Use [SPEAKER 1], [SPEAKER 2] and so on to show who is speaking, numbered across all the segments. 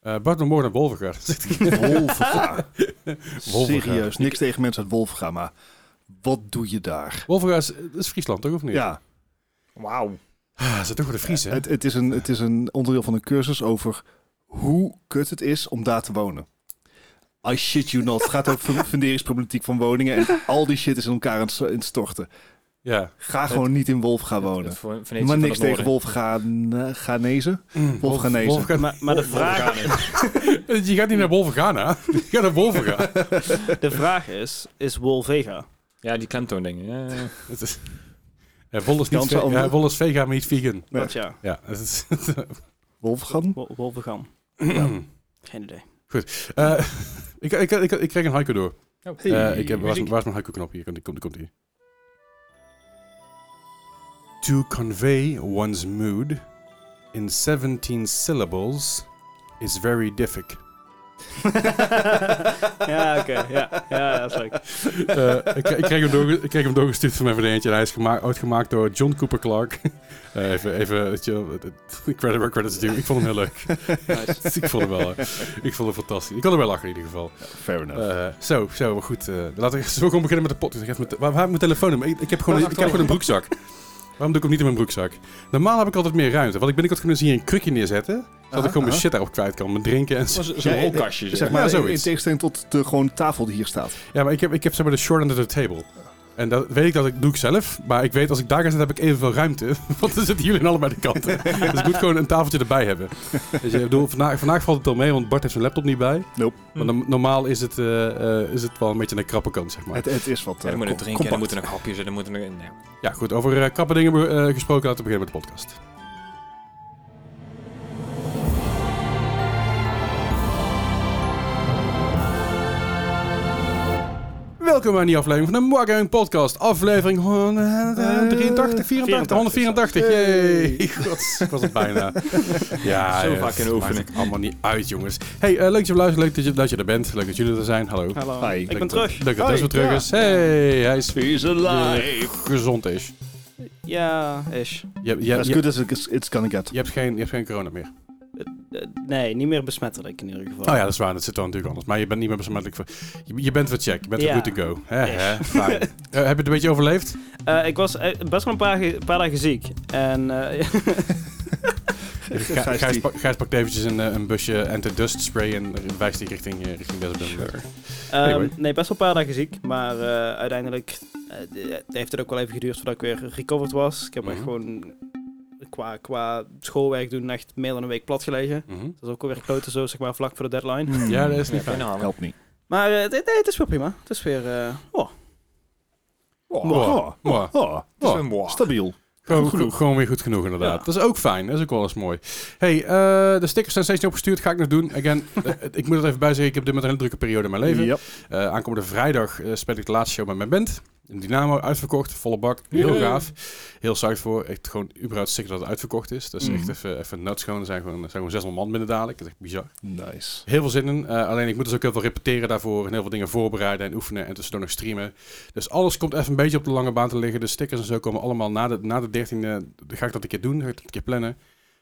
[SPEAKER 1] Eh Bart de Moor naar Wolverga.
[SPEAKER 2] Wolvenga.
[SPEAKER 1] Wolvenga.
[SPEAKER 2] Serieus, niks tegen mensen uit Wolvenga, maar wat doe je daar?
[SPEAKER 1] Wolverga is, dat is Friesland, toch? Of niet?
[SPEAKER 2] Ja,
[SPEAKER 3] Wauw.
[SPEAKER 1] Ah, ze toch weer de Friese. hè?
[SPEAKER 2] het, het, is een, het is een onderdeel van een cursus over hoe kut het is om daar te wonen. I shit you not. Het gaat over funderingsproblematiek van woningen en al die shit is in elkaar aan het s- in het storten.
[SPEAKER 1] Ja.
[SPEAKER 2] Ga gewoon niet in Wolfga
[SPEAKER 4] Oh,
[SPEAKER 2] wonen. Maar niks tegen Wolfganezen. Wolfganezen.
[SPEAKER 1] Wolfga-
[SPEAKER 3] Maar, maar de, vraag,
[SPEAKER 1] Je Eh, gaat niet naar Wolverga, hè? Je gaat naar Wolverga.
[SPEAKER 3] de vraag is, is Wolvega?
[SPEAKER 4] Ja, die klemtoon dingen. Ja, ja, ja.
[SPEAKER 1] Het is... Ja, Wol is, niet
[SPEAKER 2] Jansen
[SPEAKER 1] ve-
[SPEAKER 2] Ander.
[SPEAKER 1] ja, Wol is vegan, maar niet vegan.
[SPEAKER 2] Nee.
[SPEAKER 3] Dat ja,
[SPEAKER 1] Ja, het is...
[SPEAKER 2] Wolfgan?
[SPEAKER 3] Wol- Wolvergam. Geen idee.
[SPEAKER 1] Eh, ik, ik, ik, ik kreeg een haiku door.
[SPEAKER 3] Oh,
[SPEAKER 1] Eh, ik heb, waar, is,
[SPEAKER 4] muziek.
[SPEAKER 1] waar is mijn haiku-knop? Hier, komt, komt, komt hier. To convey one's mood in 17 syllables is very difficult.
[SPEAKER 3] ja, oké. Ja. ja, dat is leuk.
[SPEAKER 1] Eh, ik, ik, kreeg hem doorge- ik kreeg hem doorgestuurd van mijn vriendje. En hij is gemaakt, uitgemaakt door John Cooper Clark. Eh, even, even, weet je wel, het- het- credit where credit's due. Ik vond hem heel leuk. ik vond hem wel, eh, ik vond hem fantastisch. Ik kon er wel lachen in ieder geval.
[SPEAKER 2] Fair enough.
[SPEAKER 1] Eh, zo, zo, maar goed. eh, laten we, zullen we gewoon beginnen met de pot. Ik heb mijn, te- waar, waar heb ik mijn telefoon? in? Ik, ik, heb gewoon, ik heb gewoon een broekzak. Waarom doe ik hem niet in mijn broekzak? Normaal heb ik altijd meer ruimte. Want ik binnenkort kunnen ze hier een krukje neerzetten. Zodat ik gewoon mijn
[SPEAKER 2] aha.
[SPEAKER 1] shit daarop kwijt kan. Mijn drinken en zo.
[SPEAKER 4] Zo'n zo'n
[SPEAKER 2] Ja,
[SPEAKER 4] rolkastje. Zeg.
[SPEAKER 2] Zeg maar,
[SPEAKER 1] Eh, Ja,
[SPEAKER 2] in- in
[SPEAKER 1] zoiets.
[SPEAKER 2] tegenstelling tot de gewoon tafel die hier staat.
[SPEAKER 1] Ja, maar ik heb, ik heb zeg maar de short end of the table. En dat weet ik dat ik doe ik zelf. Maar ik weet als ik daar ga zitten heb ik evenveel ruimte. Want er zitten jullie aan allebei de kanten. dus ik moet gewoon een tafeltje erbij hebben. Dus ik bedoel, vandaag, vandaag valt het wel mee, want Bart heeft zijn laptop niet bij.
[SPEAKER 2] Nope.
[SPEAKER 1] Maar no- normaal is het, eh, eh, is het wel een beetje een krappe kant, zeg maar.
[SPEAKER 2] Het, het is wat.
[SPEAKER 4] Ja,
[SPEAKER 2] eh,
[SPEAKER 4] dan moet
[SPEAKER 2] com-
[SPEAKER 4] er drinken, en
[SPEAKER 2] compact.
[SPEAKER 4] dan moeten er nog hapjes en dan moeten er... Nee.
[SPEAKER 1] Ja, goed. Over eh, krappe dingen be- eh, gesproken, laten we beginnen met de podcast. Welkom bij een nieuwe aflevering van de Morgen Podcast, aflevering 183, 84, 184. Yay! Gods, ik was het bijna. Ja,
[SPEAKER 4] Zo
[SPEAKER 1] ja,
[SPEAKER 4] vaak in
[SPEAKER 1] het
[SPEAKER 4] oefenen.
[SPEAKER 1] maakt allemaal niet uit, jongens. Hey, eh, leuk dat je luistert, leuk dat je, dat je er bent, leuk dat jullie er zijn. Hallo.
[SPEAKER 3] Hallo.
[SPEAKER 2] Hi.
[SPEAKER 3] Ik ben terug.
[SPEAKER 1] Leuk dat
[SPEAKER 2] Hoi,
[SPEAKER 1] Des weer terug
[SPEAKER 2] ja.
[SPEAKER 1] is. Hey, hij is
[SPEAKER 2] He's alive.
[SPEAKER 1] gezond is.
[SPEAKER 3] Ja, is.
[SPEAKER 1] Je, je,
[SPEAKER 2] As
[SPEAKER 1] je-
[SPEAKER 2] good as it's, it's gonna get.
[SPEAKER 1] Je hebt geen, je hebt geen corona meer.
[SPEAKER 3] Eh, nee, niet meer besmettelijk in ieder geval.
[SPEAKER 1] Oh ja, dat is waar. Dat zit wel natuurlijk anders. Maar je bent niet meer besmettelijk. Voor, je, je bent weer check. Je bent
[SPEAKER 3] Ja.
[SPEAKER 1] weer good to go. Hè,
[SPEAKER 3] Yes.
[SPEAKER 1] hè, fijn. Eh, heb je het een beetje overleefd?
[SPEAKER 3] Eh, ik was eh, best wel een paar, ge- paar dagen ziek. En eh,
[SPEAKER 1] Ga-
[SPEAKER 2] Gijs
[SPEAKER 1] Gijs,
[SPEAKER 2] die-
[SPEAKER 1] pak- Gijs pakt eventjes een, eh, een busje anti-dust spray en wijst die richting, eh, richting Desmond.
[SPEAKER 3] ehm,
[SPEAKER 1] Anyway.
[SPEAKER 3] nee, best wel een paar dagen ziek. Maar eh, uiteindelijk eh, eh, heeft het ook wel even geduurd voordat ik weer recovered was. Ik heb echt
[SPEAKER 1] Mhm.
[SPEAKER 3] gewoon qua, qua schoolwerk doen echt meer dan een week plat gelegen.
[SPEAKER 1] Mhm.
[SPEAKER 3] Dat is ook alweer kloten zo, zeg maar, vlak voor de deadline.
[SPEAKER 1] Ja, dat is niet fijn.
[SPEAKER 4] Ja,
[SPEAKER 2] Helpt niet.
[SPEAKER 3] Maar eh, het, nee, het is wel prima. Het is weer... eh, oh,
[SPEAKER 2] Oh,
[SPEAKER 1] Mwah.
[SPEAKER 2] oh,
[SPEAKER 1] Mwah.
[SPEAKER 2] oh,
[SPEAKER 1] Mwah.
[SPEAKER 2] Stabiel.
[SPEAKER 1] Gewoon,
[SPEAKER 2] Goed genoeg.
[SPEAKER 1] gewoon weer goed genoeg, inderdaad.
[SPEAKER 3] Ja.
[SPEAKER 1] Dat is ook fijn. Dat is ook wel eens mooi. hey, eh, de stickers zijn steeds niet opgestuurd. Ga ik nog doen. Again, eh, ik moet het even bijzeggen. Ik heb dit met een hele drukke periode in mijn leven.
[SPEAKER 2] Yep.
[SPEAKER 1] Eh, aankomende vrijdag eh, speel ik de laatste show met mijn band. In Dynamo, uitverkocht, volle bak. Heel
[SPEAKER 4] Yay.
[SPEAKER 1] gaaf. Heel zuid voor. Echt gewoon überhaupt zeker dat het uitverkocht is. Dat is
[SPEAKER 2] Mhm.
[SPEAKER 1] echt even, even nuts gewoon. Er zijn gewoon, er zijn gewoon 600 man binnen dadelijk. Dat is echt bizar.
[SPEAKER 2] Nice.
[SPEAKER 1] Heel veel zin in. Eh, alleen ik moet dus ook heel veel repeteren daarvoor. En heel veel dingen voorbereiden en oefenen. En tussendoor nog streamen. Dus alles komt even een beetje op de lange baan te liggen. De stickers en zo komen allemaal na de, na de 13e. Ga ik dat een keer doen. Ga ik dat een keer plannen.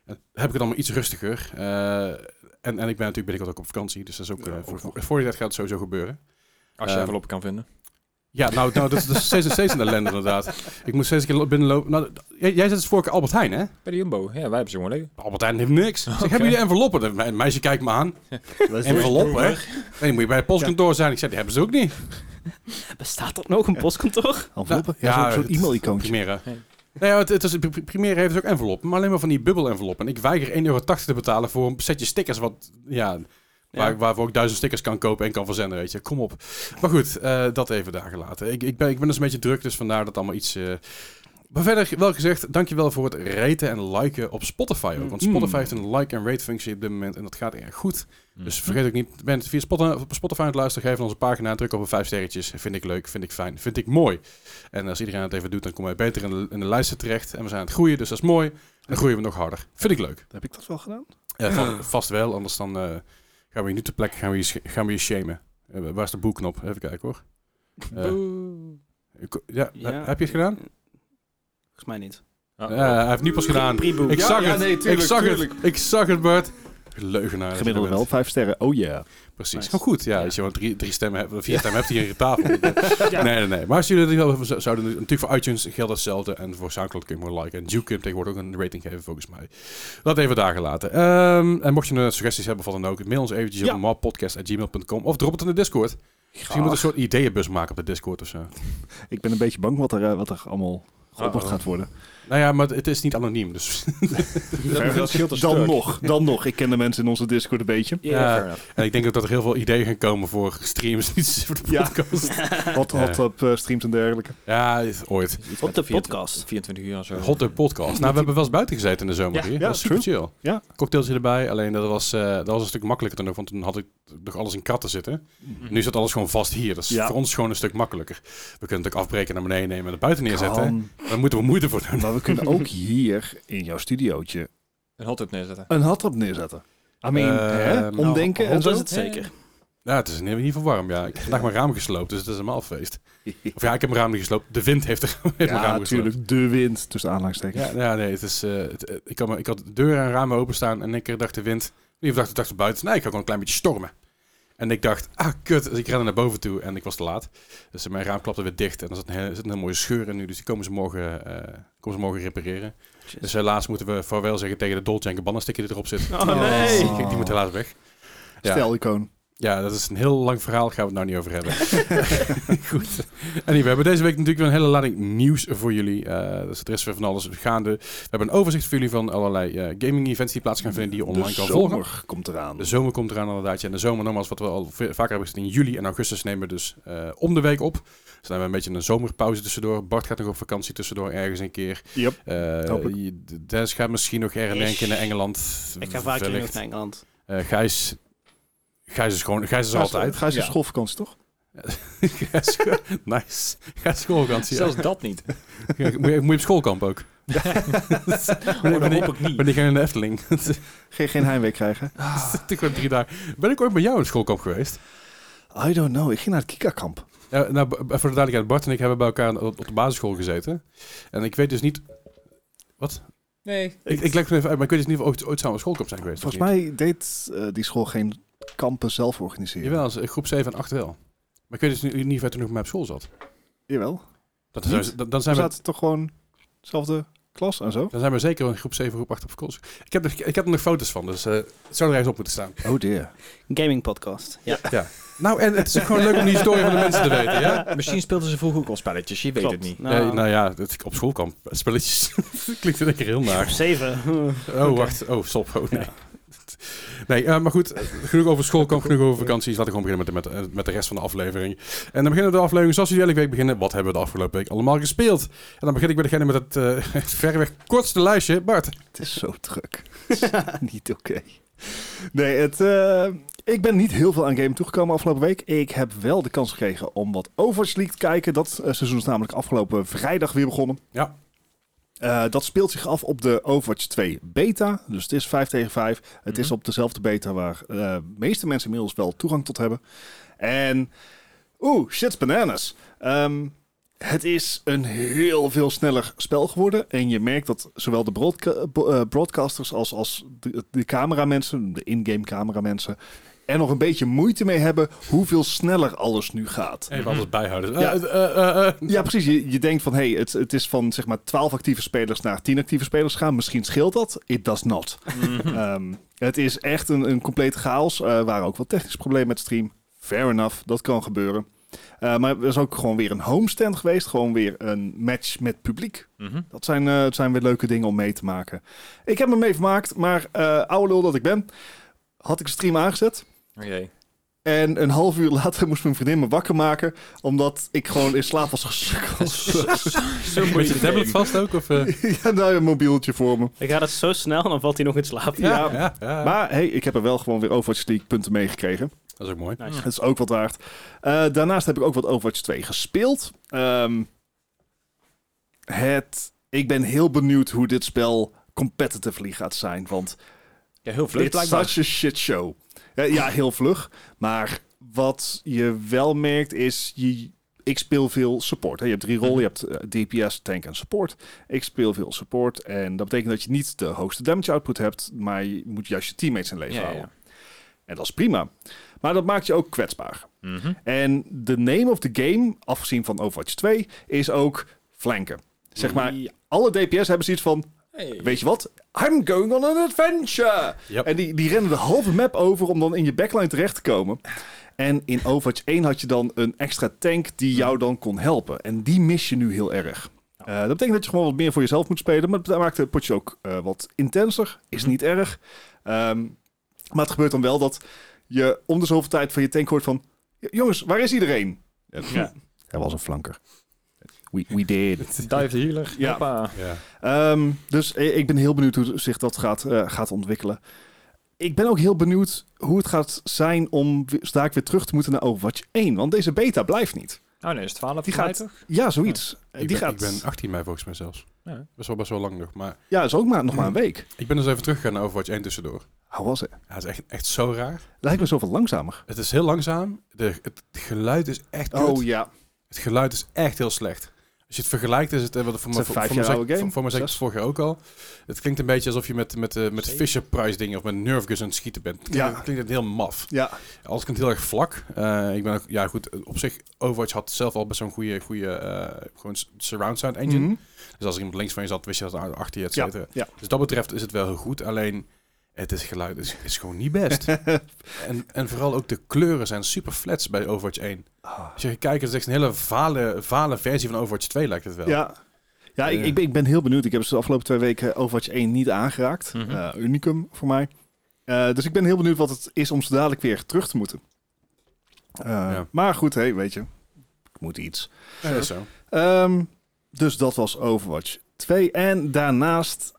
[SPEAKER 1] En heb ik het allemaal iets rustiger. Eh, en, en ik ben natuurlijk binnenkort ook op vakantie. Dus dat is ook, eh,
[SPEAKER 2] Ja,
[SPEAKER 1] voor,
[SPEAKER 2] ook nog.
[SPEAKER 1] voor, voor die tijd gaat het sowieso gebeuren.
[SPEAKER 4] Als je
[SPEAKER 1] Eh,
[SPEAKER 4] er wel op kan vinden.
[SPEAKER 1] Ja, nou, nou dat, is, dat is steeds, steeds een ellende inderdaad. Ik moest steeds een keer lo- binnenlopen. Nou, d- jij, jij zit dus voor Albert Heijn, hè?
[SPEAKER 4] Bij de Jumbo. Ja, wij hebben ze gewoon liggen.
[SPEAKER 1] Albert Heijn heeft niks. Ik zeg, hebben jullie enveloppen? Dat me- meisje kijkt me aan. Enveloppen, hè? Nee, dan moet je bij het postkantoor zijn. Ik zeg, die hebben ze ook niet.
[SPEAKER 3] bestaat dat nog, een postkantoor?
[SPEAKER 2] Enveloppen?
[SPEAKER 1] Nou,
[SPEAKER 2] Ja,
[SPEAKER 1] ja,
[SPEAKER 2] zo'n
[SPEAKER 1] het-
[SPEAKER 2] e-mail-icoontje.
[SPEAKER 1] Primera.
[SPEAKER 4] Nee.
[SPEAKER 1] Nee, het, het is, Pri- Primera heeft dus ook enveloppen, maar alleen maar van die bubbel-enveloppen. En ik weiger 1,80 euro te betalen voor een setje stickers, wat, ja, waar, waarvoor ik duizend stickers kan kopen en kan verzenden, weet je. Kom op. Maar goed, eh, dat even daar gelaten. Ik, ik, ben, ik ben dus een beetje druk, dus vandaar dat allemaal iets... eh, maar verder, wel gezegd, dankjewel voor het raten en liken op Spotify ook. Want Spotify
[SPEAKER 2] Mm.
[SPEAKER 1] heeft een like- en rate-functie op dit moment en dat gaat erg goed.
[SPEAKER 4] Mm.
[SPEAKER 1] Dus vergeet ook niet, bent via Spotify, op Spotify aan het luisteren, geef onze pagina, druk op een vijf sterretjes. Vind ik leuk, vind ik fijn, vind ik mooi. En als iedereen het even doet, dan komen wij beter in de, in de lijsten terecht. En we zijn aan het groeien, dus dat is mooi. En dan groeien we nog harder. Vind ik leuk.
[SPEAKER 2] Heb ik dat wel gedaan?
[SPEAKER 1] Eh, va- vast, wel, anders dan eh, gaan we je nu ter plekke gaan we je, sch- gaan we je shamen. Eh, waar is de boekknop? Even kijken hoor. Eh, ik- ja,
[SPEAKER 3] Ja.
[SPEAKER 1] heb je het gedaan?
[SPEAKER 3] Volgens mij niet.
[SPEAKER 4] Ah,
[SPEAKER 1] Ja, hij heeft nu pas gedaan.
[SPEAKER 3] Preboek.
[SPEAKER 1] Ik zag
[SPEAKER 2] ja,
[SPEAKER 1] het.
[SPEAKER 2] nee, tuurlijk,
[SPEAKER 1] ik zag
[SPEAKER 2] tuurlijk.
[SPEAKER 1] het. Ik zag het, Bart. Leugenaar.
[SPEAKER 2] Gemiddeld wel, vijf sterren. Oh ja.
[SPEAKER 1] Precies.
[SPEAKER 3] Nice.
[SPEAKER 1] Gewoon goed. Ja,
[SPEAKER 3] Ja.
[SPEAKER 1] Als je gewoon drie, drie stemmen hebt, vier stemmen hebt hier in tafel. Nee, nee, nee. Maar als jullie dat wel zo- zouden doen, natuurlijk voor iTunes geldt hetzelfde. En voor Soundcloud kun je hem gewoon liken. En Duke kun je tegenwoordig ook een rating geven, volgens mij. Dat even daar gelaten. Ehm, en mocht je nog suggesties hebben van dan ook, mail ons eventjes
[SPEAKER 3] Ja.
[SPEAKER 1] op mapodcast.gmail.com of drop het in de Discord. Misschien moet een soort ideeënbus maken op de Discord of zo.
[SPEAKER 2] Ik ben een beetje bang wat er, eh, wat er allemaal geopperd
[SPEAKER 4] Uh-oh.
[SPEAKER 2] gaat worden.
[SPEAKER 1] Nou ja, maar het is niet anoniem, dus...
[SPEAKER 4] Dat scheelt als
[SPEAKER 2] Dan
[SPEAKER 4] stuk.
[SPEAKER 2] nog, dan nog. Ik ken de mensen in onze Discord een beetje.
[SPEAKER 4] Ja,
[SPEAKER 1] Ja.
[SPEAKER 4] fair enough.
[SPEAKER 1] en ik denk ook dat er heel veel ideeën gaan komen voor streams, niet voor de
[SPEAKER 2] Ja.
[SPEAKER 1] podcast.
[SPEAKER 2] Hot, hot, hop, eh, streams en dergelijke.
[SPEAKER 1] Ja, ooit.
[SPEAKER 4] Iets met
[SPEAKER 3] Op de
[SPEAKER 4] 24
[SPEAKER 3] podcast.
[SPEAKER 4] 24 uur of zo.
[SPEAKER 1] Hot Dog Podcast. Nou, we hebben wel eens buiten gezeten in de zomer
[SPEAKER 4] Ja,
[SPEAKER 1] hier.
[SPEAKER 2] ja,
[SPEAKER 1] dat was super chill.
[SPEAKER 2] Ja.
[SPEAKER 1] Cocktailtje erbij. Alleen dat was, eh, dat was een stuk makkelijker dan ook, want toen had ik nog alles in katten zitten. Nu zit alles gewoon vast hier. Dat is
[SPEAKER 2] Ja.
[SPEAKER 1] voor ons gewoon een stuk makkelijker. We kunnen het ook afbreken, naar beneden nemen en het buiten neerzetten.
[SPEAKER 2] Kan.
[SPEAKER 1] Daar moeten we moeite voor doen.
[SPEAKER 2] Maar we kunnen ook hier in jouw studiootje
[SPEAKER 4] Een hot up neerzetten.
[SPEAKER 1] Oh,
[SPEAKER 2] een hotdog neerzetten. I mean,
[SPEAKER 1] Eh,
[SPEAKER 2] hè?
[SPEAKER 1] nou,
[SPEAKER 2] omdenken en
[SPEAKER 3] Dat
[SPEAKER 2] zo.
[SPEAKER 3] is het zeker.
[SPEAKER 1] Ja, het is in ieder geval warm. Ja. Ik heb vandaag mijn raam gesloopt, dus het is helemaal feest. Of ja, ik heb mijn raam niet gesloopt. De wind heeft, er, heeft mijn
[SPEAKER 2] Ja,
[SPEAKER 1] raam gesloopt.
[SPEAKER 2] natuurlijk. De wind tussen aanhalingstekens.
[SPEAKER 1] Ja, ja, nee, het is, eh, het- eh, ik, had, me- ik had de deuren en ramen openstaan en ik dacht de wind, of dacht, ik dacht er buiten, nee, ik ga gewoon een klein beetje stormen. En ik dacht, ah kut, dus ik rende naar boven toe en ik was te laat. Dus mijn raam klapte weer dicht en er zat een, hele- zit een hele mooie scheur in nu, dus die komen ze morgen, eh, komen ze morgen repareren. Dus helaas moeten we vaarwel zeggen tegen de Dolce Gabbana sticker die erop zit.
[SPEAKER 3] Oh nee.
[SPEAKER 2] Oh.
[SPEAKER 1] Die, die moet helaas weg. Ja.
[SPEAKER 2] Stel icoon.
[SPEAKER 1] Ja, dat is een heel lang verhaal. Gaan we het nou niet over hebben. Goed. Anyway, we hebben deze week natuurlijk weer een hele lading nieuws voor jullie. Eh dus er is weer van alles gaande. We hebben een overzicht voor jullie van allerlei eh, gaming events die plaats gaan vinden die je online
[SPEAKER 2] de
[SPEAKER 1] kan
[SPEAKER 2] zomer
[SPEAKER 1] volgen.
[SPEAKER 2] komt eraan.
[SPEAKER 1] De zomer komt eraan inderdaad. Ja, en de zomer, nogmaals, wat we al ve- vaker hebben gezien in juli en augustus, nemen we dus eh, om de week op. Dus dan hebben we een beetje een zomerpauze tussendoor. Bart gaat nog op vakantie tussendoor ergens een keer.
[SPEAKER 2] Yep.
[SPEAKER 1] Eh,
[SPEAKER 2] Hoop ik.
[SPEAKER 1] je- Dennis gaat misschien nog ergens denken naar Engeland.
[SPEAKER 3] Ik ga vaak
[SPEAKER 1] wellicht.
[SPEAKER 3] terug naar Engeland.
[SPEAKER 1] Eh, Gijs... Gijs is gewoon... Gijs is altijd.
[SPEAKER 2] Ga je
[SPEAKER 4] Ja.
[SPEAKER 2] schoolvakantie, toch?
[SPEAKER 1] Ja, scho- nice. Ga schoolvakantie.
[SPEAKER 4] Zelfs dat niet.
[SPEAKER 1] Ja, moet, je, moet je op schoolkamp ook?
[SPEAKER 4] Oh, dat
[SPEAKER 1] wanneer-
[SPEAKER 4] hoop ik niet. Ah.
[SPEAKER 1] Wanneer ga je naar de Efteling?
[SPEAKER 2] Geen, geen heimwee krijgen.
[SPEAKER 1] ik ben drie dagen. Ben ik ooit bij jou op schoolkamp geweest?
[SPEAKER 2] I don't know. Ik ging naar het Kika-kamp.
[SPEAKER 1] Ja, nou, b- voor de duidelijkheid, Bart en ik hebben bij elkaar op op de basisschool gezeten. En ik weet dus niet... Wat?
[SPEAKER 4] Nee.
[SPEAKER 1] Ik, ik leg het even uit, maar ik weet dus niet of we ooit, ooit samen op schoolkamp zijn geweest.
[SPEAKER 2] Volgens
[SPEAKER 1] of niet.
[SPEAKER 2] mij deed eh, die school geen kampen zelf organiseren.
[SPEAKER 1] Jawel, als, eh, groep 7 en 8 wel. Maar ik weet dus niet, niet of hij toen nog met mij op school zat.
[SPEAKER 2] Jawel.
[SPEAKER 1] Dat,
[SPEAKER 2] Niet?
[SPEAKER 1] dan- dan
[SPEAKER 2] We
[SPEAKER 1] zijn we
[SPEAKER 2] zaten toch gewoon dezelfde klas en zo?
[SPEAKER 1] dan zijn we zeker in groep 7, groep 8 op school. Ik heb, er- ik heb er nog foto's van, dus eh, het zou er ergens op moeten staan.
[SPEAKER 2] Oh dear.
[SPEAKER 3] Gaming podcast. Ja.
[SPEAKER 1] Nou, en het is ook gewoon leuk om die historie van de mensen te weten, ja?
[SPEAKER 4] Misschien speelden ze vroeger ook al spelletjes, je weet
[SPEAKER 3] Klopt.
[SPEAKER 4] het niet.
[SPEAKER 1] Nou,
[SPEAKER 3] Nou,
[SPEAKER 1] nou ja, dat ik op school kan spelletjes. Klinkt in één keer heel naar.
[SPEAKER 3] Zeven.
[SPEAKER 1] Oh, wacht. Oh, stop. Oh, nee. Nee, eh, maar goed. eh, Genoeg over school, kan genoeg over vakanties. Laten we gewoon beginnen met de, met, eh, met de rest van de aflevering. En dan beginnen we de aflevering zoals we die elke week beginnen. Wat hebben we de afgelopen week allemaal gespeeld? En dan begin ik bij degene met het eh, het verreweg kortste lijstje. Bart.
[SPEAKER 2] Het is zo druk. Het is niet oké. Nee, het, eh, ik ben niet heel veel aan game toegekomen afgelopen week. Ik heb wel de kans gekregen om wat Overwatch League te kijken. Dat eh, seizoen is namelijk afgelopen vrijdag weer begonnen.
[SPEAKER 1] Ja.
[SPEAKER 2] Eh, dat speelt zich af op de Overwatch 2 beta. Dus het is 5 tegen 5. Het is
[SPEAKER 4] Mhm.
[SPEAKER 2] op dezelfde beta waar eh, de meeste mensen inmiddels wel toegang tot hebben. En oeh, shit's bananas. Ehm, het is een heel veel sneller spel geworden. En je merkt dat zowel de broadca- bo- eh, broadcasters als, als de, de cameramensen, de in-game cameramensen, er nog een beetje moeite mee hebben hoeveel sneller alles nu gaat.
[SPEAKER 1] Even alles bijhouden.
[SPEAKER 2] Ja.
[SPEAKER 1] Eh, eh, eh, eh.
[SPEAKER 2] Ja, precies. Je, je denkt van, hey, het, het is van zeg maar 12 actieve spelers naar 10 actieve spelers gaan. Misschien scheelt dat. It does not. Ehm, het is echt een, een compleet chaos. Eh, Er waren ook wat technische problemen met stream. Fair enough, dat kan gebeuren. Eh, maar er is ook gewoon weer een homestand geweest. Gewoon weer een match met publiek.
[SPEAKER 4] Mhm.
[SPEAKER 2] Dat zijn, eh, het zijn weer leuke dingen om mee te maken. Ik heb me mee vermaakt, maar eh oude lul dat ik ben, had ik de stream aangezet.
[SPEAKER 4] Oké.
[SPEAKER 2] En een half uur later moest mijn vriendin me wakker maken. Omdat ik gewoon in slaap was gesukkeld.
[SPEAKER 4] Zo
[SPEAKER 1] Moet je de tablet vast ook? Of, eh?
[SPEAKER 2] ja, nou een mobieltje voor me.
[SPEAKER 3] Ik ga dat zo snel, dan valt hij nog in slaap.
[SPEAKER 2] Ja.
[SPEAKER 1] ja, ja.
[SPEAKER 2] Maar hey, ik heb er wel gewoon weer Overwatch League punten meegekregen.
[SPEAKER 1] Dat is ook mooi.
[SPEAKER 3] Nice.
[SPEAKER 2] Dat is ook wat waard. Eh, daarnaast heb ik ook wat Overwatch 2 gespeeld. Ehm, het, ik ben heel benieuwd hoe dit spel competitively gaat zijn. Want
[SPEAKER 4] Ja, heel vlug
[SPEAKER 2] dit is
[SPEAKER 4] blijkbaar.
[SPEAKER 2] such a shit show. Ja, ja, heel vlug. Maar wat je wel merkt is, je, ik speel veel support. Hè. Je hebt drie rollen, je hebt eh, DPS, tank en support. Ik speel veel support en dat betekent dat je niet de hoogste damage output hebt, maar je moet juist je teammates in leven
[SPEAKER 4] Ja, ja,
[SPEAKER 2] houden. En dat is prima. Maar dat maakt je ook kwetsbaar.
[SPEAKER 4] Mhm.
[SPEAKER 2] En de name of the game, afgezien van Overwatch 2, is ook flanken. Zeg maar,
[SPEAKER 4] Ja.
[SPEAKER 2] alle DPS hebben zoiets van, weet je wat? I'm going on an adventure!
[SPEAKER 1] Yep.
[SPEAKER 2] En die, die rennen de halve map over om dan in je backline terecht te komen. En in Overwatch 1 had je dan een extra tank die jou dan kon helpen. En die mis je nu heel erg. Eh, dat betekent dat je gewoon wat meer voor jezelf moet spelen. Maar dat maakt het potje ook eh, wat intenser. Is niet erg. Ehm, maar het gebeurt dan wel dat je om de zoveel tijd van je tank hoort van... Jongens, waar is iedereen?
[SPEAKER 4] Ja.
[SPEAKER 2] Hij was een flanker. We, we did.
[SPEAKER 4] Dive de healer.
[SPEAKER 2] Ja.
[SPEAKER 4] Hoppa.
[SPEAKER 1] Ja.
[SPEAKER 2] Ehm, dus i- ik ben heel benieuwd hoe zich dat gaat, eh, gaat ontwikkelen. Ik ben ook heel benieuwd hoe het gaat zijn om we- straks weer terug te moeten naar Overwatch 1. Want deze beta blijft niet.
[SPEAKER 4] Oh nee, is 12
[SPEAKER 2] Die
[SPEAKER 4] voor mij
[SPEAKER 2] gaat-
[SPEAKER 4] toch?
[SPEAKER 2] Ja, zoiets. Eh,
[SPEAKER 1] Ik,
[SPEAKER 2] die
[SPEAKER 1] ben,
[SPEAKER 2] gaat,
[SPEAKER 1] ik ben 18 mei volgens mij zelfs.
[SPEAKER 4] Ja.
[SPEAKER 1] Best wel best wel lang nog. Maar
[SPEAKER 2] Ja, is ook maar, nog maar een week.
[SPEAKER 1] ik ben dus even teruggegaan naar Overwatch 1 tussendoor.
[SPEAKER 2] Hoe was het?
[SPEAKER 1] Ja, het is echt, echt zo raar.
[SPEAKER 2] Lijkt me zoveel langzamer.
[SPEAKER 1] Het is heel langzaam. De, het geluid is echt kut.
[SPEAKER 2] Oh ja.
[SPEAKER 1] Het geluid is echt heel slecht. Als je het vergelijkt, is het eh, wat voor
[SPEAKER 2] is
[SPEAKER 1] me
[SPEAKER 2] een
[SPEAKER 1] voor,
[SPEAKER 2] vijf
[SPEAKER 1] voor
[SPEAKER 2] jaar
[SPEAKER 1] me zei-
[SPEAKER 2] oude game.
[SPEAKER 1] voor- voor me zei ik het vorig jaar ook al. Het klinkt een beetje alsof je met, met, eh, met
[SPEAKER 4] Zeker.
[SPEAKER 1] Fisher Price dingen of met Nerf guns aan het schieten bent. Het
[SPEAKER 2] Ja.
[SPEAKER 1] klinkt, klinkt het heel maf.
[SPEAKER 2] Ja,
[SPEAKER 1] Alles klinkt heel erg vlak. Eh, ik ben ook, ja goed, op zich Overwatch had zelf al best wel een goede, goede eh, gewoon s- surround sound engine.
[SPEAKER 2] Mhm.
[SPEAKER 1] Dus als iemand links van je zat, wist je dat a- achter je, et
[SPEAKER 2] ja,
[SPEAKER 1] cetera.
[SPEAKER 2] ja.
[SPEAKER 1] Dus dat betreft is het wel heel goed. Alleen het is geluid is, is gewoon niet best. en, en vooral ook de kleuren zijn super flats bij Overwatch 1.
[SPEAKER 2] Ah.
[SPEAKER 1] Als je gaat kijken, het is echt een hele vale, vale versie van Overwatch 2 lijkt het wel.
[SPEAKER 2] Ja, ja ik,
[SPEAKER 1] Ja.
[SPEAKER 2] ik, ben, ik ben heel benieuwd. Ik heb ze de afgelopen twee weken Overwatch 1 niet aangeraakt.
[SPEAKER 4] Mhm.
[SPEAKER 2] Eh, unicum voor mij. Eh, dus ik ben heel benieuwd wat het is om ze dadelijk weer terug te moeten. Eh,
[SPEAKER 1] Ja.
[SPEAKER 2] Maar goed, hey, weet je. Ik moet iets.
[SPEAKER 1] Ja, dat is zo.
[SPEAKER 2] Ehm, dus dat was Overwatch 2. En daarnaast,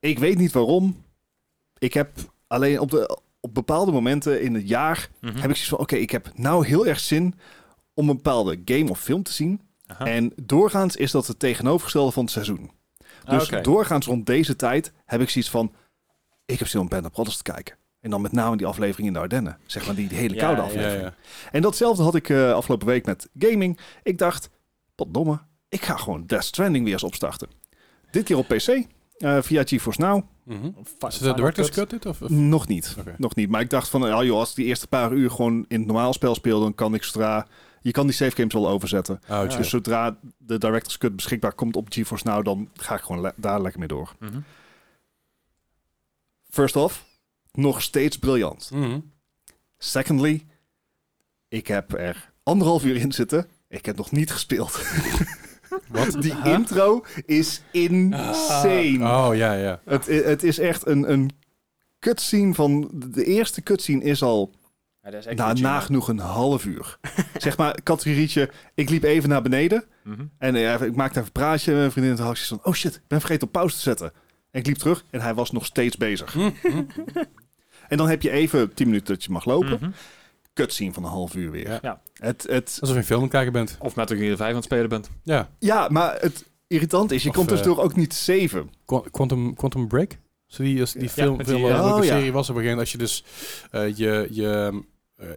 [SPEAKER 2] ik weet niet waarom. Ik heb alleen op, de, op bepaalde momenten in het jaar...
[SPEAKER 4] Mhm.
[SPEAKER 2] heb ik zoiets van, oké, ik heb nou heel erg zin om een bepaalde game of film te zien.
[SPEAKER 4] Aha.
[SPEAKER 2] En doorgaans is dat het tegenovergestelde van het seizoen. Dus
[SPEAKER 4] Ah, Oké.
[SPEAKER 2] doorgaans rond deze tijd heb ik zoiets van... Ik heb zin om Band of Brothers te kijken. En dan met name die aflevering in de Ardennen. Zeg maar die, die hele
[SPEAKER 4] Ja,
[SPEAKER 2] koude
[SPEAKER 4] ja,
[SPEAKER 1] Ja,
[SPEAKER 2] aflevering.
[SPEAKER 1] ja.
[SPEAKER 2] En datzelfde had ik eh, afgelopen week met gaming. Ik dacht, wat domme. Ik ga gewoon Death Stranding weer eens opstarten. Dit keer op PC. eh, via GeForce Now.
[SPEAKER 1] Mhm.
[SPEAKER 4] Fi-
[SPEAKER 1] Is het
[SPEAKER 4] Final
[SPEAKER 1] de director's
[SPEAKER 4] Cut.
[SPEAKER 1] cut dit? Of, of-
[SPEAKER 2] Nog niet.
[SPEAKER 1] Oké.
[SPEAKER 2] Nog niet. Maar ik dacht van, ah, joh, als ik die eerste paar uur gewoon in het normaal spel speel, dan kan ik zodra... Je kan die save games wel overzetten.
[SPEAKER 1] Oh,
[SPEAKER 4] Ja.
[SPEAKER 1] chill.
[SPEAKER 2] Dus zodra de Director's Cut beschikbaar komt op GeForce Now, dan ga ik gewoon le- daar lekker mee door.
[SPEAKER 4] Mhm.
[SPEAKER 2] First off, nog steeds briljant.
[SPEAKER 1] Mhm.
[SPEAKER 2] Secondly, ik heb er anderhalf uur in zitten. Ik heb nog niet gespeeld.
[SPEAKER 1] Wat?
[SPEAKER 2] Die intro is insane.
[SPEAKER 1] Oh, ja, ja.
[SPEAKER 2] Het, het is echt een, een cutscene van... De eerste cutscene is al
[SPEAKER 4] Ja, dat is echt
[SPEAKER 2] nou,
[SPEAKER 4] Kojima.
[SPEAKER 2] nagenoeg een half uur. zeg maar, categorietje, ik liep even naar beneden.
[SPEAKER 4] Mhm.
[SPEAKER 2] En eh, ik maakte even een praatje met mijn vriendin. En toen had ik zoiets van, oh shit, ik ben vergeten op pauze te zetten. En ik liep terug en hij was nog steeds bezig.
[SPEAKER 4] Hm,
[SPEAKER 2] En dan heb je even 10 minuten dat je mag lopen.
[SPEAKER 4] Mhm.
[SPEAKER 2] Cutscene van een half uur weer.
[SPEAKER 1] Ja.
[SPEAKER 4] Ja.
[SPEAKER 2] Het, het,
[SPEAKER 1] Alsof je een film aan het kijken bent.
[SPEAKER 4] Of met de Gear 5 aan het spelen bent.
[SPEAKER 1] Ja.
[SPEAKER 2] ja, maar het irritant is, je
[SPEAKER 1] Of,
[SPEAKER 2] komt
[SPEAKER 1] eh,
[SPEAKER 2] tussendoor ook niet zeven.
[SPEAKER 1] Qu- Quantum, Quantum Break? Zo die, als die
[SPEAKER 2] Ja,
[SPEAKER 1] film,
[SPEAKER 4] met die,
[SPEAKER 1] film waar
[SPEAKER 4] eh,
[SPEAKER 1] ook een
[SPEAKER 2] oh, ja.
[SPEAKER 1] serie was op een gegeven moment. Als je dus eh, je, je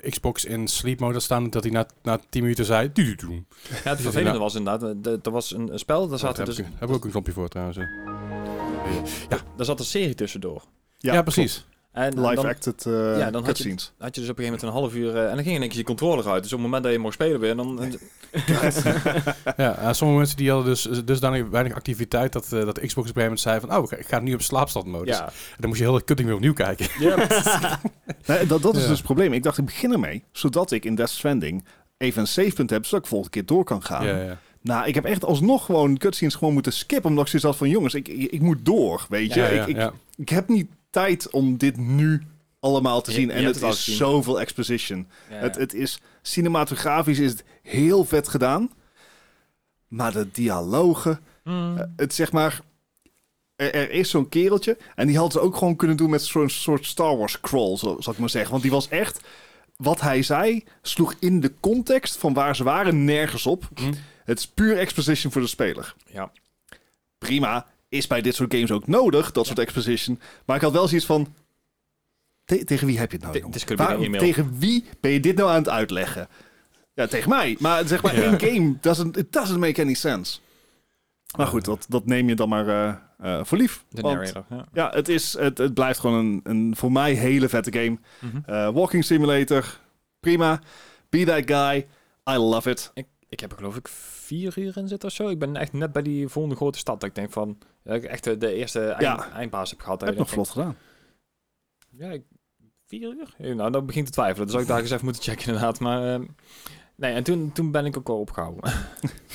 [SPEAKER 1] eh, Xbox in sleep mode had staan, dat hij na, na 10 minuten zei... "Doe, doe, doe."
[SPEAKER 4] Ja, het vervelende was inderdaad, eh, de- er was een, een spel, daar
[SPEAKER 1] Daar
[SPEAKER 4] zat, er
[SPEAKER 1] heb,
[SPEAKER 4] dus,
[SPEAKER 1] ik, heb ik ook een knopje voor trouwens. hè.
[SPEAKER 4] daar zat een serie tussendoor.
[SPEAKER 1] Ja, precies.
[SPEAKER 4] En
[SPEAKER 2] Live
[SPEAKER 4] dan
[SPEAKER 2] acted eh,
[SPEAKER 4] Ja, dan had je-
[SPEAKER 2] cutscenes.
[SPEAKER 4] had je dus op een gegeven moment een half uur, eh, en dan ging in één keer je controller uit. Dus op het moment dat je mocht spelen weer, dan...
[SPEAKER 1] Ja, eh, sommige mensen die hadden dus eh, dusdanig weinig activiteit dat, eh, dat Xbox op een gegeven moment zei van... Oh, ik ga- ik ga nu op slaapstandmodus.
[SPEAKER 4] ja.
[SPEAKER 1] En dan moest je heel de kutting weer opnieuw kijken.
[SPEAKER 2] Nee, dat, dat is
[SPEAKER 1] Ja.
[SPEAKER 2] dus het probleem. Ik dacht, ik begin ermee, zodat ik in Death Stranding even een savepunt heb, zodat ik volgende keer door kan gaan.
[SPEAKER 1] Ja, ja.
[SPEAKER 2] Nou, ik heb echt alsnog gewoon cutscenes gewoon moeten skippen. Omdat ik zoiets had van, jongens, ik, ik, ik moet door, weet je.
[SPEAKER 1] Ja, ja,
[SPEAKER 2] ik, ik,
[SPEAKER 1] ja.
[SPEAKER 2] ik heb niet tijd om dit nu allemaal te
[SPEAKER 4] Je-
[SPEAKER 2] zien.
[SPEAKER 4] je
[SPEAKER 2] en
[SPEAKER 4] hebt
[SPEAKER 2] het
[SPEAKER 4] het al
[SPEAKER 2] is
[SPEAKER 4] gezien.
[SPEAKER 2] zoveel exposition.
[SPEAKER 4] Ja.
[SPEAKER 2] Het, het is, cinematografisch is het heel vet gedaan. Maar de dialogen,
[SPEAKER 4] Mm.
[SPEAKER 2] eh, het zeg maar... Er, er is zo'n kereltje. En die hadden ze ook gewoon kunnen doen met zo'n soort Star Wars crawl, zo- zal ik maar zeggen. Want die was echt... Wat hij zei, sloeg in de context van waar ze waren nergens op.
[SPEAKER 4] Mhm.
[SPEAKER 1] Hm.
[SPEAKER 2] Het is puur exposition voor de speler.
[SPEAKER 4] Ja.
[SPEAKER 2] Prima, is bij dit soort games ook nodig, dat soort exposition. Maar ik had wel zoiets van... te- tegen wie heb je het nou,
[SPEAKER 4] Te-
[SPEAKER 2] jongen?
[SPEAKER 4] het is kunnen we
[SPEAKER 2] Waarom-
[SPEAKER 4] in een e-mail.
[SPEAKER 2] tegen wie ben je dit nou aan het uitleggen? Ja, tegen mij. Maar zeg maar,
[SPEAKER 1] Ja.
[SPEAKER 2] één game, doesn't, it doesn't make any sense. Maar goed, dat, dat neem je dan maar eh, eh, voor lief.
[SPEAKER 4] De
[SPEAKER 2] Want-
[SPEAKER 4] narrator, ja.
[SPEAKER 2] ja, het, is, het, het blijft gewoon een, een voor mij hele vette game.
[SPEAKER 4] Mhm.
[SPEAKER 2] Eh, walking Simulator, prima. Be that guy, I love it.
[SPEAKER 4] Ik, ik heb er geloof ik vier uur in zitten of zo. Ik ben echt net bij die volgende grote stad. Dat ik denk van, dat ik echt eh, de eerste eind-
[SPEAKER 2] Ja.
[SPEAKER 4] eindbaas heb gehad. Dat
[SPEAKER 2] Heb
[SPEAKER 4] je
[SPEAKER 2] nog
[SPEAKER 4] denkt
[SPEAKER 2] vlot gedaan.
[SPEAKER 4] van, Ja, ik- vier uur? Eh, nou, dan begint te twijfelen. Dus zou ik daar eens even moeten checken inderdaad. Maar ehm, nee, en toen, toen ben ik ook al opgehouden.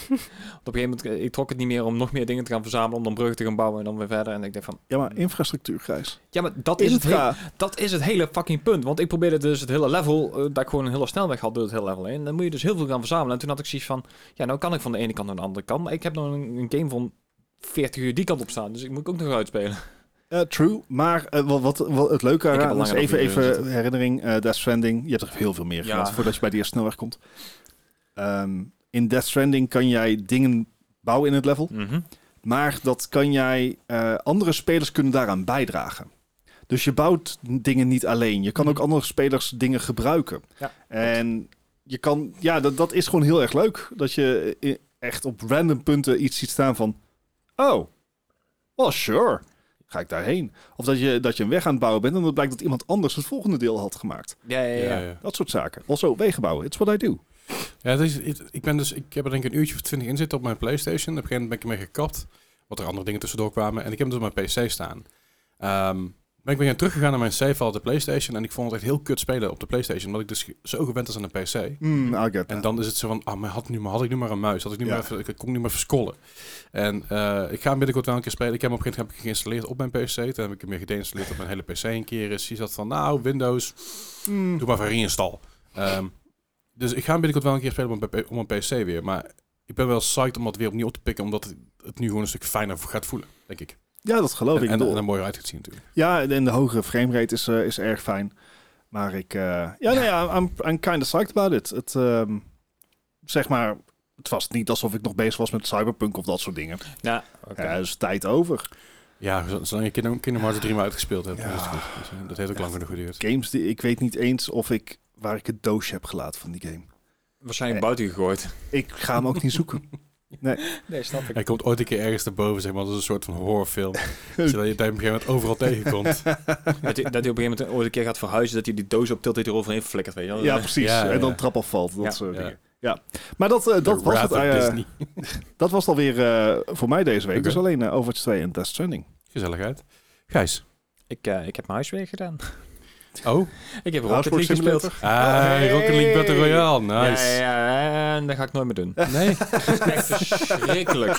[SPEAKER 4] Want op een gegeven moment, eh, ik trok het niet meer om nog meer dingen te gaan verzamelen. Om dan bruggen te gaan bouwen en dan weer verder. En ik denk van,
[SPEAKER 2] Ja, maar infrastructuur, Gijs.
[SPEAKER 4] ja, maar dat is, het hele-
[SPEAKER 2] ga?
[SPEAKER 4] dat is het hele fucking punt. Want ik probeerde dus het hele level, eh, dat ik gewoon een hele snelweg had door het hele level heen. Dan moet je dus heel veel gaan verzamelen. En toen had ik zoiets van, ja, nou kan ik van de ene kant naar de andere kant. Maar ik heb nog een, een game van 40 uur die kant op staan. Dus ik moet ook nog uitspelen.
[SPEAKER 2] Eh, true, maar eh, wat, wat, wat het leuke
[SPEAKER 4] heb
[SPEAKER 2] eraan
[SPEAKER 4] al
[SPEAKER 2] is,
[SPEAKER 4] langer
[SPEAKER 2] even,
[SPEAKER 4] dan vier uur
[SPEAKER 2] even herinnering, eh Death Stranding, je hebt er heel veel meer
[SPEAKER 4] Ja.
[SPEAKER 2] gedaan voordat je bij de eerste snelweg komt. Ehm, in Death Stranding kan jij dingen bouwen in het level,
[SPEAKER 4] Mhm.
[SPEAKER 2] maar dat kan jij, eh, andere spelers kunnen daaraan bijdragen. Dus je bouwt dingen niet alleen, je kan ook
[SPEAKER 4] Mhm.
[SPEAKER 2] andere spelers dingen gebruiken.
[SPEAKER 4] Ja,
[SPEAKER 2] en je kan, ja, dat, dat is gewoon heel erg leuk, dat je eh, echt op random punten iets ziet staan van, oh, well sure ga ik daarheen? Of dat je, dat je een weg aan het bouwen bent en dan blijkt dat iemand anders het volgende deel had gemaakt.
[SPEAKER 4] Ja, ja, ja.
[SPEAKER 1] Ja,
[SPEAKER 4] ja.
[SPEAKER 1] ja.
[SPEAKER 2] Dat soort zaken. Also, wegen bouwen. It's what I do.
[SPEAKER 1] Ja, het is, het- ik, ben dus, ik heb er denk ik een uurtje of twintig in zitten op mijn PlayStation. Op een gegeven moment ben ik ermee gekapt. Wat er andere dingen tussendoor kwamen. En ik heb hem dus op mijn PC staan. Ehm, ben ik weer gaan teruggegaan naar mijn save file op de PlayStation. En ik vond het echt heel kut spelen op de PlayStation. Omdat ik dus ge- zo gewend was aan een PC.
[SPEAKER 2] Mm, I
[SPEAKER 1] Hmm.
[SPEAKER 2] get
[SPEAKER 1] En
[SPEAKER 2] that.
[SPEAKER 1] dan is het zo van, ah, maar had, nu, maar had ik nu maar een muis, had ik nu
[SPEAKER 2] Ja.
[SPEAKER 1] maar even, ik kon niet meer verscrollen. En eh, ik ga hem binnenkort wel een keer spelen. Ik heb hem op een gegeven moment heb ik geïnstalleerd op mijn PC. Toen heb ik hem weer gedeinstalleerd op mijn hele PC een keer. Is hij zat van, nou, Windows,
[SPEAKER 2] Mm.
[SPEAKER 1] doe maar van reinstall. Ehm, dus ik ga hem binnenkort wel een keer spelen op mijn, P- op mijn PC weer. Maar ik ben wel psyched om dat weer opnieuw op te pikken, omdat het, het nu gewoon een stuk fijner gaat voelen, denk ik.
[SPEAKER 2] Ja, dat geloof
[SPEAKER 1] en,
[SPEAKER 2] ik.
[SPEAKER 1] en,
[SPEAKER 2] wel.
[SPEAKER 1] en er mooier uit gaat zien natuurlijk.
[SPEAKER 2] ja, en de hogere framerate is, eh, is erg fijn. Maar ik... eh, ja, nee, ja, I'm, I'm kind of psyched about it. Het, ehm, zeg maar... Het was niet alsof ik nog bezig was met Cyberpunk of dat soort dingen.
[SPEAKER 4] Ja, oké.
[SPEAKER 2] Ja, dus tijd over.
[SPEAKER 1] Ja, z- zolang je Kingdom, Kingdom Hearts 3 maar uitgespeeld hebt,
[SPEAKER 2] Ja.
[SPEAKER 1] dan is het goed. Dus, eh, dat heeft ook lang genoeg geduurd.
[SPEAKER 2] Games die... Ik weet niet eens of ik... Waar ik het doosje heb gelaten van die game.
[SPEAKER 4] Waarschijnlijk
[SPEAKER 2] Eh.
[SPEAKER 4] buiten gegooid.
[SPEAKER 2] Ik ga hem ook niet zoeken.
[SPEAKER 4] Nee, snap ik.
[SPEAKER 1] Hij komt ooit een keer ergens naar boven, zeg maar, als een soort van horrorfilm. Zodat je het op een gegeven moment overal tegenkomt.
[SPEAKER 4] dat, hij, dat hij op een gegeven moment ooit een keer gaat verhuizen, dat hij die doos op tilt dat hij eroverheen flikkert, weet je wel.
[SPEAKER 2] Ja, precies.
[SPEAKER 1] Oh, Ja, ja,
[SPEAKER 2] En dan
[SPEAKER 1] ja.
[SPEAKER 2] trap afvalt. Dat
[SPEAKER 4] Ja,
[SPEAKER 2] soort
[SPEAKER 1] ja.
[SPEAKER 2] dingen. Ja. Maar dat, eh, dat,
[SPEAKER 1] The
[SPEAKER 2] was
[SPEAKER 1] Wrath
[SPEAKER 2] het,
[SPEAKER 1] of
[SPEAKER 2] eh,
[SPEAKER 1] Disney.
[SPEAKER 2] dat was het alweer eh, voor mij deze week.
[SPEAKER 1] Oké.
[SPEAKER 2] Dus alleen eh, Overwatch 2 en Death Stranding.
[SPEAKER 1] Gezelligheid. Gijs.
[SPEAKER 4] Ik, eh, ik heb mijn huiswerk gedaan.
[SPEAKER 1] Oh.
[SPEAKER 4] Ik heb Rocket
[SPEAKER 2] Housework
[SPEAKER 4] League gespeeld.
[SPEAKER 2] Simulator.
[SPEAKER 1] Ah,
[SPEAKER 2] Hey.
[SPEAKER 1] Rocket League Battle Royale. Nice.
[SPEAKER 4] Ja, ja, ja, en dat ga ik nooit meer doen.
[SPEAKER 1] Nee.
[SPEAKER 4] Echt verschrikkelijk.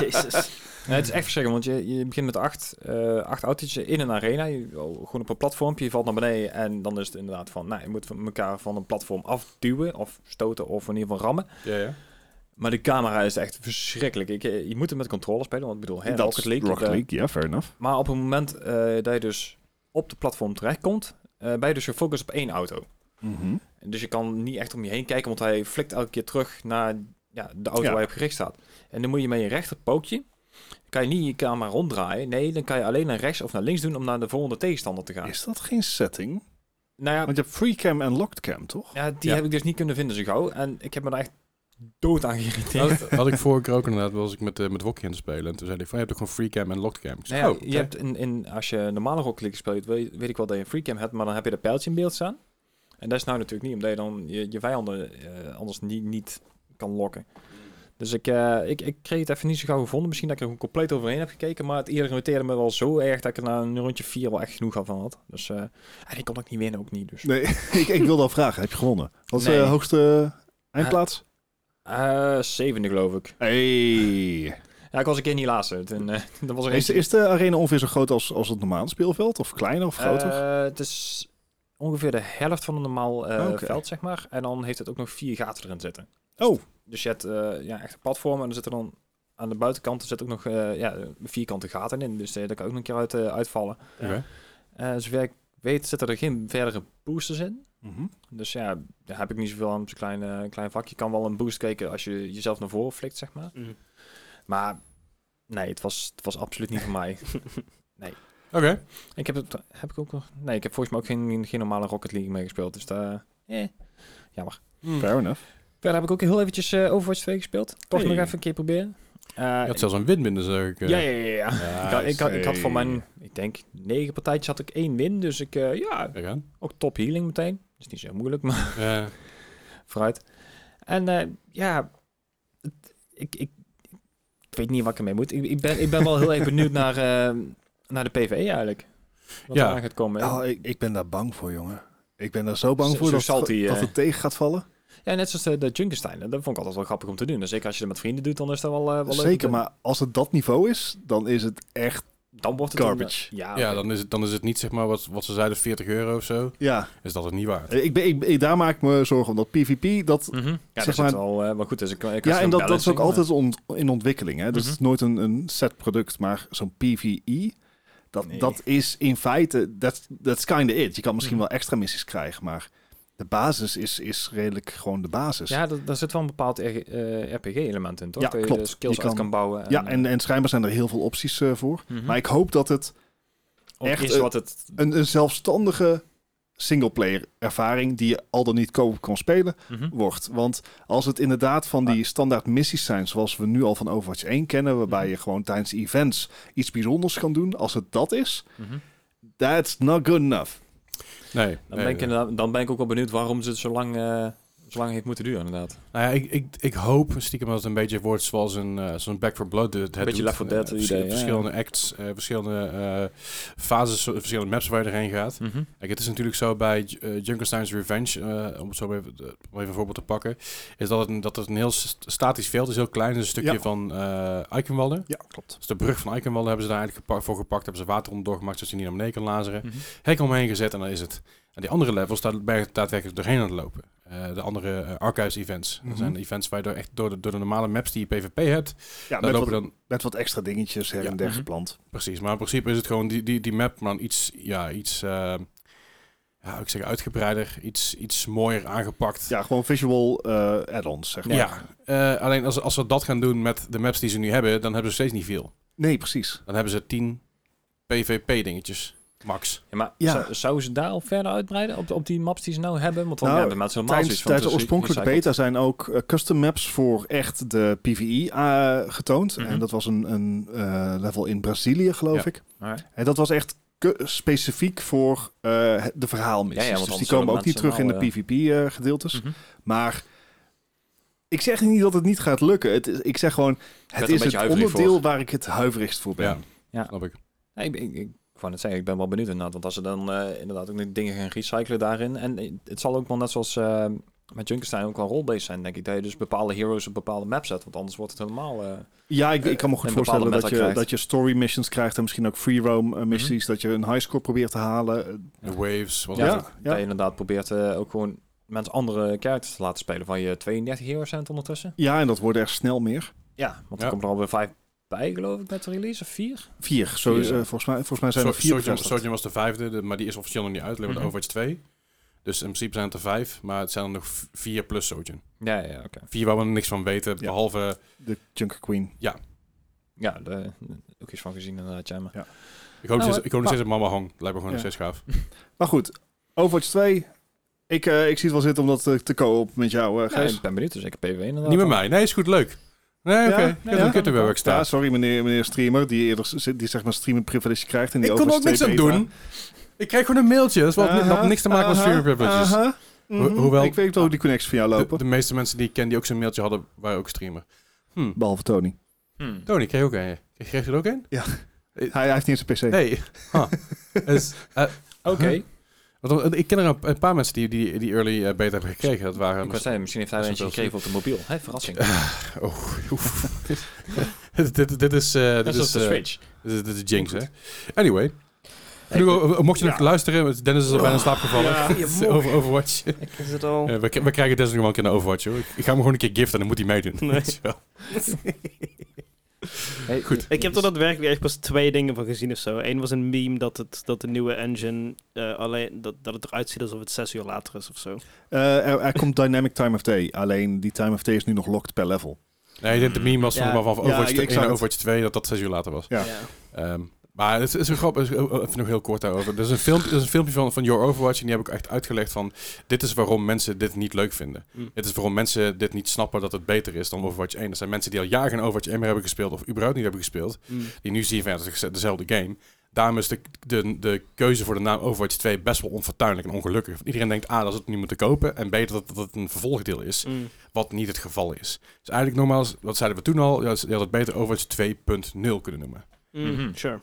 [SPEAKER 3] Jezus.
[SPEAKER 4] Nee, het is echt verschrikkelijk, want je, je begint met acht, eh acht autootjes in een arena. Je, oh, gewoon op een platformpje, je valt naar beneden en dan is het inderdaad van... Nou, je moet van elkaar van een platform afduwen of stoten of in ieder geval rammen.
[SPEAKER 1] Ja, ja.
[SPEAKER 4] Maar de camera is echt verschrikkelijk. Ik, eh, je moet hem met controller spelen, want ik bedoel, hè,
[SPEAKER 2] Dat
[SPEAKER 4] Rocket League.
[SPEAKER 2] Rocket
[SPEAKER 4] eh,
[SPEAKER 2] League, ja, fair enough.
[SPEAKER 4] Maar op het moment eh, dat je dus op de platform terechtkomt, eh ben je dus gefocust op één auto.
[SPEAKER 1] Mhm.
[SPEAKER 4] En Dus je kan niet echt om je heen kijken, want hij flikt elke keer terug naar ja, de auto
[SPEAKER 2] Ja.
[SPEAKER 4] waar je op gericht staat. En dan moet je met je rechterpookje, kan je niet je camera ronddraaien. Nee, dan kan je alleen naar rechts of naar links doen om naar de volgende tegenstander te gaan.
[SPEAKER 2] Is dat geen setting?
[SPEAKER 4] Nou ja,
[SPEAKER 2] Want je hebt free cam en locked cam, toch?
[SPEAKER 4] ja die
[SPEAKER 1] Ja.
[SPEAKER 4] heb ik dus niet kunnen vinden zo gauw. En ik heb me daar echt dood aan
[SPEAKER 2] Oh,
[SPEAKER 4] geïrriteerd.
[SPEAKER 1] Dat had ik vorige keer ook inderdaad, was ik met, eh, met Wokkie aan het spelen. En toen zei ik van, je hebt ook gewoon free cam en locked cam. Ik
[SPEAKER 4] Nou
[SPEAKER 1] zei,
[SPEAKER 4] ja,
[SPEAKER 1] oh,
[SPEAKER 4] je
[SPEAKER 1] oké.
[SPEAKER 4] hebt in, in, als je normale rockklik speelt, weet, weet ik wel dat je een freecam hebt, maar dan heb je dat pijltje in beeld staan. En dat is nou natuurlijk niet, omdat je dan je, je vijanden eh, anders niet, niet kan lokken. Dus ik, eh, ik, ik kreeg het even niet zo gauw gevonden. Misschien dat ik er gewoon compleet overheen heb gekeken. Maar het irriteerde me wel zo erg dat ik er na een rondje 4 wel echt genoeg aan van had. Dus, eh, en ik kon ook niet winnen, ook niet. Dus.
[SPEAKER 2] Nee, ik, ik wilde al vragen. Heb je gewonnen? Wat is de
[SPEAKER 4] Nee.
[SPEAKER 2] hoogste eindplaats?
[SPEAKER 4] Eh, zevende geloof ik.
[SPEAKER 2] Hey.
[SPEAKER 4] Ja, ik was een keer niet laatste. Toen, eh, dat was er
[SPEAKER 2] Is,
[SPEAKER 4] eentje-
[SPEAKER 2] is de arena ongeveer zo groot als, als het normale speelveld? Of kleiner of groter?
[SPEAKER 4] Eh, het is ongeveer de helft van een normaal eh,
[SPEAKER 2] Ah, Oké.
[SPEAKER 4] veld, zeg maar. En dan heeft het ook nog vier gaten erin zitten.
[SPEAKER 2] Oh.
[SPEAKER 4] Dus je hebt eh, ja, echt een platform en er zitten dan aan de buitenkant er zit ook nog eh, ja, vierkante gaten in. Dus eh, daar kan ook nog een keer uit, eh, uitvallen.
[SPEAKER 1] Oké.
[SPEAKER 4] Eh, zover ik weet zitten er geen verdere boosters in.
[SPEAKER 2] Mhm.
[SPEAKER 4] Dus ja, daar heb ik niet zoveel aan op zo'n klein, eh, klein vakje. Je kan wel een boost kijken als je jezelf naar voren flikt, zeg maar.
[SPEAKER 3] Mm.
[SPEAKER 4] Maar nee, het was, het was absoluut niet voor mij.
[SPEAKER 1] Oké.
[SPEAKER 4] Ik heb het, heb ik ook nog. Nee, ik heb volgens mij ook geen, geen normale Rocket League meegespeeld. Dus daar. Eh, jammer.
[SPEAKER 1] Hm.
[SPEAKER 2] Fair enough.
[SPEAKER 4] Verder heb ik ook heel eventjes eh, Overwatch 2 gespeeld. Toch
[SPEAKER 2] Hey.
[SPEAKER 4] nog even een keer proberen. Eh,
[SPEAKER 1] Je had zelfs een windminder, zeg ik. eh.
[SPEAKER 4] ja, ja, ja. ja. Ik, had, ik, had, ik had
[SPEAKER 2] Hey.
[SPEAKER 4] van mijn, ik denk, negen partijtjes had ik één win. Dus ik, eh, ja,
[SPEAKER 1] Kijk aan.
[SPEAKER 4] ook top healing meteen. Dat is niet zo moeilijk, maar
[SPEAKER 1] Eh,
[SPEAKER 4] vooruit. En eh, ja, het- ik, ik, ik weet niet wat ik ermee moet. Ik, ik, ben, ik ben wel heel erg benieuwd naar, eh, naar de PvE eigenlijk. Wat
[SPEAKER 1] Ja.
[SPEAKER 4] er aan gaat komen.
[SPEAKER 2] Oh, ik, ik ben daar bang voor, jongen. Ik ben daar zo bang
[SPEAKER 4] Zo-
[SPEAKER 2] voor
[SPEAKER 4] zo
[SPEAKER 2] dat,
[SPEAKER 4] zal die,
[SPEAKER 2] dat
[SPEAKER 4] eh,
[SPEAKER 2] het tegen gaat vallen.
[SPEAKER 4] Ja, net zoals de, de Junkenstein. Dat vond ik altijd wel grappig om te doen. Dus zeker als je dat met vrienden doet, dan is dat wel, eh, wel leuk. om te
[SPEAKER 2] Zeker,
[SPEAKER 4] doen.
[SPEAKER 2] maar als het dat niveau is, dan is het echt...
[SPEAKER 4] Dan wordt het
[SPEAKER 2] Garbage.
[SPEAKER 4] Een, ja,
[SPEAKER 1] ja,
[SPEAKER 4] Ah, oké.
[SPEAKER 1] dan is, het, dan is het niet zeg maar wat, wat ze zeiden, 40 euro of zo.
[SPEAKER 2] Ja,
[SPEAKER 1] Is dat het niet waard?
[SPEAKER 2] ik ben, ik, ik- daar maak ik me zorgen om. Dat PvP, dat...
[SPEAKER 4] Mhm. Ja,
[SPEAKER 2] Zeg
[SPEAKER 4] dat is
[SPEAKER 2] maar-
[SPEAKER 4] het wel, eh, wel goed. Dus ik, ik
[SPEAKER 2] Ja,
[SPEAKER 4] had
[SPEAKER 2] en
[SPEAKER 4] zo'n
[SPEAKER 2] dat, dat is ook
[SPEAKER 4] balancing,
[SPEAKER 2] altijd ont- in ontwikkeling. Hè? Dus
[SPEAKER 4] Mhm.
[SPEAKER 2] het is nooit een, een set product, maar zo'n PvE... Dat,
[SPEAKER 4] Nee.
[SPEAKER 2] dat is in feite, that's, that's kind of it. Je kan misschien
[SPEAKER 4] Mhm.
[SPEAKER 2] wel extra missies krijgen, maar de basis is, is redelijk gewoon de basis.
[SPEAKER 4] maar- Ja, dat- daar zit wel een bepaald eh, RPG-element in, toch?
[SPEAKER 2] Ja,
[SPEAKER 4] dat je de
[SPEAKER 2] klopt.
[SPEAKER 4] skills
[SPEAKER 2] Je
[SPEAKER 4] uit
[SPEAKER 2] kan-
[SPEAKER 4] kan bouwen. eh,
[SPEAKER 2] Ja, en, en schijnbaar zijn er heel veel opties eh, voor.
[SPEAKER 4] Mhm.
[SPEAKER 2] Maar ik hoop dat het
[SPEAKER 4] Ook
[SPEAKER 2] echt,
[SPEAKER 4] is
[SPEAKER 2] eh,
[SPEAKER 4] wat het...
[SPEAKER 2] een, een zelfstandige singleplayer ervaring die je al dan niet koop kan spelen
[SPEAKER 4] Mhm.
[SPEAKER 2] wordt. Want als het inderdaad van die standaard missies zijn zoals we nu al van Overwatch 1 kennen, waarbij je gewoon tijdens events iets bijzonders kan doen, als het dat is,
[SPEAKER 4] Mhm.
[SPEAKER 2] that's not good enough.
[SPEAKER 1] Nee.
[SPEAKER 4] Dan,
[SPEAKER 1] nee,
[SPEAKER 4] ben ik,
[SPEAKER 1] nee.
[SPEAKER 4] inderdaad- dan ben ik ook wel benieuwd waarom ze het zo lang, eh, zo lang heeft moeten duren, inderdaad.
[SPEAKER 1] Nou ja, ik, ik, ik hoop stiekem dat het een beetje wordt zoals een eh, zo'n Back for Blood. Het, het
[SPEAKER 4] Beetje
[SPEAKER 1] doet.
[SPEAKER 4] Left 4
[SPEAKER 1] Eh,
[SPEAKER 4] Dead
[SPEAKER 1] vers-
[SPEAKER 4] idee, ja,
[SPEAKER 1] verschillende acts, eh, verschillende eh, fases, zo- verschillende maps waar je erheen gaat.
[SPEAKER 4] Mhm.
[SPEAKER 1] Kijk, het is natuurlijk zo bij J- eh, Junkenstein's Revenge, eh, om het zo even, eh, om even een voorbeeld te pakken, is dat het een, dat het een heel st- statisch veld is, heel klein, is een stukje
[SPEAKER 2] Ja.
[SPEAKER 1] van eh Eichenwalde.
[SPEAKER 2] Ja, klopt.
[SPEAKER 1] Dus de brug van Eichenwalde hebben ze daar eigenlijk gepa- voor gepakt, hebben ze water onderdoor gemaakt, zodat je niet naar beneden kan lazeren.
[SPEAKER 4] Mhm.
[SPEAKER 1] Hek omheen gezet en dan is het. En die andere levels, daar ben je daadwerkelijk doorheen aan het lopen. Eh, de andere eh, archives events.
[SPEAKER 2] Mhm.
[SPEAKER 1] Dat zijn events waar je door, echt door, de, door de normale maps die je PvP hebt,
[SPEAKER 2] Ja,
[SPEAKER 1] daar
[SPEAKER 2] met
[SPEAKER 1] lopen
[SPEAKER 2] wat,
[SPEAKER 1] dan...
[SPEAKER 2] met wat extra dingetjes her
[SPEAKER 1] Ja.
[SPEAKER 2] en der
[SPEAKER 4] Mhm.
[SPEAKER 2] geplant.
[SPEAKER 1] Precies, maar in principe is het gewoon die, die, die map, maar dan iets, ja, iets... eh, ja, ik zeg uitgebreider, iets, iets mooier aangepakt.
[SPEAKER 2] Ja, gewoon visual eh, add-ons, zeg maar.
[SPEAKER 1] Ja, eh, alleen als, als ze dat gaan doen met de maps die ze nu hebben, dan hebben ze steeds niet veel.
[SPEAKER 2] Nee, precies.
[SPEAKER 1] Dan hebben ze 10 PvP-dingetjes, max.
[SPEAKER 4] Ja, maar
[SPEAKER 2] Ja.
[SPEAKER 4] Zou, zouden ze daar al verder uitbreiden op, op die maps die ze nou hebben? Want dan
[SPEAKER 2] Nou,
[SPEAKER 4] hebben mensen helemaal
[SPEAKER 2] Tijdens,
[SPEAKER 4] zoiets van... dus
[SPEAKER 2] tijdens de
[SPEAKER 4] het is
[SPEAKER 2] oorspronkelijke
[SPEAKER 4] recycled.
[SPEAKER 2] beta zijn ook eh, custom maps voor echt de PvE eh, getoond.
[SPEAKER 4] Mhm.
[SPEAKER 2] En dat was een, een eh, level in Brazilië, geloof
[SPEAKER 1] Ja.
[SPEAKER 2] ik.
[SPEAKER 4] Alright.
[SPEAKER 2] En dat was echt ke- specifiek voor eh, de verhaalmissies.
[SPEAKER 4] Ja, ja, want
[SPEAKER 2] dus die komen
[SPEAKER 4] anders zullen
[SPEAKER 2] ook niet
[SPEAKER 4] mensen
[SPEAKER 2] terug in de
[SPEAKER 4] wel,
[SPEAKER 2] PvP-gedeeltes.
[SPEAKER 4] Mhm.
[SPEAKER 2] eh, Maar ik zeg niet dat het niet gaat lukken. Het, is- ik zeg gewoon,
[SPEAKER 4] er
[SPEAKER 2] het
[SPEAKER 4] een
[SPEAKER 2] is
[SPEAKER 4] beetje
[SPEAKER 2] het
[SPEAKER 4] huiverig
[SPEAKER 2] onderdeel
[SPEAKER 4] voor.
[SPEAKER 2] waar ik het huiverigst voor ben.
[SPEAKER 1] Ja,
[SPEAKER 4] Ja.
[SPEAKER 1] snap ik.
[SPEAKER 4] Ja, ik, ik, ik wou net zeggen, ik ben wel benieuwd inderdaad. Want als ze dan eh, inderdaad ook nog dingen gaan recyclen daarin. En eh, het zal ook wel net zoals eh, met Junkenstein ook wel role-based zijn, denk ik. Dat je dus bepaalde heroes op bepaalde maps zet. Want anders wordt het helemaal... eh,
[SPEAKER 2] Ja, ik, ik kan me goed
[SPEAKER 4] Een
[SPEAKER 2] voorstellen
[SPEAKER 4] bepaalde
[SPEAKER 2] dat
[SPEAKER 4] meta
[SPEAKER 2] je,
[SPEAKER 4] krijgt. Hm.
[SPEAKER 2] dat je story missions krijgt en misschien ook free roam eh, missies. Dat je een highscore probeert te halen.
[SPEAKER 1] De waves, wat
[SPEAKER 4] Ja.
[SPEAKER 1] is
[SPEAKER 2] Ja,
[SPEAKER 1] het?
[SPEAKER 2] ja.
[SPEAKER 4] Dat je inderdaad probeert eh, ook gewoon mensen andere characters te laten spelen. Van je 32 heroes zijn het ondertussen.
[SPEAKER 2] ja, en dat wordt echt snel meer.
[SPEAKER 4] Ja, want er
[SPEAKER 1] Ja.
[SPEAKER 4] komt er alweer vijf bij, geloof ik, met de release. Of vier?
[SPEAKER 2] Vier. Zo,
[SPEAKER 1] Vier,
[SPEAKER 2] eh,
[SPEAKER 1] ja.
[SPEAKER 2] volgens, mij, volgens mij zijn
[SPEAKER 1] So-
[SPEAKER 2] er vier.
[SPEAKER 1] Sojourn,
[SPEAKER 2] bevestigd.
[SPEAKER 1] Sojourn was de vijfde, de- maar die is officieel nog niet uit. Alleen maar de
[SPEAKER 4] Mhm.
[SPEAKER 1] Overwatch 2. Dus in principe zijn het er vijf, maar het zijn er nog v- vier plus Sojourn.
[SPEAKER 4] Ja, ja, oké.
[SPEAKER 1] Vier waar we nog niks van weten,
[SPEAKER 2] Ja.
[SPEAKER 1] behalve...
[SPEAKER 2] De Junker Queen.
[SPEAKER 4] Ja, de, ook iets van gezien inderdaad, ja. Maar.
[SPEAKER 1] Ik hoop,
[SPEAKER 4] Nou,
[SPEAKER 1] nog
[SPEAKER 4] hè.
[SPEAKER 1] steeds, ik hoop nog steeds dat Mama Hong. Lijkt me gewoon nog
[SPEAKER 2] Ja.
[SPEAKER 1] steeds gaaf.
[SPEAKER 2] Maar goed, Overwatch 2. Ik, eh, ik zie het wel zitten om dat eh, te co-op met jou, eh
[SPEAKER 4] Ja,
[SPEAKER 2] Gijs.
[SPEAKER 4] ik ben benieuwd, dus ik heb PW inderdaad.
[SPEAKER 1] Niet met mij. Nee, is goed, leuk. Nee, oké.
[SPEAKER 2] Ja,
[SPEAKER 1] Ik
[SPEAKER 2] ja.
[SPEAKER 1] heb een keer werk
[SPEAKER 2] Ja,
[SPEAKER 1] staan.
[SPEAKER 2] sorry meneer, meneer streamer, die eerder z- die zeg maar streamen privilege krijgt. En die
[SPEAKER 1] Ik kon er ook niks
[SPEAKER 2] Overwatch
[SPEAKER 1] aan
[SPEAKER 2] 2 beta.
[SPEAKER 1] doen. Ik kreeg gewoon een mailtje. Dat had
[SPEAKER 2] Aha,
[SPEAKER 1] niks te maken met
[SPEAKER 2] aha,
[SPEAKER 1] streaming privileges.
[SPEAKER 2] aha. Mhm.
[SPEAKER 1] Ho- hoewel-
[SPEAKER 2] ik weet wel hoe die connecties van jou
[SPEAKER 1] De-
[SPEAKER 2] lopen.
[SPEAKER 1] De, meeste mensen die ik ken die ook zo'n mailtje hadden, waren ook streamer. Hm.
[SPEAKER 2] Behalve Tony.
[SPEAKER 4] Hmm.
[SPEAKER 1] Tony, kreeg je ook een. Kreeg je er ook een?
[SPEAKER 2] Hij, hij heeft niet eens een PC.
[SPEAKER 1] Nee. Huh. Dus, eh,
[SPEAKER 4] Oké.
[SPEAKER 1] Huh? want, eh, ik ken er een, een paar mensen die die, die early eh, beta hebben gekregen. Dat waren...
[SPEAKER 4] Ik wou zeggen, misschien heeft hij er
[SPEAKER 1] dat
[SPEAKER 4] eentje
[SPEAKER 1] is
[SPEAKER 4] gekregen op de mobiel. Hè, verrassing.
[SPEAKER 1] Oh, oef. dit, dit, dit is... eh,
[SPEAKER 4] Dat
[SPEAKER 1] dit,
[SPEAKER 4] is
[SPEAKER 1] is
[SPEAKER 4] de
[SPEAKER 1] eh,
[SPEAKER 4] Switch.
[SPEAKER 1] dit, is- dit is Jinx, hè? Anyway. Genoeg, eh, mocht je nog
[SPEAKER 2] Ja.
[SPEAKER 1] luisteren, want Dennis is al bijna in slaap gevallen. Dus
[SPEAKER 2] Ja.
[SPEAKER 3] Goedemorgen.
[SPEAKER 1] Over, Overwatch.
[SPEAKER 3] Ik is het al.
[SPEAKER 1] Eh, we, k- we krijgen Dennis nog wel een keer naar Overwatch, hoor. Ik, ik ga hem gewoon een keer giften en dan moet hij meedoen. Weet je wel.
[SPEAKER 4] Hey,
[SPEAKER 1] goed.
[SPEAKER 4] eh,
[SPEAKER 3] Ik heb er daadwerkelijk echt pas twee dingen van gezien of zo. Eén was een meme dat, het, dat de nieuwe engine eh, alleen dat, dat het eruit ziet alsof het zes uur later is of zo.
[SPEAKER 2] Eh, er, er komt Dynamic Time of Day. Alleen die Time of Day is nu nog locked per level.
[SPEAKER 1] Nee, de meme was
[SPEAKER 3] Ja.
[SPEAKER 1] van, van
[SPEAKER 2] Ja,
[SPEAKER 1] Overwatch,
[SPEAKER 2] ik
[SPEAKER 1] 1
[SPEAKER 2] zag
[SPEAKER 1] en
[SPEAKER 2] het.
[SPEAKER 1] Overwatch 2, dat dat zes uur later was.
[SPEAKER 2] Ja.
[SPEAKER 1] Ehm, Maar het is een grap, is- eh, even nog heel kort daarover. Er is een filmpje, er is een filmpje van, van Your Overwatch en die heb ik echt uitgelegd van... Dit is waarom mensen dit niet leuk vinden.
[SPEAKER 3] Mm.
[SPEAKER 1] Dit is waarom mensen dit niet snappen dat het beter is dan Overwatch 1. Er zijn mensen die al jaren in Overwatch 1 meer hebben gespeeld of überhaupt niet hebben gespeeld.
[SPEAKER 3] Mm.
[SPEAKER 1] Die nu zien van ja, het is dezelfde game. Daarom is de, de, de keuze voor de naam Overwatch 2 best wel onfortuinlijk en ongelukkig. Want iedereen denkt A, dat ze het niet moeten kopen. En B, dat het, dat het een vervolgdeel is.
[SPEAKER 3] Mm.
[SPEAKER 1] Wat niet het geval is. Dus eigenlijk nogmaals, wat zeiden we toen al? Je had je had het beter Overwatch 2.0 kunnen noemen.
[SPEAKER 3] Mm.
[SPEAKER 4] Mhm.
[SPEAKER 3] Sure.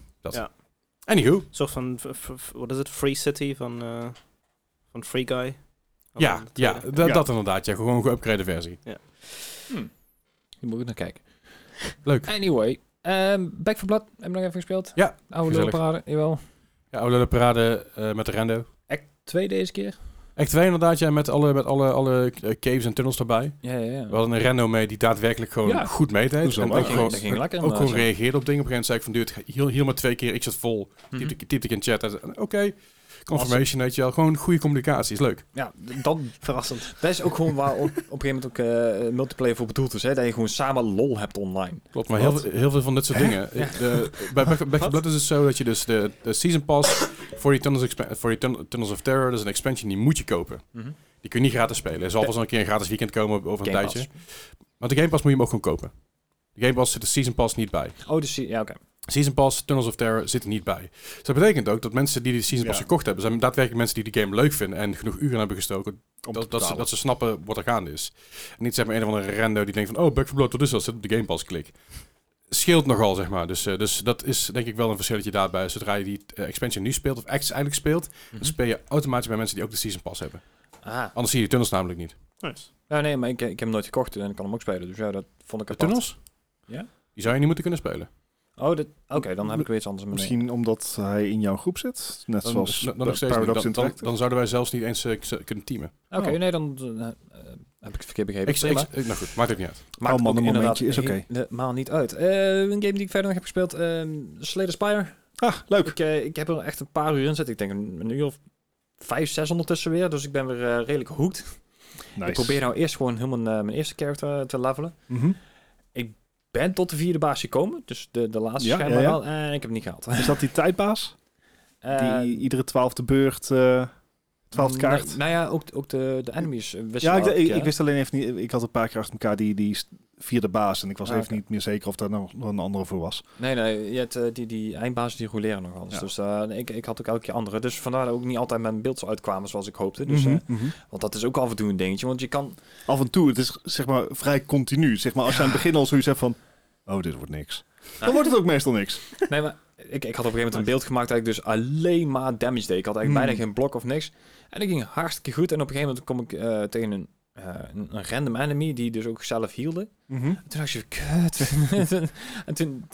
[SPEAKER 1] Anywho,
[SPEAKER 3] Een soort van, v- v- v- wat is het, Free City van, eh, van Free Guy? Van
[SPEAKER 1] ja,
[SPEAKER 3] de
[SPEAKER 1] ja,
[SPEAKER 3] tweede.
[SPEAKER 1] da-
[SPEAKER 2] Ja.
[SPEAKER 1] dat inderdaad. Ja, gewoon een geüpgrade versie.
[SPEAKER 4] Hm. Hier moet ik naar kijken.
[SPEAKER 1] Hmm. Leuk.
[SPEAKER 4] Anyway, ehm Back for Blood hebben we nog even gespeeld.
[SPEAKER 1] Ja,
[SPEAKER 4] Oude
[SPEAKER 1] gezellig.
[SPEAKER 4] lulparade, jawel.
[SPEAKER 1] Ja, Oude Lullen Parade eh, met de rendo.
[SPEAKER 4] Act 2 deze keer.
[SPEAKER 1] Act 2 inderdaad, ja, met alle, met alle, alle eh, caves en tunnels erbij.
[SPEAKER 4] Ja, ja, ja.
[SPEAKER 1] We hadden een rendo mee die daadwerkelijk gewoon
[SPEAKER 4] Ja.
[SPEAKER 1] goed meedeed.
[SPEAKER 2] Hoezo,
[SPEAKER 1] En
[SPEAKER 2] maar?
[SPEAKER 1] ook
[SPEAKER 4] dat,
[SPEAKER 2] Dat
[SPEAKER 4] ging,
[SPEAKER 1] gewoon,
[SPEAKER 4] dat ging lekker.
[SPEAKER 1] ook gewoon
[SPEAKER 4] inderdaad, ja.
[SPEAKER 1] reageerde op dingen. Op een gegeven moment zei ik van, dude, het gaat hier, hier maar twee keer. Ik zat vol.
[SPEAKER 4] Mhm.
[SPEAKER 1] Typte ik- Typte ik in chat. Hij zei, Oké, confirmation, weet je wel. Gewoon goede communicatie, is leuk.
[SPEAKER 4] Ja, dat,
[SPEAKER 3] Verrassend.
[SPEAKER 4] dat is ook gewoon waar op, op een gegeven moment ook eh, multiplayer voor bedoeld is. Hè? Dat je gewoon samen lol hebt online.
[SPEAKER 1] Klopt, maar heel,
[SPEAKER 4] Wat?
[SPEAKER 1] veel- heel veel van dit soort dingen. eh, De, bij Back, Back 4 Blood is het zo dat je dus de, de Season Pass voor die Tunnels, expa- voor die Tun- Tunnels of Terror, dat is een expansion, die moet je kopen.
[SPEAKER 4] Mhm.
[SPEAKER 1] Die kun je niet gratis spelen. Er zal vast wel een keer een gratis weekend komen over een
[SPEAKER 4] Game
[SPEAKER 1] tijdje. Maar de Game Pass moet je hem ook gewoon kopen. De Game Pass zit de Season Pass niet bij.
[SPEAKER 4] Pass. Oh, dus ja, oké.
[SPEAKER 1] Season Pass, Tunnels of Terror zit er niet bij. Dus dat betekent ook dat mensen die de Season Pass
[SPEAKER 2] Ja.
[SPEAKER 1] gekocht hebben, zijn daadwerkelijk mensen die de game leuk vinden en genoeg uren hebben gestoken,
[SPEAKER 2] Om te
[SPEAKER 1] dat, dat, ze,
[SPEAKER 2] betalen.
[SPEAKER 1] dat ze snappen wat er gaande is. En niet zeg maar een of andere rando die denkt van, oh, Back for Blood, wat is dat? Zit op de Game Pass, klik. Scheelt nogal, zeg maar. Dus, eh, dus dat is denk ik wel een verschilletje daarbij. Zodra je die eh, expansion nu speelt, of Acts eigenlijk speelt,
[SPEAKER 2] Mhm.
[SPEAKER 1] dan speel je automatisch bij mensen die ook de Season Pass hebben.
[SPEAKER 4] Ah.
[SPEAKER 1] Anders zie je de tunnels namelijk niet.
[SPEAKER 3] Nice.
[SPEAKER 4] Ja, nee, maar ik, ik heb hem nooit gekocht en ik kan hem ook spelen. Dus ja, dat vond ik
[SPEAKER 1] De
[SPEAKER 4] apart.
[SPEAKER 1] tunnels?
[SPEAKER 4] Ja.
[SPEAKER 1] Die zou je niet moeten kunnen spelen.
[SPEAKER 4] Oh, dat- oké, dan heb ik weer iets anders. mee.
[SPEAKER 2] Misschien omdat hij in jouw groep zit. Net
[SPEAKER 1] Dan,
[SPEAKER 2] zoals
[SPEAKER 1] dan, dan nog steeds niet.
[SPEAKER 2] Paradox
[SPEAKER 1] Dan, dan,
[SPEAKER 2] Interactive.
[SPEAKER 1] dan zouden wij zelfs niet eens eh, k- kunnen teamen.
[SPEAKER 4] Oké,
[SPEAKER 2] Oh.
[SPEAKER 4] nee, dan eh, eh, heb ik het verkeerd begrepen.
[SPEAKER 1] Ik, ik,
[SPEAKER 4] Prima.
[SPEAKER 1] ik- nou goed, maakt ook niet uit.
[SPEAKER 4] Maakt
[SPEAKER 2] Oh man,
[SPEAKER 4] ook
[SPEAKER 2] een
[SPEAKER 4] inderdaad
[SPEAKER 2] momentje is oké.
[SPEAKER 4] Helemaal niet uit. Eh, een game die ik verder nog heb gespeeld, ehm Slay the Spire.
[SPEAKER 2] Ah, leuk.
[SPEAKER 4] Ik, eh, ik heb er echt een paar uur in zitten. Ik denk een, een uur of vijf, zes ondertussen weer. Dus ik ben weer eh, redelijk hooked.
[SPEAKER 2] Nice.
[SPEAKER 4] Ik probeer nou eerst gewoon helemaal eh, mijn eerste character te levelen.
[SPEAKER 2] Mhm.
[SPEAKER 4] Ben tot de vierde baas gekomen. Dus de, de laatste
[SPEAKER 2] Ja,
[SPEAKER 4] schijnbaar
[SPEAKER 2] ja, ja.
[SPEAKER 4] wel. En ik heb hem niet gehaald.
[SPEAKER 2] Is dat die tijdbaas?
[SPEAKER 4] Eh,
[SPEAKER 2] die iedere twaalfde beurt, eh twaalfde
[SPEAKER 4] nee,
[SPEAKER 2] kaart?
[SPEAKER 4] nou ja, ook, ook de, de enemies eh,
[SPEAKER 2] Ja,
[SPEAKER 4] wisselen
[SPEAKER 2] ik,
[SPEAKER 4] elke
[SPEAKER 2] ik,
[SPEAKER 4] keer,
[SPEAKER 2] ik
[SPEAKER 4] hè?
[SPEAKER 2] wist alleen even niet. Ik had een paar keer achter elkaar die, die s- vierde baas. En ik was
[SPEAKER 4] Ah,
[SPEAKER 2] even
[SPEAKER 4] oké.
[SPEAKER 2] niet meer zeker of daar nog nog een andere voor was.
[SPEAKER 4] Nee, nee, je hebt, eh, die, die eindbazen die roleren nog alles.
[SPEAKER 2] Ja.
[SPEAKER 4] Dus eh, ik, ik had ook elke keer andere. Dus vandaar dat ook niet altijd mijn beeld zo uitkwamen zoals ik hoopte. Dus, eh,
[SPEAKER 2] Mhm, mhm.
[SPEAKER 4] want dat is ook af en toe een dingetje. Want je kan...
[SPEAKER 2] Af en toe, het is zeg maar vrij continu. Zeg maar als je aan het begin al zoiets hebt van... Oh, dit wordt niks. Dan wordt het ook meestal niks.
[SPEAKER 4] Nee, maar ik, ik had op een gegeven moment een beeld gemaakt dat ik dus alleen maar damage deed. Ik had eigenlijk
[SPEAKER 2] Hmm.
[SPEAKER 4] bijna geen blok of niks. En ik ging hartstikke goed. En op een gegeven moment kom ik eh, tegen een, eh, een, een random enemy die dus ook zelf hielde.
[SPEAKER 2] Mhm.
[SPEAKER 4] En toen dacht je, kut. en toen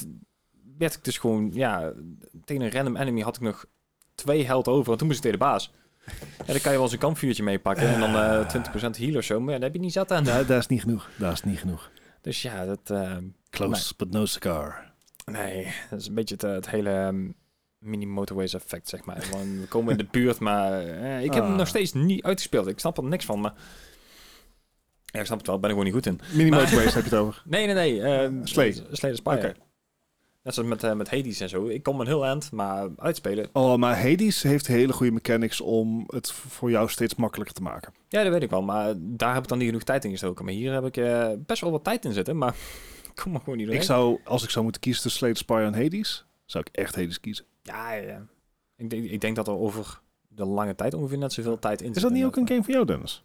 [SPEAKER 4] werd ik dus gewoon, ja, tegen een random enemy had ik nog twee held over. En toen moest ik tegen de baas. Ja, dan kan je wel eens een kampvuurtje meepakken en dan eh 20% heal of zo. Maar ja, daar heb je niet zat aan.
[SPEAKER 2] daar, daar is niet genoeg. Daar is niet genoeg.
[SPEAKER 4] Dus ja, dat... eh,
[SPEAKER 2] Close, but no cigar.
[SPEAKER 4] Nee, dat is een beetje het, eh, het hele ehm, mini-motorways effect, zeg maar. Gewoon, we komen in de buurt, maar eh, ik heb hem
[SPEAKER 2] Ah.
[SPEAKER 4] nog steeds niet uitgespeeld. Ik snap er niks van, maar... Ja, ik snap het wel, ik ben er gewoon niet goed in.
[SPEAKER 2] Minimal
[SPEAKER 4] Maar-
[SPEAKER 2] waste heb je het over.
[SPEAKER 4] Nee, nee, nee. ehm
[SPEAKER 2] Slay.
[SPEAKER 4] Slay the Spire.
[SPEAKER 2] Oké.
[SPEAKER 4] Net zoals met, eh, met Hades en zo. Ik kom een heel eind, maar uitspelen...
[SPEAKER 2] Oh, maar Hades heeft hele goede mechanics om het v- voor jou steeds makkelijker te maken.
[SPEAKER 4] Ja, dat weet ik wel, maar daar heb ik dan niet genoeg tijd in gestoken. Maar hier heb ik eh, best wel wat tijd in zitten, maar... ik kom er gewoon niet
[SPEAKER 2] Ik
[SPEAKER 4] doorheen.
[SPEAKER 2] zou, als ik zou moeten kiezen tussen Slade Spire en Hades, zou ik echt Hades kiezen.
[SPEAKER 4] Ja, ja, ja. Ik, denk- ik denk dat er over de lange tijd ongeveer net zoveel tijd in zit.
[SPEAKER 2] Is dat niet ook een
[SPEAKER 4] inderdaad.
[SPEAKER 2] game voor jou, Dennis?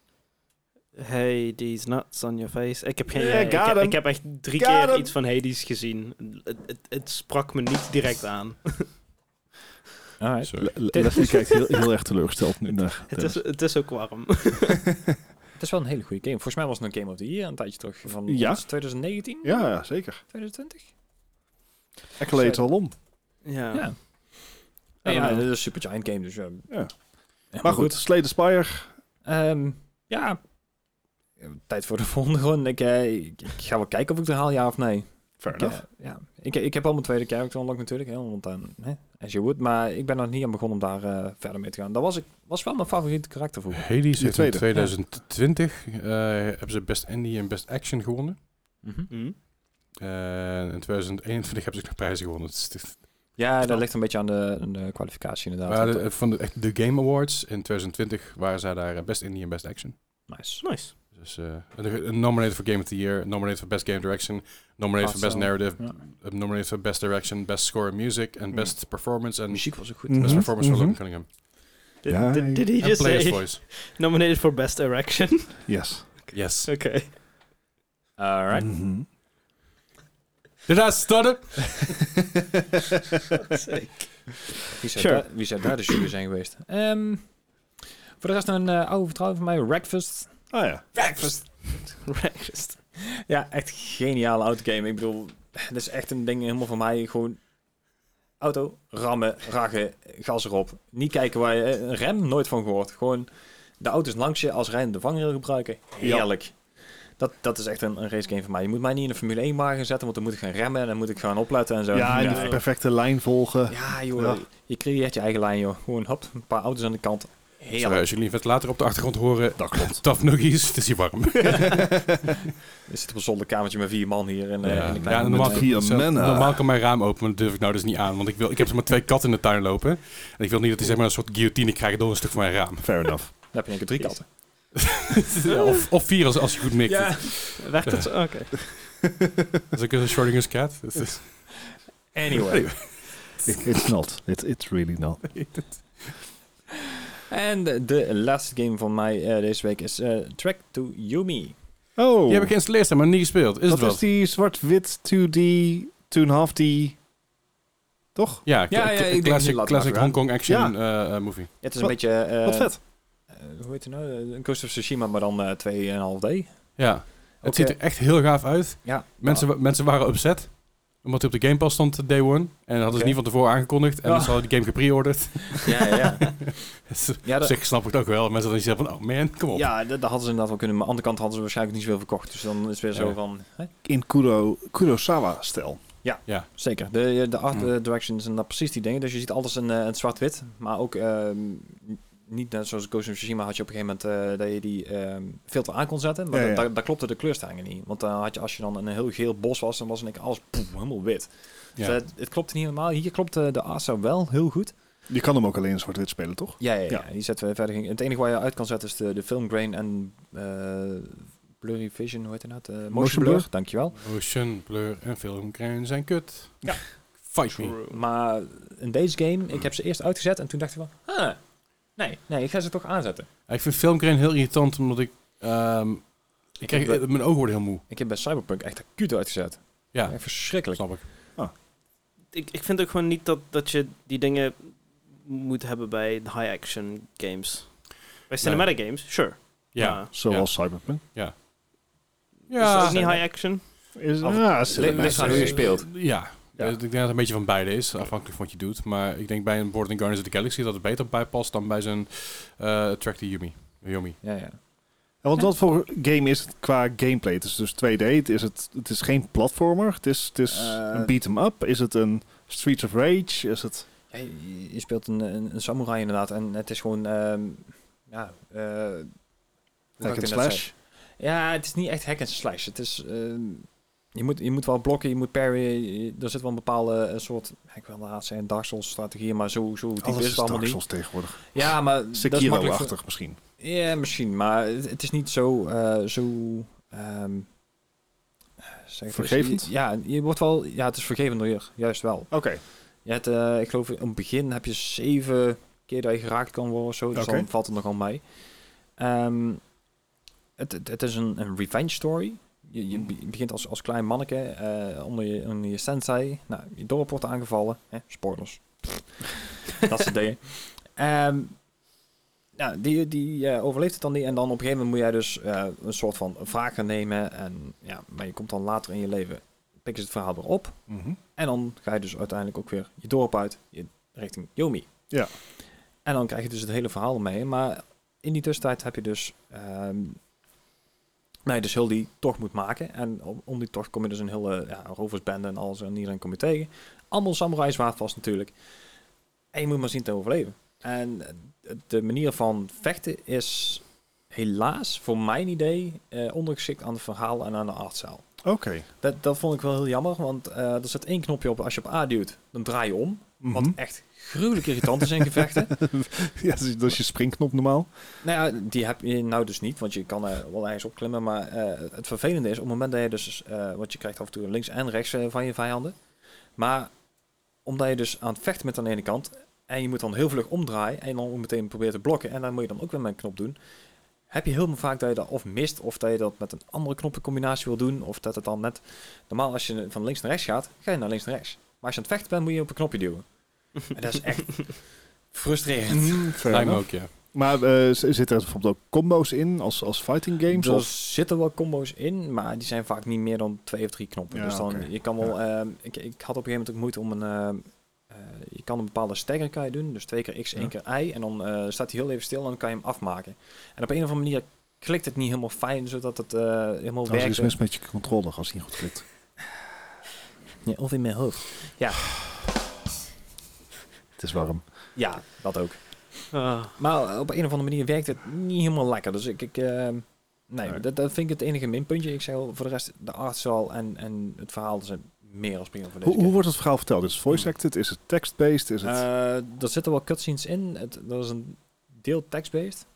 [SPEAKER 3] Hey, these nuts on your face. Ik heb, geen,
[SPEAKER 2] Yeah,
[SPEAKER 3] idee. ik,
[SPEAKER 2] Eh, got
[SPEAKER 3] heb,
[SPEAKER 2] him.
[SPEAKER 3] ik heb echt drie
[SPEAKER 2] Got
[SPEAKER 3] keer
[SPEAKER 2] him.
[SPEAKER 3] iets van Hades gezien. Het, het, het sprak me niet direct aan.
[SPEAKER 4] Alright.
[SPEAKER 1] Sorry.
[SPEAKER 2] Leslie kijkt heel, heel erg teleurgesteld nu naar
[SPEAKER 3] Het is, het is ook warm.
[SPEAKER 4] Het is wel een hele goede game. Volgens mij was het een Game of the Year een tijdje terug. Van
[SPEAKER 2] Ja.
[SPEAKER 4] was het 2019?
[SPEAKER 2] Ja, ja, zeker.
[SPEAKER 4] 2020?
[SPEAKER 2] Accolades al om.
[SPEAKER 3] ja.
[SPEAKER 4] Ja. Nee, ja, dat is een super giant game, dus ja.
[SPEAKER 2] Ja.
[SPEAKER 4] Ja,
[SPEAKER 2] Maar goed, Slade the Spire.
[SPEAKER 4] Ehm, ja. Ja, Tijd voor de volgende gewoon. Ik, eh, ik, ik ga wel kijken of ik het haal, ja of nee.
[SPEAKER 2] Fair
[SPEAKER 4] Ik, eh, ja. ik, ik heb al mijn tweede character unlocked natuurlijk, hè, want dan, hè, as you would. Maar ik ben er niet aan begonnen om daar eh, verder mee te gaan. Dat was, ik, was wel mijn favoriete karakter vroeger.
[SPEAKER 1] Hades heeft in
[SPEAKER 2] tweede.
[SPEAKER 1] 2020 eh, hebben ze Best Indie en Best Action gewonnen. Eh,
[SPEAKER 3] Hm?
[SPEAKER 1] En in 2021 hebben ze ook nog prijzen gewonnen. Het is- het-
[SPEAKER 4] Ja, dat
[SPEAKER 3] Snap.
[SPEAKER 4] ligt een beetje aan de, aan de kwalificatie inderdaad.
[SPEAKER 1] Maar de, van de, echt de Game Awards in 2020 waren zij daar eh, Best Indie en Best Action.
[SPEAKER 4] nice.
[SPEAKER 3] Nice.
[SPEAKER 1] Dus eh, een- een nominated for Game of the Year, nominated for Best Game Direction, nominated for
[SPEAKER 4] Awesome.
[SPEAKER 1] Best Narrative,
[SPEAKER 4] Ja.
[SPEAKER 1] eh, nominated for Best Direction, Best Score in Music en
[SPEAKER 2] Mm.
[SPEAKER 4] Hmm.
[SPEAKER 1] Best Performance en
[SPEAKER 4] muziek was ook goed.
[SPEAKER 2] Mhm.
[SPEAKER 1] Best Performance voor
[SPEAKER 2] mhm.
[SPEAKER 1] Logan Cunningham.
[SPEAKER 3] Did,
[SPEAKER 2] Ja,
[SPEAKER 3] did, did he
[SPEAKER 1] En
[SPEAKER 3] just
[SPEAKER 1] Player's
[SPEAKER 3] say
[SPEAKER 1] Voice.
[SPEAKER 3] nominated for best direction?
[SPEAKER 2] Yes.
[SPEAKER 1] Yes.
[SPEAKER 3] Oké.
[SPEAKER 4] Alright.
[SPEAKER 2] Mhm.
[SPEAKER 4] Dus
[SPEAKER 1] Did I stutter?
[SPEAKER 4] Wie zou,
[SPEAKER 3] Sure.
[SPEAKER 4] daar, wie zou daar de jury zijn geweest? Ehm, voor de rest een eh, oude vertrouwen van mij, Breakfast.
[SPEAKER 2] Ah ja.
[SPEAKER 4] Breakfast.
[SPEAKER 3] Breakfast.
[SPEAKER 4] Ja, echt geniale autogame. Ik bedoel, dat is echt een ding helemaal van mij. Gewoon auto, rammen, raggen, gas erop. Niet kijken waar je... eh, Een rem, nooit van gehoord. Gewoon de auto's langs je als rijdende vangrail gebruiken. Heerlijk. Dat, dat is echt een, een racegame van mij. Je moet mij niet in een Formule 1 wagen zetten, want dan moet ik gaan remmen en dan moet ik gaan opletten en zo.
[SPEAKER 2] Ja, en de
[SPEAKER 4] Nee.
[SPEAKER 2] perfecte lijn volgen.
[SPEAKER 4] Ja, joh.
[SPEAKER 2] Ja.
[SPEAKER 4] Je creëert je eigen lijn, joh. Gewoon, hop, een paar auto's aan de kant.
[SPEAKER 1] Sorry,
[SPEAKER 4] Heerlijk.
[SPEAKER 1] als jullie een ventilator op de achtergrond horen,
[SPEAKER 2] Dat klopt.
[SPEAKER 1] tough nuggies, het is hier warm.
[SPEAKER 4] We zitten op een zolderkamertje met vier man hier. En, eh,
[SPEAKER 1] Ja,
[SPEAKER 4] en een
[SPEAKER 1] ja,
[SPEAKER 4] kleine
[SPEAKER 1] normaal,
[SPEAKER 4] hond.
[SPEAKER 2] vier
[SPEAKER 1] zo-
[SPEAKER 2] mannen.
[SPEAKER 1] normaal kan mijn raam open, maar dat durf ik nou dus niet aan. Want ik, wil, ik heb maar twee katten in de tuin lopen. En ik wil niet dat die zeg maar, een soort guillotine krijgen door een stuk van mijn raam.
[SPEAKER 2] Fair enough.
[SPEAKER 4] Dan heb je een keer drie katten.
[SPEAKER 1] Ja, of, of vier als, als je goed mikt.
[SPEAKER 3] Werkt dat zo? Oké.
[SPEAKER 1] Dat is ook een Schrodinger's cat. Dat is-
[SPEAKER 4] Anyway.
[SPEAKER 2] It- it's not. It, it's really not.
[SPEAKER 4] En de- de laatste game van mij eh, deze week is eh, Track to Yumi.
[SPEAKER 2] Oh,
[SPEAKER 1] Die heb ik geïnstalleerd, maar niet gespeeld. Is
[SPEAKER 2] dat
[SPEAKER 1] het wel?
[SPEAKER 2] is die zwart-wit 2D, 2,5D, toch?
[SPEAKER 1] Ja,
[SPEAKER 4] Ja, ja,
[SPEAKER 1] cl-
[SPEAKER 4] ik denk niet,
[SPEAKER 1] classic,
[SPEAKER 4] laat
[SPEAKER 1] classic
[SPEAKER 4] maar.
[SPEAKER 1] Hong Kong action eh, eh, movie.
[SPEAKER 4] Het is
[SPEAKER 2] Wat-
[SPEAKER 4] een beetje... eh,
[SPEAKER 2] Wat vet.
[SPEAKER 4] eh, hoe heet het nou? Eh, Een Ghost of Tsushima, maar dan eh, 2,5D.
[SPEAKER 1] Ja.
[SPEAKER 4] Ook,
[SPEAKER 1] Het ziet er echt heel gaaf uit.
[SPEAKER 4] Ja.
[SPEAKER 1] Mensen, wa- mensen waren upset. Omdat hij op de Game Pass stond, day one. En dat hadden
[SPEAKER 4] Oké.
[SPEAKER 1] ze niet van tevoren aangekondigd. En
[SPEAKER 4] Ja.
[SPEAKER 1] dan ze hadden die game gepreorderd.
[SPEAKER 4] Ja, ja. ja, dat,
[SPEAKER 1] Zeg, snap ik het ook wel. Mensen dan zeggen van, oh man, kom op.
[SPEAKER 4] ja dat, dat hadden ze inderdaad wel kunnen. Maar aan de andere kant hadden ze waarschijnlijk niet zoveel verkocht. Dus dan is het weer zo
[SPEAKER 1] Ja.
[SPEAKER 4] van... hè?
[SPEAKER 2] In Kuro, Kurosawa-stijl.
[SPEAKER 4] Zeker. De, de art
[SPEAKER 1] Hmm.
[SPEAKER 4] eh, directions en dat precies die dingen. Dus je ziet alles in, eh, in zwart-wit. Maar ook ehm, n- niet net zoals Ghost of Tsushima had je op een gegeven moment eh, dat je die ehm, filter aan kon zetten. Maar
[SPEAKER 2] Ja,
[SPEAKER 4] da-
[SPEAKER 2] ja.
[SPEAKER 4] Daar, daar klopte de kleurstellingen niet. Want dan had je, als je dan in een heel geel bos was, dan was in één keer alles poef, helemaal wit.
[SPEAKER 1] Ja.
[SPEAKER 4] Dus, eh, het klopte niet helemaal. Hier klopt eh, de art style wel heel goed.
[SPEAKER 2] Je kan hem ook alleen in zwart-wit spelen, toch?
[SPEAKER 4] Ja, ja, ja.
[SPEAKER 2] Ja.
[SPEAKER 4] Die zetten we verder. ging- Het enige waar je uit kan zetten is de, de film grain en eh, blurry vision, hoe heet het nou? Eh, motion,
[SPEAKER 2] Motion
[SPEAKER 4] blur.
[SPEAKER 2] blur.
[SPEAKER 4] Dankjewel.
[SPEAKER 1] Ocean, Blur en Filmkruin zijn kut.
[SPEAKER 4] Ja.
[SPEAKER 1] Fight me.
[SPEAKER 4] Maar in deze game, ik heb ze eerst uitgezet en toen dacht ik van, ah, nee, nee, ik ga ze toch aanzetten.
[SPEAKER 1] Ik vind Filmkruin heel irritant, omdat ik... ehm, ik krijg,
[SPEAKER 4] heb,
[SPEAKER 1] mijn ogen worden heel moe.
[SPEAKER 4] ik heb bij Cyberpunk echt acuut uitgezet.
[SPEAKER 1] Ja,
[SPEAKER 4] Echt verschrikkelijk.
[SPEAKER 1] snap ik.
[SPEAKER 3] Ik, ik vind ook gewoon niet dat, dat je die dingen moet hebben bij high-action games. Bij cinematic games, sure.
[SPEAKER 1] Ja.
[SPEAKER 3] Maar
[SPEAKER 2] Zoals Cyberpunk.
[SPEAKER 4] Dus
[SPEAKER 3] Is dat
[SPEAKER 1] Ja.
[SPEAKER 3] ook niet high-action?
[SPEAKER 2] Is, Ah,
[SPEAKER 4] Af-
[SPEAKER 2] ja,
[SPEAKER 4] Ligt- ligt aan hoe je
[SPEAKER 2] cinematic.
[SPEAKER 4] speelt.
[SPEAKER 1] Ja.
[SPEAKER 2] Ja.
[SPEAKER 1] Eh, Ik denk dat het een beetje van beide is, afhankelijk van wat je doet. Maar ik denk bij een Boarding Guardians of the Galaxy dat het beter bij past dan bij zijn eh, Track the Yumi. Yumi.
[SPEAKER 4] Ja, ja.
[SPEAKER 2] Ja, want wat voor game is het qua gameplay? Het is dus 2D, het is, het, het is geen platformer, het is, het is
[SPEAKER 4] Eh.
[SPEAKER 2] een beat-em-up. Is het een Streets of Rage? Is het...
[SPEAKER 4] Ja, je, je speelt een, een, een samurai inderdaad en het is gewoon, ehm, ja, eh, hoe kan
[SPEAKER 2] Hack and
[SPEAKER 4] ik dit nou
[SPEAKER 2] slash?
[SPEAKER 4] zeggen? Ja, het is niet echt hack and slash. Het is, ehm, je, moet, je moet wel blokken, je moet parryen, je- er zit wel een bepaalde eh, soort, ik wil haast zeggen Dark Souls strategie, maar zo, zo diep
[SPEAKER 2] Alles
[SPEAKER 4] is
[SPEAKER 2] is
[SPEAKER 4] het allemaal
[SPEAKER 2] Dark
[SPEAKER 4] niet.
[SPEAKER 2] Souls tegenwoordig.
[SPEAKER 4] Ja, maar dat is makkelijk voor-
[SPEAKER 2] Sekiro-achtig misschien.
[SPEAKER 4] Ja, misschien, maar het, het is niet zo. eh, zo ehm, eh, zeg het eens.
[SPEAKER 2] Vergevend?
[SPEAKER 4] Je- Ja, je wordt wel. Ja, het is vergevend door je, juist wel.
[SPEAKER 2] Oké.
[SPEAKER 4] Je hebt, eh, ik geloof, in het begin heb je zeven keer dat je geraakt kan worden of zo. Dus
[SPEAKER 2] Oké.
[SPEAKER 4] dan valt het nogal mee. Ehm, het, het, het is een, een revenge story. Je, je be- begint als, als klein manneke eh, onder, je, onder je sensei. Nou, je dorp wordt aangevallen. Hè? Spoilers. dat soort dingen. Ehm, nou, die, die eh, overleeft het dan niet. En dan op een gegeven moment moet jij dus eh, een soort van wraak gaan nemen. En, ja, maar je komt dan later in je leven, pikken ze het verhaal weer op.
[SPEAKER 2] Mhm.
[SPEAKER 4] En dan ga je dus uiteindelijk ook weer je dorp uit, je, richting Yomi.
[SPEAKER 2] Ja.
[SPEAKER 4] En dan krijg je dus het hele verhaal mee. Maar in die tussentijd heb je dus... ehm nee, dus heel die tocht moet maken. En om, om die tocht kom je dus een hele ja, roversbende en alles. En iedereen kom je tegen. Allemaal samurai zwaard vast natuurlijk. En je moet maar zien te overleven. En eh, de manier van vechten is helaas, voor mijn idee, eh, ondergeschikt aan het verhaal en aan de artzaal.
[SPEAKER 2] Oké.
[SPEAKER 4] Dat, dat vond ik wel heel jammer, want eh, er zit één knopje op. Als je op A duwt, dan draai je om. Wat echt gruwelijk irritant is in gevechten.
[SPEAKER 2] Mhm. ja, dat is, dat is je springknop normaal.
[SPEAKER 4] nou ja, die heb je nou dus niet, want je kan er wel ergens opklimmen. Maar eh, het vervelende is, op het moment dat je dus... eh want je krijgt af en toe links en rechts eh, van je vijanden. Maar omdat je dus aan het vechten bent aan de ene kant... en je moet dan heel vlug omdraaien en dan ook meteen proberen te blokken... en dan moet je dan ook weer met een knop doen... heb je heel vaak dat je dat of mist... of dat je dat met een andere knoppencombinatie wil doen... of dat het dan net... Normaal als je van links naar rechts gaat, ga je naar links naar rechts. Maar als je aan het vechten bent, moet je op een knopje duwen. En dat is echt frustrerend.
[SPEAKER 1] Lijkt me ook, ja.
[SPEAKER 2] Mhm. Maar eh, z- zitten er bijvoorbeeld ook combo's in als, als fighting games?
[SPEAKER 4] Er
[SPEAKER 2] Of,
[SPEAKER 4] zitten wel combo's in, maar die zijn vaak niet meer dan twee of drie knoppen.
[SPEAKER 2] Ja,
[SPEAKER 4] dus dan,
[SPEAKER 2] oké.
[SPEAKER 4] je kan wel, ehm, ik, ik had op een gegeven moment ook moeite om een, ehm, eh, je kan een bepaalde stagger kan je doen, dus twee keer x,
[SPEAKER 2] Ja.
[SPEAKER 4] één keer y, en dan eh, staat hij heel even stil en dan kan je hem afmaken. En op een of andere manier klikt het niet helemaal fijn, zodat het eh, helemaal
[SPEAKER 2] Nou, als er
[SPEAKER 4] werkt.
[SPEAKER 2] iets mis met je controller als die niet goed klikt.
[SPEAKER 4] Ja, of in mijn hoofd.
[SPEAKER 2] Het is warm.
[SPEAKER 4] Ja, dat ook.
[SPEAKER 3] Ah,
[SPEAKER 4] Maar op een of andere manier werkt het niet helemaal lekker. Dus ik... ik ehm, Nee,
[SPEAKER 2] Nee.
[SPEAKER 4] Dat, dat vind ik het enige minpuntje. Ik zeg al, voor de rest, de artzaal en, en het verhaal zijn meer als prima voor deze
[SPEAKER 2] Hoe, hoe
[SPEAKER 4] game.
[SPEAKER 2] wordt het verhaal verteld? Is het voice-acted? Is het text-based? Is het...
[SPEAKER 4] Mm. Eh, er zitten wel cutscenes in. Het, dat is een deel text-based.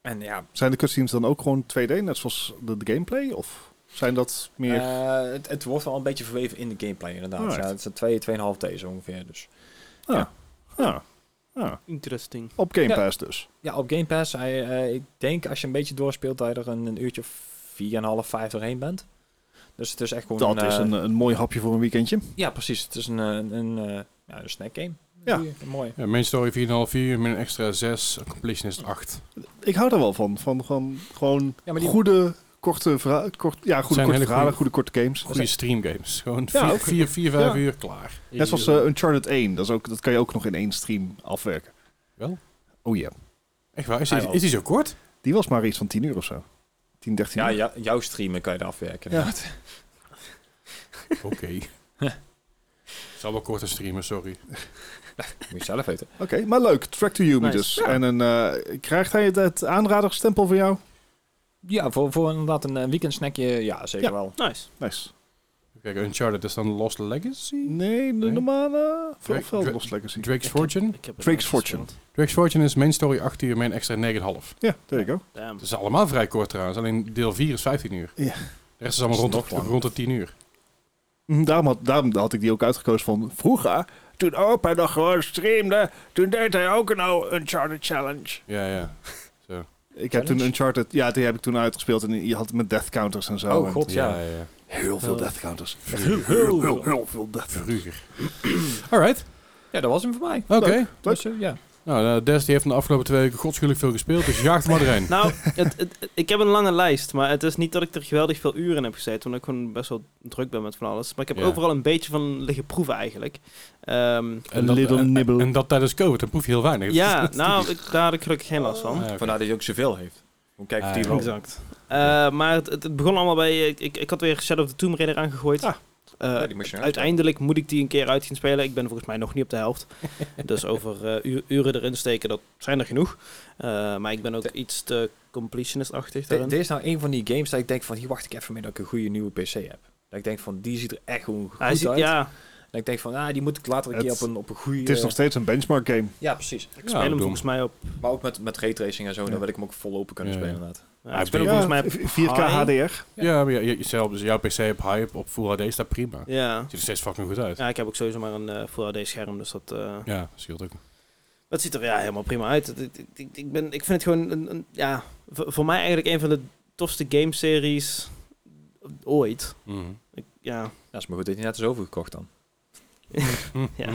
[SPEAKER 4] En ja,
[SPEAKER 2] Zijn de cutscenes dan ook gewoon 2D, net zoals de, de gameplay? Of zijn dat meer...
[SPEAKER 4] eh, het, het wordt wel een beetje verweven in de gameplay inderdaad.
[SPEAKER 2] Alright.
[SPEAKER 4] Ja, het zijn twee, tweeënhalf deze ongeveer. Dus.
[SPEAKER 2] Ah, ah,
[SPEAKER 3] interesting.
[SPEAKER 2] op Game
[SPEAKER 4] Ja.
[SPEAKER 2] Pass dus.
[SPEAKER 4] Ja, op Game Pass, hij, eh, ik denk als je een beetje doorspeelt, dat je er een, een uurtje of 4,5, 5 doorheen bent. Dus het is echt gewoon...
[SPEAKER 2] Dat is
[SPEAKER 4] eh,
[SPEAKER 2] een, een mooi hapje voor een weekendje.
[SPEAKER 4] Ja, precies. Het is een, eh, een, eh, ja, een snack game.
[SPEAKER 2] Ja.
[SPEAKER 4] Goeie, mooi.
[SPEAKER 1] ja main story 4,5 uur, min een extra 6, completionist 8.
[SPEAKER 2] Ik hou er wel van. Van, van gewoon
[SPEAKER 4] Ja, maar die-
[SPEAKER 2] goede, korte, verha- kort, ja, goede,
[SPEAKER 1] Zijn
[SPEAKER 2] korte
[SPEAKER 1] hele
[SPEAKER 2] verhalen,
[SPEAKER 1] goeie-
[SPEAKER 2] goede, korte games.
[SPEAKER 1] Goede streamgames. Gewoon
[SPEAKER 2] Ja, ook-
[SPEAKER 1] 4, 5
[SPEAKER 2] ja.
[SPEAKER 1] uur, klaar.
[SPEAKER 2] Net zoals eh, Uncharted 1. Dat, is ook, dat kan je ook nog in één stream afwerken.
[SPEAKER 1] Wel?
[SPEAKER 2] Oh ja.
[SPEAKER 1] Echt waar? Is,
[SPEAKER 4] Hij
[SPEAKER 1] die-
[SPEAKER 4] wel.
[SPEAKER 1] is die zo kort?
[SPEAKER 2] Die was maar iets van 10 uur of zo. 10, 13
[SPEAKER 4] Ja,
[SPEAKER 2] uur.
[SPEAKER 4] ja, jouw streamen kan je er afwerken.
[SPEAKER 2] Ja.
[SPEAKER 4] inderdaad.
[SPEAKER 1] Oké. Zal wel korter streamen, sorry.
[SPEAKER 4] Moet je zelf weten.
[SPEAKER 2] Oké, maar leuk. Track to Yumi
[SPEAKER 3] Nice.
[SPEAKER 2] dus. En een, eh, krijgt hij het, het aanraderstempel voor jou?
[SPEAKER 4] Ja, voor, voor inderdaad een eh, weekendsnackje, ja, zeker
[SPEAKER 2] Ja.
[SPEAKER 4] wel.
[SPEAKER 3] Nice.
[SPEAKER 2] Nice.
[SPEAKER 1] Kijk, Uncharted is dan Lost Legacy?
[SPEAKER 2] Nee, de
[SPEAKER 1] Nee.
[SPEAKER 2] normale...
[SPEAKER 1] Drake-
[SPEAKER 2] Of wel
[SPEAKER 1] Drake-
[SPEAKER 2] Lost Legacy.
[SPEAKER 1] Drake's
[SPEAKER 3] Ik heb-
[SPEAKER 1] Fortune?
[SPEAKER 3] Ik heb het
[SPEAKER 2] Drake's
[SPEAKER 3] nooit gespeeld.
[SPEAKER 1] Drake's Fortune is main story 8 uur, min extra 9,5.
[SPEAKER 2] Ja, there you go.
[SPEAKER 3] Damn.
[SPEAKER 1] Het is allemaal vrij kort trouwens, alleen deel 4 is 15 uur.
[SPEAKER 2] Ja.
[SPEAKER 1] De rest is allemaal
[SPEAKER 4] Is
[SPEAKER 1] rond,
[SPEAKER 4] nog
[SPEAKER 1] de-
[SPEAKER 4] lang.
[SPEAKER 1] rond de 10 uur.
[SPEAKER 2] Mm, Daarom had, daarom had ik die ook uitgekozen van vroeger. Toen opa nog gewoon streamde, toen deed hij ook nou een Uncharted Challenge.
[SPEAKER 1] Ja, ja.
[SPEAKER 2] Ik heb toen
[SPEAKER 4] Challenge?
[SPEAKER 2] Uncharted, ja, die heb ik toen uitgespeeld en je had het met death counters en zo.
[SPEAKER 4] Oh,
[SPEAKER 2] En
[SPEAKER 4] god, ja.
[SPEAKER 1] ja, ja.
[SPEAKER 2] Heel veel
[SPEAKER 4] Eh.
[SPEAKER 2] death counters.
[SPEAKER 4] Heel, heel,
[SPEAKER 2] Heel, heel veel death counters.
[SPEAKER 1] Ruger. Alright,
[SPEAKER 4] Ja, dat was hem voor mij.
[SPEAKER 1] oké.
[SPEAKER 4] Dus, eh, ja.
[SPEAKER 1] Nou, eh, Des die heeft in de afgelopen twee weken godschuwelijk veel gespeeld, dus jaagt maar erin.
[SPEAKER 3] Nou, het, het- het- ik heb een lange lijst, maar het is niet dat ik er geweldig veel uren in heb gezeten, omdat ik gewoon best wel druk ben met van alles. Maar ik heb
[SPEAKER 1] Ja.
[SPEAKER 3] overal een beetje van liggen proeven eigenlijk. Ehm,
[SPEAKER 1] En dat-
[SPEAKER 2] little
[SPEAKER 1] en-
[SPEAKER 2] nibble.
[SPEAKER 1] En dat tijdens COVID, dan proef je heel weinig.
[SPEAKER 3] ja, nou, ik, daar had ik gelukkig geen last van.
[SPEAKER 2] Oh.
[SPEAKER 1] Ah, oké.
[SPEAKER 4] Vandaar dat hij ook zoveel heeft. Hoe kijk of
[SPEAKER 1] Ah,
[SPEAKER 4] die
[SPEAKER 1] ja.
[SPEAKER 4] wel.
[SPEAKER 3] Exact. Eh, maar het, het, het begon allemaal bij... eh, Ik, ik had weer Shadow of the Tomb Raider aangegooid.
[SPEAKER 4] Ah.
[SPEAKER 3] Eh,
[SPEAKER 4] Ja, die moest je
[SPEAKER 3] uiteindelijk moet ik die een keer uit gaan spelen. Ik ben volgens mij nog niet op de helft. dus over eh, u- uren erin steken, dat zijn er genoeg. Eh, maar ik ben ook
[SPEAKER 4] De-
[SPEAKER 3] iets te completionist-achtig
[SPEAKER 4] Dit
[SPEAKER 3] daarin.
[SPEAKER 4] dit is nou een van die games dat ik denk van, hier wacht ik even mee dat ik een goede nieuwe PC heb. Dat ik denk van, die ziet er echt gewoon goed
[SPEAKER 3] Hij ziet,
[SPEAKER 4] uit.
[SPEAKER 3] ja,
[SPEAKER 4] Dat ik denk van, ah, die moet ik later een
[SPEAKER 2] Het-
[SPEAKER 4] keer op een, op een goede...
[SPEAKER 2] Het is nog steeds een benchmark game.
[SPEAKER 4] Ja, precies.
[SPEAKER 3] ik speel hem
[SPEAKER 1] doe
[SPEAKER 3] volgens mij op...
[SPEAKER 4] Maar ook met, met raytracing en zo, dan wil ik hem ook vol open kunnen
[SPEAKER 1] Ja,
[SPEAKER 4] spelen
[SPEAKER 1] ja.
[SPEAKER 4] inderdaad.
[SPEAKER 3] ja, ik speel
[SPEAKER 1] Ja,
[SPEAKER 3] hem volgens mij op...
[SPEAKER 2] 4K
[SPEAKER 3] high.
[SPEAKER 2] HDR.
[SPEAKER 1] Ja, maar ja, je- jezelf, dus jouw PC op hype, op Full HD staat prima.
[SPEAKER 3] Ja.
[SPEAKER 1] Ziet er steeds fucking goed uit. Ja,
[SPEAKER 3] ja, ik heb ook sowieso maar een eh, Full HD-scherm, dus dat... eh,
[SPEAKER 1] scheelt ook.
[SPEAKER 3] Dat ziet er ja, helemaal prima uit. Het- het- Ik, ik, ben, ik vind het gewoon een, een- ja, voor, voor mij eigenlijk een van de tofste gameseries ooit.
[SPEAKER 1] Mhm.
[SPEAKER 3] Ik, ja.
[SPEAKER 4] Dat is maar goed dat hij net is overgekocht dan.
[SPEAKER 3] Ja.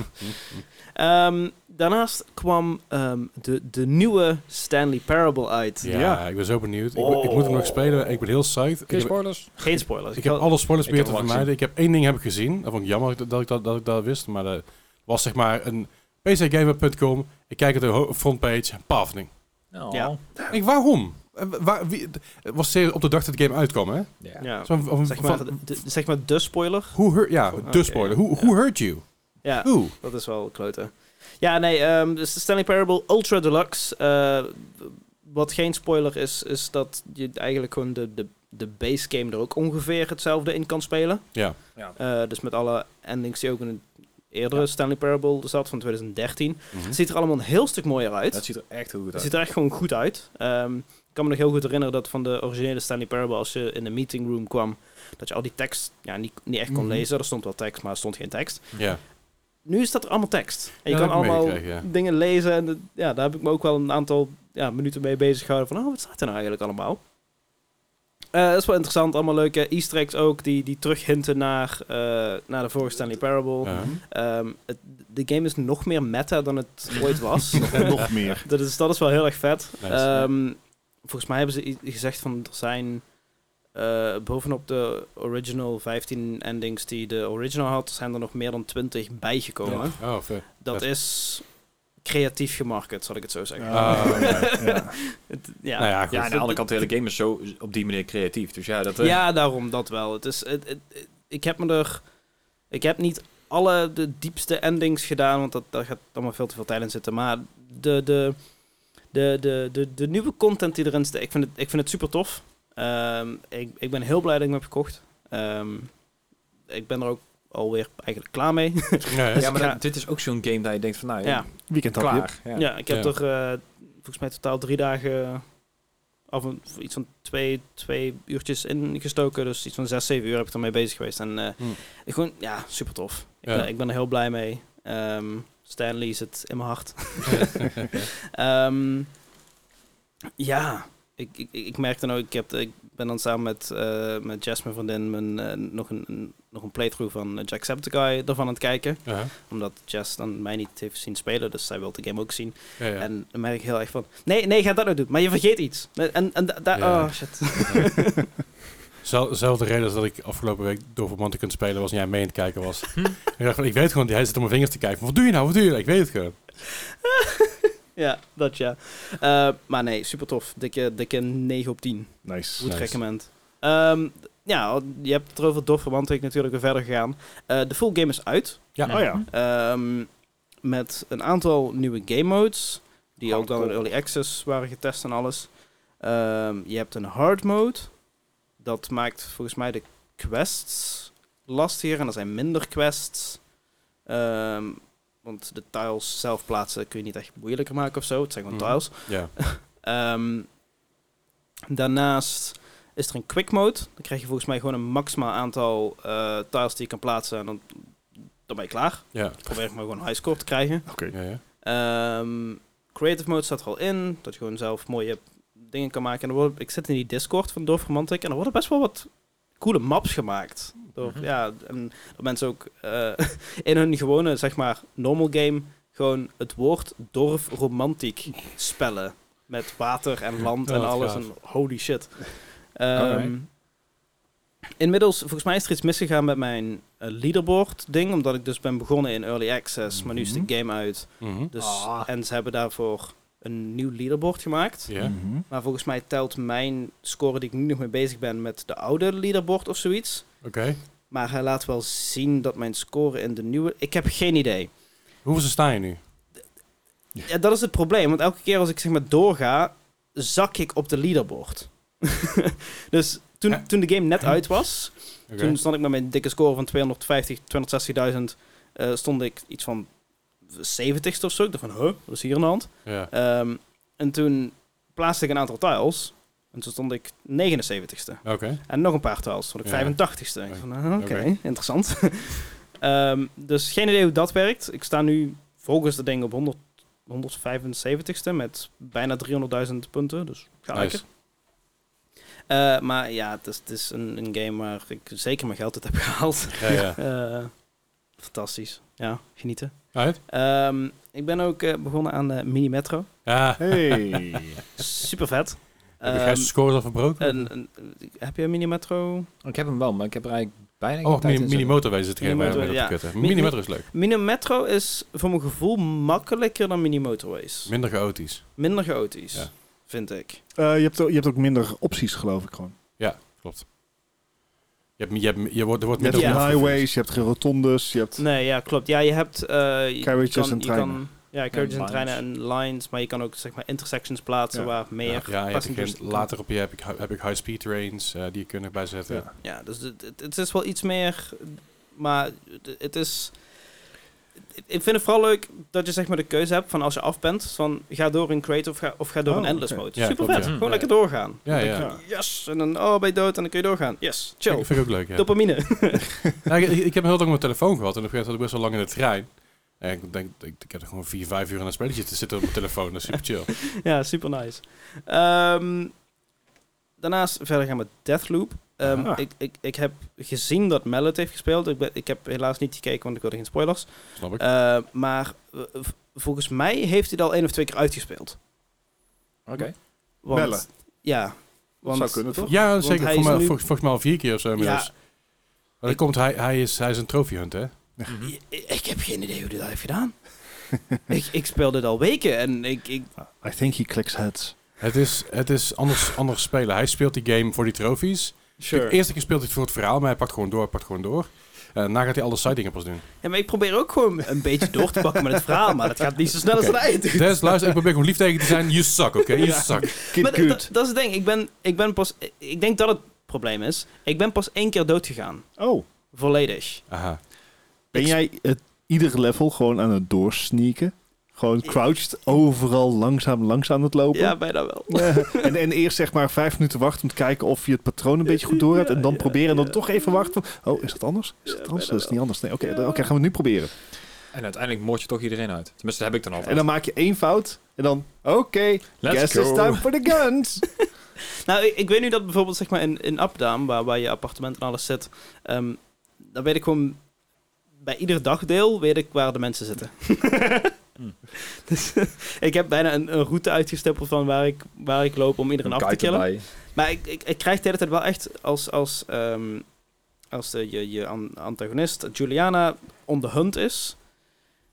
[SPEAKER 3] Ehm, daarnaast kwam ehm, de, de nieuwe Stanley Parable uit.
[SPEAKER 1] Ja,
[SPEAKER 2] Ja.
[SPEAKER 1] ik ben zo benieuwd. Ik, moet- ik moet hem nog spelen. Ik ben heel psyched. Ik
[SPEAKER 4] Geen
[SPEAKER 1] heb,
[SPEAKER 4] spoilers.
[SPEAKER 3] Geen spoilers.
[SPEAKER 1] ik heb
[SPEAKER 3] wil-
[SPEAKER 1] alle spoilers
[SPEAKER 4] Ik
[SPEAKER 1] proberen
[SPEAKER 4] heb
[SPEAKER 1] te
[SPEAKER 4] hem al
[SPEAKER 1] vermijden. Ik heb één ding heb ik gezien. Dat vond ik jammer dat ik dat, dat, ik dat wist. Maar dat was zeg maar een pcgamer.com. Ik kijk op de ho- frontpage. Pavning.
[SPEAKER 3] Ja.
[SPEAKER 4] Ja.
[SPEAKER 1] Ik denk, waarom? Eh, wa- Waar, wie, het was serieus op de dag dat de game uitkwam, hè?
[SPEAKER 4] Ja.
[SPEAKER 3] ja.
[SPEAKER 1] Zo van-
[SPEAKER 3] zeg,
[SPEAKER 1] van-
[SPEAKER 3] maar, de, de- zeg maar de spoiler.
[SPEAKER 1] Hoe hurt... Ja, dus
[SPEAKER 3] Oké,
[SPEAKER 1] de spoiler. Hoe
[SPEAKER 3] ja.
[SPEAKER 1] hoe hurt you?
[SPEAKER 3] Ja,
[SPEAKER 1] Who?
[SPEAKER 3] dat is wel kloten. Ja, nee, ehm, dus de Stanley Parable Ultra Deluxe. eh, wat geen spoiler is, is dat je eigenlijk gewoon de, de, de base game er ook ongeveer hetzelfde in kan spelen.
[SPEAKER 1] Ja.
[SPEAKER 4] Ja.
[SPEAKER 3] Eh, dus met alle endings die ook in het eerdere Stanley Parable zat van 2013.
[SPEAKER 1] Mhm.
[SPEAKER 3] Het ziet er allemaal een heel stuk mooier uit.
[SPEAKER 4] Dat ziet er echt heel goed
[SPEAKER 3] Het
[SPEAKER 4] uit.
[SPEAKER 3] ziet er echt gewoon goed uit. Ehm, ik kan me nog heel goed herinneren dat van de originele Stanley Parable, als je in de meeting room kwam, dat je al die tekst ja, niet, niet echt kon
[SPEAKER 4] Mhm.
[SPEAKER 3] lezen. Er stond wel tekst, maar er stond geen tekst.
[SPEAKER 1] Ja.
[SPEAKER 3] Nu is dat er allemaal tekst. En
[SPEAKER 1] Ja,
[SPEAKER 3] je
[SPEAKER 1] dat
[SPEAKER 3] kan
[SPEAKER 1] heb ik
[SPEAKER 3] allemaal
[SPEAKER 1] meegekregen, ja.
[SPEAKER 3] dingen lezen. En dat- ja, daar heb ik me ook wel een aantal ja, minuten mee bezig gehouden. Van, oh, wat staat er nou eigenlijk allemaal? Eh, dat is wel interessant. Allemaal leuke easter eggs ook, die, die terughinten naar, eh, naar de vorige Stanley Parable.
[SPEAKER 1] Ja.
[SPEAKER 3] Ehm, het- de game is nog meer meta dan het ooit was.
[SPEAKER 2] En nog meer.
[SPEAKER 3] Dat is, dat is wel heel erg vet.
[SPEAKER 1] Nice.
[SPEAKER 3] Ehm, volgens mij hebben ze i- gezegd van er zijn eh, bovenop de original 15 endings die de original had, zijn er nog meer dan 20 bijgekomen.
[SPEAKER 1] Oh, vet.
[SPEAKER 3] Dat is creatief gemarket, zal ik het zo zeggen.
[SPEAKER 1] Ah,
[SPEAKER 2] ja, ja.
[SPEAKER 3] Het- ja.
[SPEAKER 1] Nou ja, goed.
[SPEAKER 4] Ja, aan de andere kant, de hele game is zo op die manier creatief. Dus ja, dat... eh,
[SPEAKER 3] Ja, daarom dat wel. Het is, het, het- het- ik heb me er. Ik heb niet alle de diepste endings gedaan, want dat, daar gaat allemaal veel te veel tijd in zitten. Maar de, de, de, de, de, de nieuwe content die erin zit, ik vind het, ik vind het super tof. Ehm, ik, ik ben heel blij dat ik hem heb gekocht. Ehm, ik ben er ook alweer eigenlijk klaar mee.
[SPEAKER 1] Ja, ja.
[SPEAKER 4] Ja, maar
[SPEAKER 3] Ja.
[SPEAKER 4] dat- dit is ook zo'n game dat je denkt van, nou
[SPEAKER 3] Ja.
[SPEAKER 4] ja,
[SPEAKER 2] Weekendhapje.
[SPEAKER 4] klaar. Ja.
[SPEAKER 3] Ja, ik heb
[SPEAKER 1] Ja.
[SPEAKER 3] er eh, volgens mij totaal drie dagen eh, of een, iets van twee, twee uurtjes in gestoken. Dus iets van zes, zeven uur heb ik ermee bezig geweest. En eh,
[SPEAKER 1] Hmm.
[SPEAKER 3] ik gewoon, ja, super tof. Ik,
[SPEAKER 1] Ja.
[SPEAKER 3] ben- ik ben er heel blij mee. Ehm Stanley zit in mijn hart. Ehm, ja, ik, ik, ik ik merk dan ook, ik, heb, ik ben dan samen met, eh met Jess, mijn vriendin, mijn, eh, nog, een, een- nog een playthrough van Jacksepticeye ervan aan het kijken.
[SPEAKER 1] Ja,
[SPEAKER 3] Omdat Jess dan mij niet heeft zien spelen, dus zij wil de game ook zien.
[SPEAKER 1] ja, ja.
[SPEAKER 3] En dan merk ik heel erg van... Nee, nee, ga dat nou doen. Maar je vergeet iets. En, en, da- da-
[SPEAKER 1] Ja.
[SPEAKER 3] Oh, shit.
[SPEAKER 1] Zel- Zelfde reden als dat ik afgelopen week door Vermont kunt spelen was en jij mee aan het kijken was.
[SPEAKER 3] Hm.
[SPEAKER 1] ik dacht van, ik weet gewoon, hij zit op mijn vingers te kijken. Wat doe je nou? Wat doe je? Ik weet het gewoon.
[SPEAKER 3] Ja, dat ja. Eh, maar nee, super tof. Dikke, dikke 9 op 10.
[SPEAKER 2] Nice.
[SPEAKER 3] Goed
[SPEAKER 1] Nice.
[SPEAKER 3] recommend. Ehm, ja, je hebt het erover door verwant ik natuurlijk weer verder gegaan. Eh, de full game is uit.
[SPEAKER 1] Ja.
[SPEAKER 2] Oh ja.
[SPEAKER 3] Ehm, met een aantal nieuwe game modes. Die ook dan in
[SPEAKER 2] Hardcore.
[SPEAKER 3] early access waren getest en alles. Ehm, je hebt een hard mode. Dat maakt volgens mij de quests lastiger. En er zijn minder quests. Ehm, want de tiles zelf plaatsen kun je niet echt moeilijker maken of zo. Het zijn gewoon
[SPEAKER 1] Mhm.
[SPEAKER 3] tiles.
[SPEAKER 1] Ja.
[SPEAKER 3] Ehm, daarnaast is er een quick mode. Dan krijg je volgens mij gewoon een maximaal aantal eh, tiles die je kan plaatsen. En dan, dan ben je klaar.
[SPEAKER 1] Ja.
[SPEAKER 3] Probeer ik maar gewoon een high score te krijgen.
[SPEAKER 1] Ja, ja.
[SPEAKER 3] Ehm, creative mode staat er al in. Dat je gewoon zelf mooie dingen kan maken. En er worden, ik zit in die Discord van Dorf Romantic. En er worden best wel wat coole maps gemaakt. Door,
[SPEAKER 4] Mhm.
[SPEAKER 3] ja, en dat mensen ook eh, in hun gewone, zeg maar, normal game... gewoon het woord Dorf Romantic spellen. Met water en land
[SPEAKER 1] Ja,
[SPEAKER 3] en
[SPEAKER 1] wat
[SPEAKER 3] alles.
[SPEAKER 1] gaaf.
[SPEAKER 3] En holy shit. Ehm, Inmiddels, volgens mij is er iets misgegaan met mijn eh, leaderboard ding. Omdat ik dus ben begonnen in Early Access. Maar nu is de
[SPEAKER 2] Mhm.
[SPEAKER 3] game uit.
[SPEAKER 1] Mhm.
[SPEAKER 3] Dus,
[SPEAKER 4] Ah.
[SPEAKER 3] En ze hebben daarvoor een nieuw leaderboard gemaakt.
[SPEAKER 1] Ja.
[SPEAKER 2] Mhm.
[SPEAKER 3] Maar volgens mij telt mijn score die ik nu nog mee bezig ben met de oude leaderboard of zoiets.
[SPEAKER 1] Oké.
[SPEAKER 3] Maar hij laat wel zien dat mijn score in de nieuwe... Ik heb geen idee.
[SPEAKER 1] Hoeveel ze sta je nu?
[SPEAKER 3] Ja, dat is het probleem. Want elke keer als ik zeg maar doorga, zak ik op de leaderboard. dus
[SPEAKER 1] Hè?
[SPEAKER 3] toen, toen de game net uit was,
[SPEAKER 1] Oké.
[SPEAKER 3] toen stond ik met mijn dikke score van 250, 260.000... eh, stond ik iets van 70ste of zo. Ik dacht van, huh, wat is hier aan de hand?
[SPEAKER 1] Ja.
[SPEAKER 3] Ehm, en toen plaatste ik een aantal tiles. En toen stond ik 79ste.
[SPEAKER 1] Oké.
[SPEAKER 3] En nog een paar tiles stond ik
[SPEAKER 1] Ja.
[SPEAKER 3] 85ste. Ik van, ah, Oké,
[SPEAKER 1] Oké.
[SPEAKER 3] interessant. Ehm, dus geen idee hoe dat werkt. Ik sta nu volgens de ding op 100, 175ste met bijna 300.000 punten. Dus ga
[SPEAKER 1] Nice.
[SPEAKER 3] lekker. Eh, maar ja, het is, het is een, een game waar ik zeker mijn geld uit heb gehaald.
[SPEAKER 1] Ja, ja.
[SPEAKER 3] Eh, fantastisch. Ja, genieten.
[SPEAKER 1] Uit?
[SPEAKER 3] Ehm, ik ben ook eh, begonnen aan eh, Mini Metro.
[SPEAKER 1] Ja.
[SPEAKER 2] Hey. Eh,
[SPEAKER 3] Super vet.
[SPEAKER 1] Heb
[SPEAKER 3] Ehm,
[SPEAKER 1] je gijs de scores al verbroken?
[SPEAKER 3] en, en- heb je een Minimetro?
[SPEAKER 4] Oh, Ik heb hem wel, maar ik heb er eigenlijk bijna geen
[SPEAKER 1] oh,
[SPEAKER 4] tijd
[SPEAKER 1] mini,
[SPEAKER 4] in zitten.
[SPEAKER 1] Minimotor wees het geen bij
[SPEAKER 3] Minimotor,
[SPEAKER 1] op
[SPEAKER 3] ja.
[SPEAKER 1] de kutten. Minimotor is leuk.
[SPEAKER 3] Minimetro is voor mijn gevoel makkelijker dan Minimotorways.
[SPEAKER 1] Minder chaotisch.
[SPEAKER 3] Minder chaotisch,
[SPEAKER 1] Ja.
[SPEAKER 3] vind ik.
[SPEAKER 2] Eh, je, hebt, ook- je hebt ook minder opties, geloof ik gewoon.
[SPEAKER 1] Je, hebt, je, hebt, je wordt, er wordt
[SPEAKER 2] Je hebt
[SPEAKER 1] minder
[SPEAKER 3] Ja.
[SPEAKER 1] op-
[SPEAKER 2] highways, je hebt geen rotondes, je hebt...
[SPEAKER 3] Nee, ja, klopt. Ja, je hebt... eh, je
[SPEAKER 2] Carriages
[SPEAKER 3] kan-
[SPEAKER 2] en
[SPEAKER 3] je
[SPEAKER 2] treinen.
[SPEAKER 3] kan- ja, carriages en
[SPEAKER 4] lines.
[SPEAKER 3] treinen en lines. Maar je kan ook zeg maar intersections plaatsen
[SPEAKER 2] Ja.
[SPEAKER 3] waar meer
[SPEAKER 1] Ja, ja, je hebt
[SPEAKER 3] passengers-
[SPEAKER 1] geen- later op je heb ik, heb ik high-speed trains eh, die je kunt erbij zetten.
[SPEAKER 2] Ja.
[SPEAKER 3] Ja, dus het, het- het is wel iets meer... Maar het- het is... ik vind het vooral leuk dat je zeg maar de keuze hebt van als je af bent, van ga door in crate of ga, of ga door
[SPEAKER 2] Oh,
[SPEAKER 3] in endless
[SPEAKER 2] oké.
[SPEAKER 3] mode.
[SPEAKER 1] Ja,
[SPEAKER 3] Super
[SPEAKER 1] klopt,
[SPEAKER 3] vet.
[SPEAKER 1] ja.
[SPEAKER 3] Gewoon
[SPEAKER 4] Ja.
[SPEAKER 3] lekker doorgaan.
[SPEAKER 1] Ja,
[SPEAKER 3] Dan
[SPEAKER 1] ja.
[SPEAKER 3] denk je, Yes. En dan oh, ben je dood en dan kun je doorgaan. Yes. Chill.
[SPEAKER 1] Vind ik ook leuk, ja.
[SPEAKER 3] Dopamine.
[SPEAKER 1] Nou, ik, ik heb heel lang op mijn telefoon gehad en op een gegeven moment zat ik best wel lang in de trein. En ik denk, ik, ik heb er gewoon vier, vijf uur aan een spelletje te zitten op mijn telefoon. Dat is super chill.
[SPEAKER 3] ja, super nice. Ehm, daarnaast verder gaan we met Deathloop. Ehm,
[SPEAKER 2] Ah.
[SPEAKER 3] ik, ik, ik heb gezien dat Mel het heeft gespeeld. Ik, ben, ik heb helaas niet gekeken, want ik wilde geen spoilers.
[SPEAKER 1] Snap ik?
[SPEAKER 3] Eh, maar eh, v- volgens mij heeft hij het al één of twee keer uitgespeeld.
[SPEAKER 4] Oké.
[SPEAKER 3] Want,
[SPEAKER 2] Bellen.
[SPEAKER 3] Ja. Want,
[SPEAKER 2] zou kunnen, toch?
[SPEAKER 1] ja,
[SPEAKER 3] hij
[SPEAKER 1] zeker.
[SPEAKER 3] is
[SPEAKER 1] Voor mij,
[SPEAKER 3] nu-
[SPEAKER 1] volgens, volgens mij al vier keer of zo inmiddels.
[SPEAKER 3] Ja.
[SPEAKER 1] Maar dan
[SPEAKER 3] Ik-
[SPEAKER 1] komt hij, hij, is, hij is een trophy hunt, hè?
[SPEAKER 2] Mhm.
[SPEAKER 3] I- Ik heb geen idee hoe hij dat heeft gedaan. ik, ik speel dit al weken en ik... ik
[SPEAKER 2] I think he clicks heads.
[SPEAKER 1] Het is, het is anders, anders spelen. Hij speelt die game voor die trofies. De eerste keer speelt hij het voor het verhaal, maar hij pakt gewoon door, hij pakt gewoon door. Eh daarna gaat hij alle side dingen pas doen.
[SPEAKER 3] Ja, maar ik probeer ook gewoon een beetje door te pakken met het verhaal, maar dat gaat niet zo snel als het eind.
[SPEAKER 1] Des, luister, ik probeer gewoon lief tegen je te zijn. You suck, oké? You
[SPEAKER 3] Ja.
[SPEAKER 1] suck.
[SPEAKER 2] Kid
[SPEAKER 3] Maar d-
[SPEAKER 2] good.
[SPEAKER 3] d- dat is het ding. Ik ben, ik ben pas... Ik denk dat het probleem is. Ik ben pas één keer dood gegaan.
[SPEAKER 2] Oh,
[SPEAKER 3] Volledig.
[SPEAKER 1] Aha.
[SPEAKER 2] ben jij het ieder level gewoon aan het doorsneaken? Gewoon crouched overal langzaam langs aan het lopen?
[SPEAKER 3] Ja, bijna wel.
[SPEAKER 2] en, en eerst zeg maar vijf minuten wachten om te kijken of je het patroon een beetje goed door hebt. En dan
[SPEAKER 3] Ja,
[SPEAKER 2] proberen en dan
[SPEAKER 3] ja.
[SPEAKER 2] toch even wachten. Oh, is dat anders? Is dat anders? Dat is niet anders. Nee, oké, dan- oké, gaan we het nu proberen.
[SPEAKER 4] En uiteindelijk moord je toch iedereen uit. Tenminste, dat heb ik dan altijd.
[SPEAKER 2] En dan maak je één fout. En dan, oké,
[SPEAKER 4] Let's
[SPEAKER 2] guess
[SPEAKER 4] go.
[SPEAKER 2] it's time for the guns.
[SPEAKER 3] Nou, ik, ik weet nu dat bijvoorbeeld zeg maar in, in Appdam, waar, waar je appartement en alles zit, ehm dan weet ik gewoon bij ieder dagdeel weet ik waar de mensen zitten.
[SPEAKER 4] Hmm.
[SPEAKER 3] dus ik heb bijna een, een route uitgestippeld van waar ik, waar ik loop om iedereen
[SPEAKER 4] Een
[SPEAKER 3] af te
[SPEAKER 4] kite
[SPEAKER 3] killen.
[SPEAKER 4] erbij.
[SPEAKER 3] Maar ik, ik, ik krijg de hele tijd wel echt als, als, ehm, als de, je, je an- antagonist Juliana on the hunt is.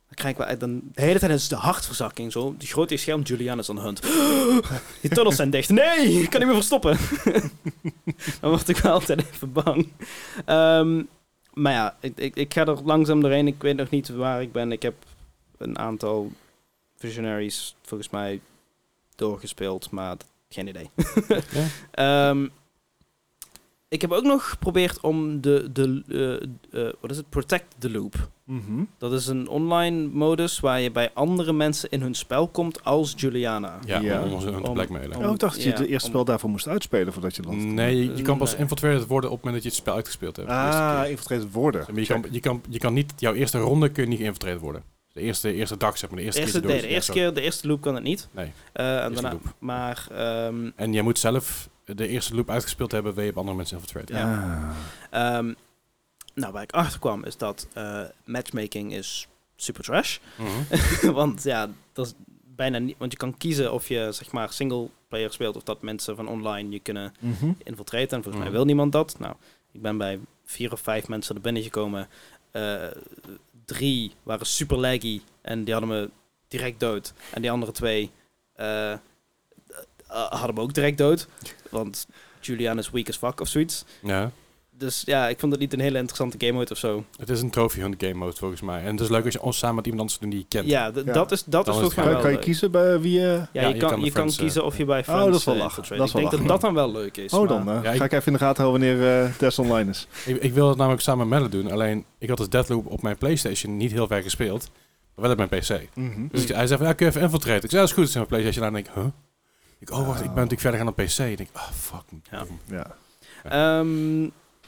[SPEAKER 3] Dan krijg ik wel echt dan, de hele tijd is de hartverzakking zo. Die grote scherm, Juliana is on the hunt. Die tunnels zijn dicht. Nee, ik kan niet meer verstoppen. dan word ik wel altijd even bang. Ehm, maar ja, ik, ik, ik ga er langzaam doorheen. Ik weet nog niet waar ik ben. Ik heb een aantal visionaries volgens mij doorgespeeld, maar d- geen idee.
[SPEAKER 1] Ja.
[SPEAKER 3] Ehm, ik heb ook nog geprobeerd om de, de eh, eh, wat is het? Protect the Loop.
[SPEAKER 2] Mhm.
[SPEAKER 3] Dat is een online modus waar je bij andere mensen in hun spel komt als Juliana.
[SPEAKER 1] Ja,
[SPEAKER 2] Ja.
[SPEAKER 1] om, om ons te
[SPEAKER 3] Om-
[SPEAKER 1] blackmailen.
[SPEAKER 2] Oh, ik dacht dat je
[SPEAKER 3] Ja,
[SPEAKER 2] het eerste
[SPEAKER 3] om-
[SPEAKER 2] spel daarvoor moest uitspelen voordat je dat...
[SPEAKER 1] Nee, je, je kan pas
[SPEAKER 3] Nee.
[SPEAKER 1] infiltrated worden op het moment dat je het spel uitgespeeld hebt. De eerste keer.
[SPEAKER 2] Ah, infiltrated worden.
[SPEAKER 1] Maar je, kan, je, kan, je kan niet, jouw eerste ronde kun je niet geïnfiltreerd worden. De eerste, eerste dag, zeg maar. De eerste,
[SPEAKER 3] De
[SPEAKER 1] keer
[SPEAKER 3] eerste,
[SPEAKER 1] dat
[SPEAKER 3] nee,
[SPEAKER 1] je
[SPEAKER 3] de
[SPEAKER 1] door-
[SPEAKER 3] eerste
[SPEAKER 1] ja, zo.
[SPEAKER 3] keer, de eerste loop kan het niet.
[SPEAKER 1] Nee,
[SPEAKER 3] Eh, en
[SPEAKER 1] eerste
[SPEAKER 3] daarna,
[SPEAKER 1] loop.
[SPEAKER 3] maar ehm,
[SPEAKER 1] En je moet zelf de eerste loop uitgespeeld hebben, wil je op andere mensen infiltrated.
[SPEAKER 2] Ja.
[SPEAKER 3] ehm, nou, waar ik achter kwam is dat eh, matchmaking is super trash.
[SPEAKER 1] Mhm.
[SPEAKER 3] want ja, dat is bijna niet. Want je kan kiezen of je zeg maar single player speelt of dat mensen van online je kunnen
[SPEAKER 2] Mhm.
[SPEAKER 3] infiltreren. En volgens mij
[SPEAKER 1] Mhm.
[SPEAKER 3] wil niemand dat. Nou, ik ben bij vier of vijf mensen er binnen gekomen. Eh, drie waren super laggy en die hadden me direct dood. En die andere twee eh, eh, hadden me ook direct dood. Want Julian is weak as fuck of zoiets.
[SPEAKER 1] Ja.
[SPEAKER 3] Dus ja, ik vond het niet een hele interessante game uit of zo.
[SPEAKER 1] Het is een trophy hunt game mode, volgens mij. En het is leuk als je ons samen met iemand anders doet die je kent.
[SPEAKER 3] Ja, d-
[SPEAKER 2] Ja.
[SPEAKER 3] dat is, dat is
[SPEAKER 1] Dan is
[SPEAKER 3] volgens
[SPEAKER 1] het
[SPEAKER 3] mij
[SPEAKER 2] Kan,
[SPEAKER 3] wel
[SPEAKER 2] kan je
[SPEAKER 3] leuk.
[SPEAKER 2] kiezen bij wie... eh,
[SPEAKER 3] Ja,
[SPEAKER 1] Ja,
[SPEAKER 3] je,
[SPEAKER 1] je
[SPEAKER 3] kan,
[SPEAKER 1] kan de
[SPEAKER 3] je kan
[SPEAKER 1] friends, eh,
[SPEAKER 3] kiezen of je bij Friends
[SPEAKER 2] Oh, dat is wel
[SPEAKER 3] eh,
[SPEAKER 2] lachen.
[SPEAKER 3] infiltrate.
[SPEAKER 2] Dat is
[SPEAKER 3] ik
[SPEAKER 2] wel
[SPEAKER 3] denk dat dat dan wel leuk is.
[SPEAKER 2] Oh,
[SPEAKER 3] maar-
[SPEAKER 2] dan eh,
[SPEAKER 1] Ja, ik-
[SPEAKER 2] ga ik even in de gaten houden wanneer eh Tess online is.
[SPEAKER 1] Ik, ik wil het namelijk samen met Melle doen. Alleen, ik had dus Deathloop op mijn Playstation niet heel ver gespeeld. Maar wel op mijn PC. Dus ik- hij zei van, ja, kun je even infiltraten? Ik zei, dat is goed. Ik zei, mijn PlayStation aan. En ik, huh? Ik, oh, wacht, ik ben natuurlijk verder gaan op PC. En ik, ah, fuck.
[SPEAKER 3] Ja.
[SPEAKER 2] Ja.
[SPEAKER 3] Ehm,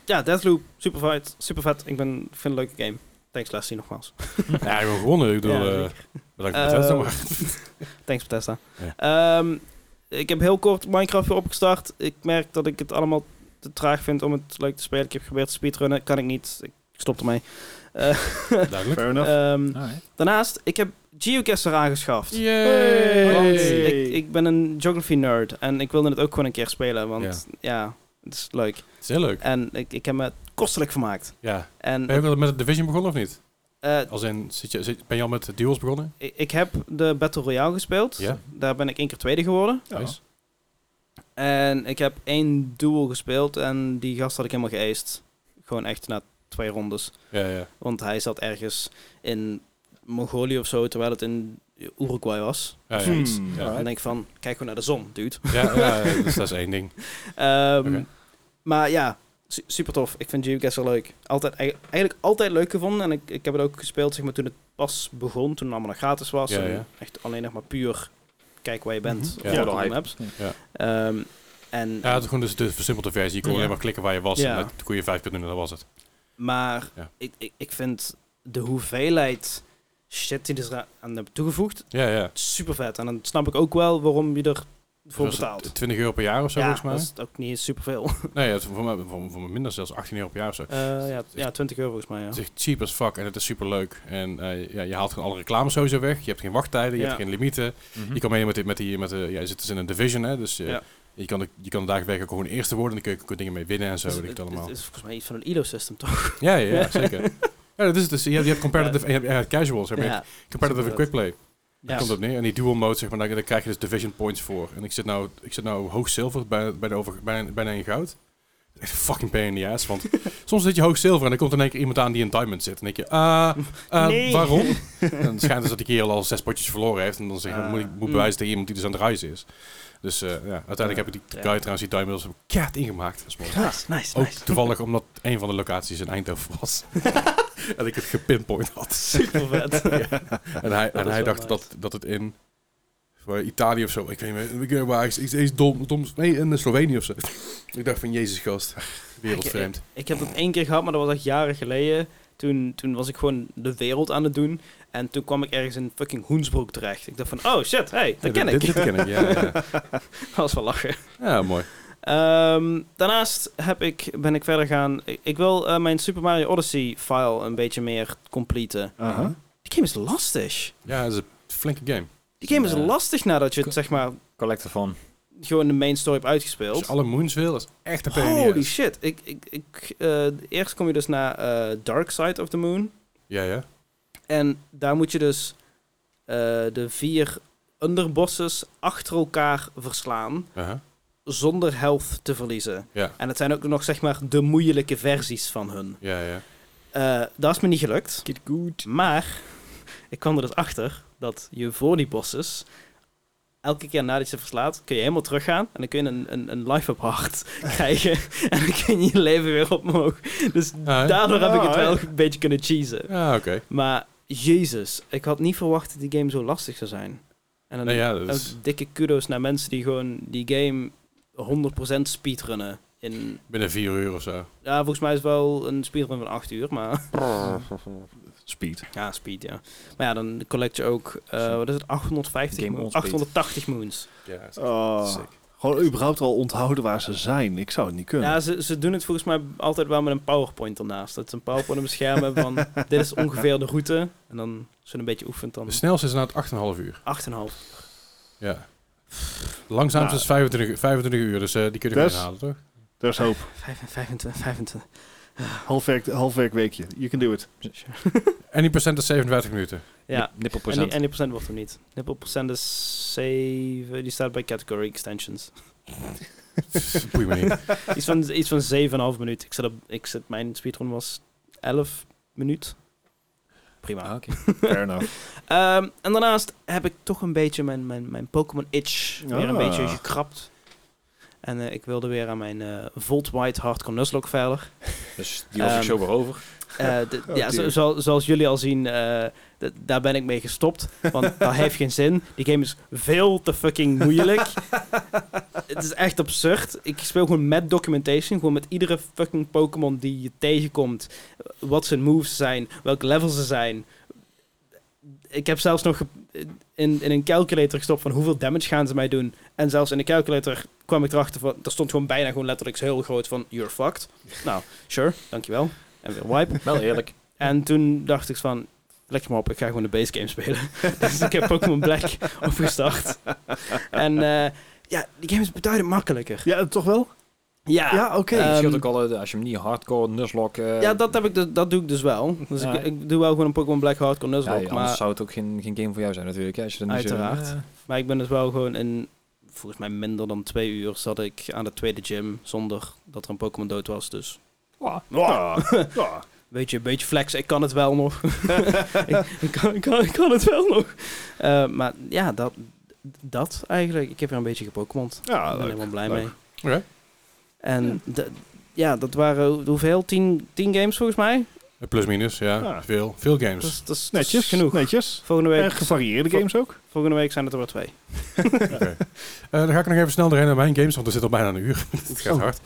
[SPEAKER 3] ja, Deathloop, super vet. Super vet. Ik ben, ik vind het een leuke game. Thanks Leslie nogmaals.
[SPEAKER 1] Ja, ik ben gewonnen. Ik bedoel,
[SPEAKER 3] Ja,
[SPEAKER 1] eh,
[SPEAKER 3] zeker.
[SPEAKER 1] bedankt voor het
[SPEAKER 3] Eh,
[SPEAKER 1] maar.
[SPEAKER 3] Thanks Bethesda. Ehm, ik heb heel kort Minecraft weer opgestart. Ik merk dat ik het allemaal te traag vind om het leuk te spelen. Ik heb geprobeerd te speedrunnen. Kan ik niet. Ik stop ermee. Eh,
[SPEAKER 1] Duidelijk.
[SPEAKER 2] Fair enough.
[SPEAKER 3] ehm,
[SPEAKER 4] Alright.
[SPEAKER 3] daarnaast, ik heb Geocaster aangeschaft.
[SPEAKER 1] Yay!
[SPEAKER 3] Want
[SPEAKER 2] Hey.
[SPEAKER 3] ik, ik ben een geography nerd. En ik wilde het ook gewoon een keer spelen. Want ja, het is leuk.
[SPEAKER 1] Het is heel leuk.
[SPEAKER 3] En ik, ik heb me kostelijk vermaakt.
[SPEAKER 1] Ja.
[SPEAKER 3] En
[SPEAKER 1] Ben je ook al met de Division begonnen of niet?
[SPEAKER 3] eh,
[SPEAKER 1] Als in, zit je, zit- ben je al met de duels begonnen?
[SPEAKER 3] Ik ik heb de Battle Royale gespeeld.
[SPEAKER 1] Ja.
[SPEAKER 3] Daar ben ik één keer tweede geworden.
[SPEAKER 2] Ja.
[SPEAKER 1] Nice.
[SPEAKER 3] En ik heb één duel gespeeld en die gast had ik helemaal geaced. Gewoon echt na twee rondes.
[SPEAKER 1] Ja, ja.
[SPEAKER 3] Want hij zat ergens in Mongolië of zo, terwijl het in Uruguay was.
[SPEAKER 1] Ja, ja.
[SPEAKER 2] Hmm.
[SPEAKER 1] Ja.
[SPEAKER 3] En dan denk ik van, kijk gewoon naar de zon, dude.
[SPEAKER 1] Ja, ja, ja, dus dat is één ding.
[SPEAKER 3] Ehm,
[SPEAKER 1] Oké.
[SPEAKER 3] Maar ja, su- super tof. Ik vind Geocacher leuk. Altijd, eigenlijk altijd leuk gevonden. En ik, ik heb het ook gespeeld zeg maar, toen het pas begon, toen het allemaal nog gratis was.
[SPEAKER 1] Ja,
[SPEAKER 3] en
[SPEAKER 1] ja. Mhm.
[SPEAKER 3] Echt alleen nog maar puur kijk waar je bent.
[SPEAKER 1] Ja.
[SPEAKER 3] Of
[SPEAKER 1] Ja,
[SPEAKER 3] wat
[SPEAKER 4] de
[SPEAKER 3] je
[SPEAKER 4] hype.
[SPEAKER 3] hebt.
[SPEAKER 1] Ja.
[SPEAKER 3] Ehm, en,
[SPEAKER 1] Ja, het is gewoon dus de versimpelde versie. Je kon
[SPEAKER 4] Ja.
[SPEAKER 1] alleen maar klikken waar je was.
[SPEAKER 3] Ja.
[SPEAKER 1] En dat kon je vijf keer doen en dat was het.
[SPEAKER 3] Maar
[SPEAKER 1] Ja.
[SPEAKER 3] ik, ik, ik vind de hoeveelheid shit die er aan hebben toegevoegd
[SPEAKER 1] Ja, ja.
[SPEAKER 3] super vet. En dan snap ik ook wel waarom je er voor
[SPEAKER 1] Dat was
[SPEAKER 3] betaalt.
[SPEAKER 1] het 20 euro per jaar of zo,
[SPEAKER 3] ja, dat
[SPEAKER 1] volgens
[SPEAKER 3] is ook niet superveel.
[SPEAKER 1] mij. Nee, het is voor, mij, voor, voor mij minder zelfs 18 euro per jaar of zo.
[SPEAKER 3] Eh, ja, ja, 20 euro volgens mij, ja.
[SPEAKER 1] Het is echt cheap as fuck en het is super leuk. En eh, ja, je haalt gewoon alle reclame sowieso weg. Je hebt geen wachttijden, je
[SPEAKER 3] Ja.
[SPEAKER 1] hebt geen limieten.
[SPEAKER 4] Mhm.
[SPEAKER 3] Hm.
[SPEAKER 1] Je kan mee met, die- met die, met de, ja, je zit dus in een division, hè. Dus eh,
[SPEAKER 3] Ja.
[SPEAKER 1] je kan de, je kan de dagen werken ook gewoon eerste worden. En dan kun je, kun je dingen mee winnen en zo.
[SPEAKER 3] Dus
[SPEAKER 1] weet ik het
[SPEAKER 3] het-
[SPEAKER 1] allemaal.
[SPEAKER 3] Het is volgens mij iets van een ILO-system, toch?
[SPEAKER 1] Ja, ja, ja, zeker. Ja, dat is het. Dus je hebt, je hebt competitive en je hebt, je hebt casuals. Heb je
[SPEAKER 3] Ja.
[SPEAKER 1] competitive en
[SPEAKER 3] supervet.
[SPEAKER 1] quickplay. Daar komt het op neer. En die dual mode, zeg maar, daar, daar krijg je dus division points voor. En ik zit nou, ik zit nou hoog zilver, bij, bij de over, bijna, bijna in goud. Echt een fucking pain in the ass, want soms zit je hoog zilver en dan komt in één keer iemand aan die in diamond zit. En dan denk je, ah, eh,
[SPEAKER 3] Nee.
[SPEAKER 1] waarom? en dan schijnt dus dat die kerel al zes potjes verloren heeft. En dan zeg je,
[SPEAKER 3] Ah.
[SPEAKER 1] moet ik moet
[SPEAKER 3] Mm.
[SPEAKER 1] bewijzen tegen iemand die dus aan het reizen is. Dus eh, ja, uiteindelijk heb ik die
[SPEAKER 3] Ja.
[SPEAKER 1] guy trouwens die diamond als kaart ingemaakt. Dat is mooi.
[SPEAKER 3] Nice, nice,
[SPEAKER 1] Ook
[SPEAKER 3] nice.
[SPEAKER 1] toevallig omdat een van de locaties in Eindhoven was. en ik het gepinpoint had.
[SPEAKER 3] Super vet.
[SPEAKER 1] En hij,
[SPEAKER 3] Dat
[SPEAKER 1] en
[SPEAKER 3] is
[SPEAKER 1] hij
[SPEAKER 3] wel
[SPEAKER 1] dacht
[SPEAKER 3] nice.
[SPEAKER 1] dat, dat het in voor Italië of zo, ik weet niet meer, ik weet niet waar, iets, iets, iets dom, doms, nee, in eh, Slovenië of zo. Ik dacht van, jezus gast, wereldvreemd.
[SPEAKER 3] Ik heb dat één keer gehad, maar dat was echt jaren geleden. Toen, toen was ik gewoon de wereld aan het doen. En toen kwam ik ergens in fucking Hoensbroek terecht. Ik dacht van, oh shit, hey, dat
[SPEAKER 1] Ja,
[SPEAKER 3] ken
[SPEAKER 1] dit,
[SPEAKER 3] ik.
[SPEAKER 1] Dit ken ik, ja. ja.
[SPEAKER 3] Dat was wel lachen.
[SPEAKER 1] ja mooi.
[SPEAKER 3] Ehm, daarnaast heb ik, ben ik verder gaan... Ik, ik wil eh, mijn Super Mario Odyssey file een beetje meer completen.
[SPEAKER 2] Aha.
[SPEAKER 3] Die game is lastig.
[SPEAKER 1] Ja, het is een flinke game.
[SPEAKER 3] Die game is
[SPEAKER 4] Ja.
[SPEAKER 3] lastig nadat je het, zeg maar,
[SPEAKER 4] Collector van.
[SPEAKER 3] gewoon de main story hebt uitgespeeld.
[SPEAKER 1] Als je alle moons wil, dat is echt een pain in the
[SPEAKER 3] Holy
[SPEAKER 1] ass.
[SPEAKER 3] shit. Ik, ik, ik, eh, eerst kom je dus naar eh, Dark Side of the Moon.
[SPEAKER 1] Ja, ja.
[SPEAKER 3] En daar moet je dus eh, de vier underbosses achter elkaar verslaan.
[SPEAKER 1] Aha.
[SPEAKER 3] Zonder health te verliezen.
[SPEAKER 1] Ja.
[SPEAKER 3] En het zijn ook nog zeg maar de moeilijke versies van hun.
[SPEAKER 1] Ja, ja.
[SPEAKER 3] Eh, dat is me niet gelukt.
[SPEAKER 4] Kid Good.
[SPEAKER 3] Maar ik kwam er dus achter dat je voor die bosses. Elke keer nadat je ze verslaat, kun je helemaal teruggaan. En dan kun je een, een, een life-up hart krijgen. En dan kun je je leven weer omhoog. Dus
[SPEAKER 1] Ah, ja.
[SPEAKER 3] daardoor heb ik het
[SPEAKER 2] Ah,
[SPEAKER 3] wel een beetje kunnen cheesen.
[SPEAKER 1] Ja, oké.
[SPEAKER 3] Maar jezus, ik had niet verwacht dat die game zo lastig zou zijn. En dan
[SPEAKER 1] Nou ja, dat
[SPEAKER 3] ook
[SPEAKER 1] is,
[SPEAKER 3] dikke kudos naar mensen die gewoon die game 100% speedrunnen. In,
[SPEAKER 1] binnen vier uur of zo.
[SPEAKER 3] ja, volgens mij is het wel een speedrun van 8 uur, maar...
[SPEAKER 2] Speed.
[SPEAKER 3] Ja, speed, ja. Maar ja, dan collect je ook, eh, wat is het, 850
[SPEAKER 4] Game
[SPEAKER 3] moons,
[SPEAKER 4] on speed.
[SPEAKER 3] 880 moons.
[SPEAKER 1] Ja,
[SPEAKER 2] Oh.
[SPEAKER 1] Sick.
[SPEAKER 2] Gewoon überhaupt al onthouden waar ze zijn. Ik zou het niet kunnen.
[SPEAKER 3] Ja, ze, ze doen het volgens mij altijd wel met een powerpoint ernaast. Dat ze een powerpoint op het scherm hebben van, dit is ongeveer de route. En dan, als je een beetje oefent, dan
[SPEAKER 1] De
[SPEAKER 4] Dus
[SPEAKER 1] snelste is na het 8,5 uur.
[SPEAKER 3] 8,5.
[SPEAKER 1] Ja. Langzaamste
[SPEAKER 2] Nou.
[SPEAKER 1] is 25, 25 uur, dus eh, die kun je
[SPEAKER 2] Dus-
[SPEAKER 1] dus, halen, toch?
[SPEAKER 2] Daar is hoop.
[SPEAKER 3] 25, 25.
[SPEAKER 2] Halfwerk, halfwerk weekje. You can do it.
[SPEAKER 1] En die percent is 57 minuten.
[SPEAKER 3] Ja, En die,
[SPEAKER 4] Nippelprocent.
[SPEAKER 3] en die procent wordt hem niet. Nippelprocent is 7. Die staat bij category extensions.
[SPEAKER 1] Boeien me niet.
[SPEAKER 3] Iets van, iets van 7,5 minuut. Ik zit op, ik zit, mijn speedrun was 11 minuut. Prima.
[SPEAKER 4] Ah, oké.
[SPEAKER 2] Fair enough.
[SPEAKER 3] Ehm, en daarnaast heb ik toch een beetje mijn, mijn, mijn Pokémon Itch weer
[SPEAKER 2] Ah.
[SPEAKER 3] een beetje gekrapt. En eh, ik wilde weer aan mijn eh, Volt White Hardcore Nuzlocke verder.
[SPEAKER 4] Dus die was ik
[SPEAKER 3] Ehm,
[SPEAKER 4] zo weer over.
[SPEAKER 3] Eh, de-
[SPEAKER 2] Oh,
[SPEAKER 3] ja, zo-
[SPEAKER 2] dear.
[SPEAKER 3] zoals- zoals jullie al zien, eh, d- daar ben ik mee gestopt. Want dat heeft geen zin. Die game is veel te fucking moeilijk. Het is echt absurd. Ik speel gewoon met documentation. Gewoon met iedere fucking Pokémon die je tegenkomt. eh, Wat zijn moves zijn. Welke levels ze zijn. Ik heb zelfs nog ge- in, in een calculator gestopt van hoeveel damage gaan ze mij doen. En zelfs in de calculator kwam ik erachter van... Er stond gewoon bijna gewoon letterlijk heel groot van... You're fucked. Nou, sure. Dankjewel. En weer wipe.
[SPEAKER 4] Wel eerlijk.
[SPEAKER 3] En toen dacht ik van, lekker maar op, ik ga gewoon de base game spelen. dus ik heb Pokémon Black opgestart. en eh, ja, die game is beduidend makkelijker.
[SPEAKER 2] Ja, toch wel?
[SPEAKER 3] Ja,
[SPEAKER 2] Ja, oké.
[SPEAKER 4] Het scheelt
[SPEAKER 3] Ehm,
[SPEAKER 4] ook al eh, als je hem niet hardcore nuzlocke... eh,
[SPEAKER 3] ja dat, heb ik, dus- dat doe ik dus wel. Dus
[SPEAKER 4] Ja.
[SPEAKER 3] ik, ik doe wel gewoon een Pokémon Black Hardcore
[SPEAKER 4] ja,
[SPEAKER 3] Nuzlocke.
[SPEAKER 4] anders
[SPEAKER 3] maar,
[SPEAKER 4] zou het ook geen, geen game voor jou zijn natuurlijk. hè, Als je er niet zo-
[SPEAKER 3] Uiteraard.
[SPEAKER 4] eh,
[SPEAKER 3] maar ik ben dus wel gewoon in, volgens mij minder dan twee uur, zat ik aan de tweede gym zonder dat er een Pokémon dood was. Dus
[SPEAKER 2] Ah. Ah.
[SPEAKER 3] weet je, een beetje flex, ik kan het wel nog. ik, ik kan, ik, kan, ik kan het wel nog. Eh, maar ja, dat, dat eigenlijk. Ik heb er een beetje gepokémond.
[SPEAKER 2] Ja,
[SPEAKER 3] ik ben
[SPEAKER 2] Ah, leuk.
[SPEAKER 3] helemaal blij
[SPEAKER 2] leuk.
[SPEAKER 3] mee.
[SPEAKER 1] Oké.
[SPEAKER 3] En de- ja, dat waren hoeveel? Tien, tien games volgens mij.
[SPEAKER 1] Plus minus, ja.
[SPEAKER 2] Ja.
[SPEAKER 1] Veel, veel games.
[SPEAKER 3] Dat is, dat is- dat is
[SPEAKER 2] Netjes.
[SPEAKER 3] genoeg.
[SPEAKER 2] Netjes.
[SPEAKER 3] Volgende
[SPEAKER 2] En
[SPEAKER 3] week,
[SPEAKER 2] gevarieerde
[SPEAKER 3] Vo-
[SPEAKER 2] games ook.
[SPEAKER 3] volgende week zijn het er wel twee.
[SPEAKER 1] Eh, dan ga ik nog even snel doorheen naar mijn games, want er zit al bijna een uur. het gaat
[SPEAKER 2] Oh.
[SPEAKER 1] hard.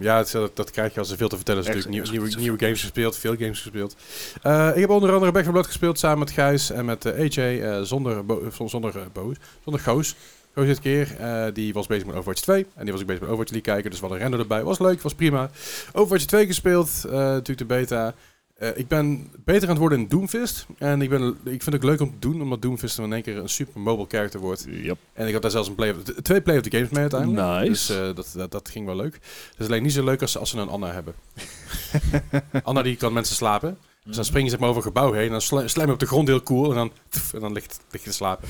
[SPEAKER 1] ja, het is- dat, dat krijg je als er veel te vertellen is.
[SPEAKER 2] Echt,
[SPEAKER 1] natuurlijk
[SPEAKER 2] echt,
[SPEAKER 1] nieuwe, nieuwe,
[SPEAKER 2] echt.
[SPEAKER 1] nieuwe games gespeeld, veel games gespeeld. Eh, ik heb onder andere Back 4 Blood gespeeld samen met Gijs en met eh, AJ eh, zonder, Bo- eh, zonder, zonder, eh, Boos, zonder Goos. Goos dit keer, eh, die was bezig met Overwatch 2 en die was ik bezig met Overwatch League kijken, dus we hadden render erbij. Was leuk, was prima. Overwatch 2 gespeeld, eh, natuurlijk de beta. Eh, ik ben beter aan het worden in Doomfist. En ik, ben, ik vind het ook leuk om te doen, omdat Doomfist dan in één keer een super mobile character wordt.
[SPEAKER 2] Yep.
[SPEAKER 1] En ik had daar zelfs een play of, t- twee Play of the Games mee uiteindelijk.
[SPEAKER 2] Nice.
[SPEAKER 1] Dus eh, dat, dat, dat ging wel leuk. Dus Het is alleen niet zo leuk als, als ze een Anna hebben. Anna die kan mensen slapen. Dus
[SPEAKER 2] Mhm.
[SPEAKER 1] dan spring je zeg maar over een gebouw heen. En dan sla- slam je op de grond heel cool. En dan, tf, en dan ligt, ligt je te slapen.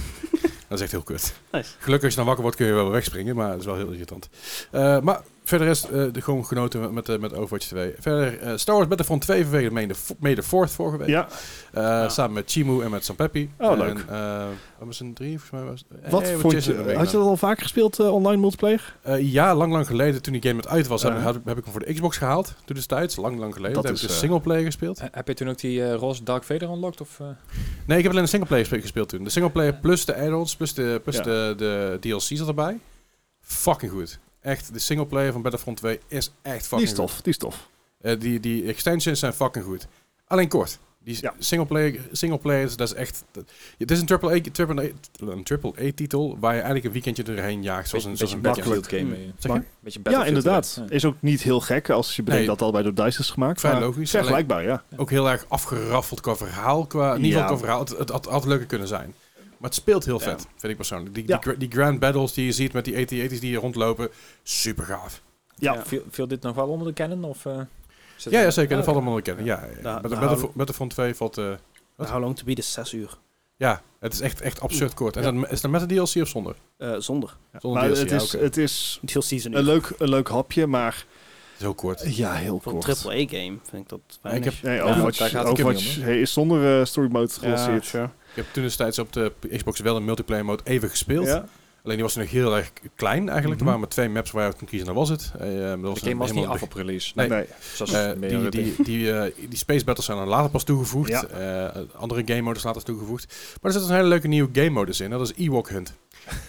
[SPEAKER 1] dat is echt heel kut.
[SPEAKER 3] Nice.
[SPEAKER 1] Gelukkig als je dan wakker wordt kun je wel wegspringen. Maar dat is wel heel irritant. Eh, maar verder is eh, de gewoon genoten met, eh, met Overwatch 2. Verder eh, Star Wars Battlefront 2 vanwege May the- May the 4th vorige week.
[SPEAKER 2] Ja.
[SPEAKER 1] Eh, Samen met Chimu en met Sam Peppy.
[SPEAKER 2] Oh,
[SPEAKER 1] En,
[SPEAKER 2] leuk.
[SPEAKER 1] eh, Amazon 3 volgens mij was het.
[SPEAKER 2] Wat
[SPEAKER 1] Eh,
[SPEAKER 2] vond
[SPEAKER 1] Jason
[SPEAKER 2] je?
[SPEAKER 1] Redeman.
[SPEAKER 2] Had je dat al vaker gespeeld eh, online multiplayer?
[SPEAKER 1] Eh, ja, lang lang geleden, toen die game met uit was, heb-
[SPEAKER 2] Eh.
[SPEAKER 1] heb, heb ik hem voor de Xbox gehaald. Toen destijds, lang lang geleden.
[SPEAKER 2] Dat
[SPEAKER 1] Dat heb
[SPEAKER 2] is,
[SPEAKER 1] ik de
[SPEAKER 2] eh,
[SPEAKER 1] singleplayer gespeeld.
[SPEAKER 4] Eh, heb je toen ook die eh, roze Dark Vader unlocked? Of, eh?
[SPEAKER 1] Nee, ik heb alleen de singleplayer spe- gespeeld toen. De singleplayer plus de add-ons, plus, de, plus
[SPEAKER 2] Ja.
[SPEAKER 1] de, de DLC zat erbij. Fucking goed. Echt, de singleplayer van Battlefront 2 is echt
[SPEAKER 2] Die
[SPEAKER 1] fucking
[SPEAKER 2] is tof. Die is tof.
[SPEAKER 1] goed. Eh, die, die extensions zijn fucking goed. Alleen kort. Die
[SPEAKER 2] Ja.
[SPEAKER 1] singleplayer, singleplayers, dat is echt... dat- het is een AAA, triple een AAA titel waar je eigenlijk een weekendje doorheen jaagt. Zoals een, zoals een Batman.
[SPEAKER 4] Battlefield game. eh,
[SPEAKER 1] Zeg je?
[SPEAKER 4] beetje
[SPEAKER 2] Ja,
[SPEAKER 4] Battlefield,
[SPEAKER 2] inderdaad.
[SPEAKER 4] eh.
[SPEAKER 2] Is ook niet heel gek als je bedenkt
[SPEAKER 1] Nee.
[SPEAKER 2] dat het al bij door DICE is gemaakt.
[SPEAKER 1] Vrij
[SPEAKER 2] maar
[SPEAKER 1] logisch. alleen-
[SPEAKER 2] Vergelijkbaar, ja.
[SPEAKER 1] Ook heel erg afgeraffeld qua verhaal. Qua, in ieder geval
[SPEAKER 2] Ja.
[SPEAKER 1] qua verhaal. Het, het had, had leuker kunnen zijn. Maar het speelt heel vet, vind ik persoonlijk. Die,
[SPEAKER 2] Ja.
[SPEAKER 1] die, gra- die grand battles die je ziet met die AT-80's die hier rondlopen, super gaaf.
[SPEAKER 2] Ja.
[SPEAKER 3] Ja.
[SPEAKER 4] Viel, viel dit nog wel onder de canon? Of, eh, zit
[SPEAKER 1] Ja,
[SPEAKER 4] er-
[SPEAKER 1] ja, zeker.
[SPEAKER 4] Ah,
[SPEAKER 1] Dat valt
[SPEAKER 4] oké.
[SPEAKER 1] allemaal te kennen. Ja, ja. Met-
[SPEAKER 3] Nou, nou,
[SPEAKER 1] met de
[SPEAKER 3] nou,
[SPEAKER 1] vo- Met de Front 2 valt... eh, Wat?
[SPEAKER 3] How long to beat is zes uur.
[SPEAKER 1] ja, het is echt, echt absurd kort. En
[SPEAKER 3] Ja.
[SPEAKER 1] dan, is dat met de DLC of zonder?
[SPEAKER 3] Eh, zonder.
[SPEAKER 1] Zonder
[SPEAKER 2] Maar
[SPEAKER 1] DLC,
[SPEAKER 2] het
[SPEAKER 1] ja,
[SPEAKER 2] is,
[SPEAKER 1] oké.
[SPEAKER 2] het is
[SPEAKER 3] Heel season
[SPEAKER 2] een
[SPEAKER 3] uur.
[SPEAKER 2] Eh, leuk, een leuk hapje, maar
[SPEAKER 1] Het is heel kort.
[SPEAKER 2] ja, heel
[SPEAKER 3] Voor een
[SPEAKER 2] kort.
[SPEAKER 3] AAA-game vind ik dat weinig.
[SPEAKER 1] heb-
[SPEAKER 2] Nee,
[SPEAKER 4] Ja,
[SPEAKER 2] Overwatch,
[SPEAKER 4] daar gaat het
[SPEAKER 2] Overwatch
[SPEAKER 4] niet om,
[SPEAKER 2] hey, is zonder eh, story mode gelanceerd.
[SPEAKER 3] sure.
[SPEAKER 1] Ik heb toen destijds op de Xbox wel een multiplayer mode even gespeeld.
[SPEAKER 2] Ja.
[SPEAKER 1] Alleen die was nog heel erg klein eigenlijk.
[SPEAKER 2] Mhm.
[SPEAKER 1] Er waren maar twee maps waar je uit kon kiezen. En dat was het. Eh, dat was
[SPEAKER 4] De game was niet
[SPEAKER 1] helemaal
[SPEAKER 4] af op release.
[SPEAKER 1] Nee.
[SPEAKER 2] Nee.
[SPEAKER 4] Zoals
[SPEAKER 1] Eh,
[SPEAKER 4] meer
[SPEAKER 1] die,
[SPEAKER 4] de-
[SPEAKER 1] die, die, eh, die Space Battles zijn er later pas toegevoegd.
[SPEAKER 2] Ja.
[SPEAKER 1] Eh, andere game modes later toegevoegd. Maar er zit een hele leuke nieuwe game modus in. Dat is Ewok Hunt.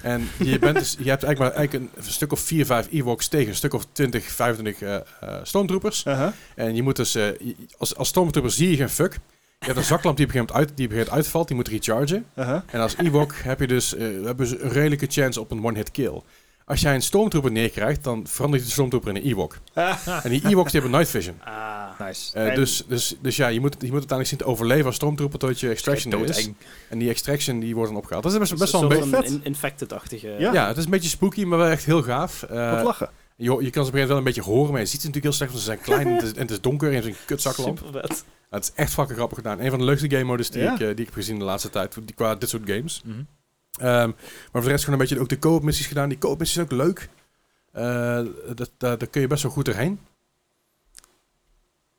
[SPEAKER 1] En je, bent dus, je hebt eigenlijk maar eigenlijk een stuk of 4, 5 Ewoks tegen een stuk of 20, 25 eh eh, stormtroopers.
[SPEAKER 2] Uh-huh.
[SPEAKER 1] En je moet dus, eh, je- als, als stormtrooper zie je geen fuck. Je hebt een zaklamp die op een gegeven moment, uit, die op een gegeven moment uitvalt, die moet rechargen.
[SPEAKER 2] Uh-huh.
[SPEAKER 1] En als Ewok heb je dus eh, hebben ze een redelijke chance op een one-hit kill. Als jij een stormtrooper neerkrijgt, dan verandert de stormtrooper in een Ewok. En die Ewoks die hebben night vision.
[SPEAKER 3] Ah.
[SPEAKER 4] Nice.
[SPEAKER 1] Eh,
[SPEAKER 2] En-
[SPEAKER 1] dus, dus, dus ja, je moet, je moet uiteindelijk zien te overleven als stormtrooper tot je extraction er is.
[SPEAKER 4] Doodeng.
[SPEAKER 1] En die extraction die wordt dan opgehaald. Dat is best, best wel een
[SPEAKER 3] Zo'n
[SPEAKER 1] beetje...
[SPEAKER 2] beetje-
[SPEAKER 3] in- infected-achtige...
[SPEAKER 2] Ja.
[SPEAKER 1] Ja, het is een beetje spooky, maar wel echt heel gaaf. Eh,
[SPEAKER 2] Wat lachen.
[SPEAKER 1] je, ho- je kan ze op een gegeven moment wel een beetje horen, maar je ziet ze natuurlijk heel slecht, want ze zijn klein en het is, en het is donker en het is een kutzaklamp.
[SPEAKER 3] Super vet.
[SPEAKER 1] Nou, het is echt fucking grappig gedaan. Een van de leukste game modes die,
[SPEAKER 2] Ja.
[SPEAKER 1] ik, eh, die ik heb gezien de laatste tijd, die, qua dit soort games.
[SPEAKER 4] Mhm.
[SPEAKER 1] Ehm, maar voor de rest gewoon een beetje ook de co-op missies gedaan. Die co-op missies zijn ook leuk. Eh, dat, dat, daar kun je best wel goed doorheen.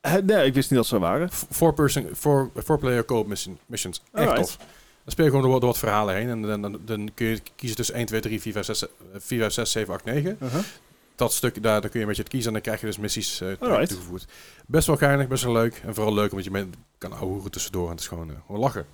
[SPEAKER 2] Eh, nee, ik wist niet dat ze er waren.
[SPEAKER 1] four person, four, four player co-op mission, missions. Echt
[SPEAKER 2] Alright.
[SPEAKER 1] tof. Dan speel je gewoon door, wat- door wat verhalen heen. En dan, dan, dan kun je kiezen tussen 1, 2, 3, 4, 5, 6, 4, 5, 6 7, 8, 9.
[SPEAKER 2] Uh-huh.
[SPEAKER 1] Dat stuk, daar, daar kun je een beetje het kiezen. En dan krijg je dus missies eh,
[SPEAKER 2] Alright.
[SPEAKER 1] toegevoegd. Best wel geinig, best wel leuk. En vooral leuk, omdat je bent, kan ouwehoeren tussendoor. En het is gewoon, eh, gewoon lachen.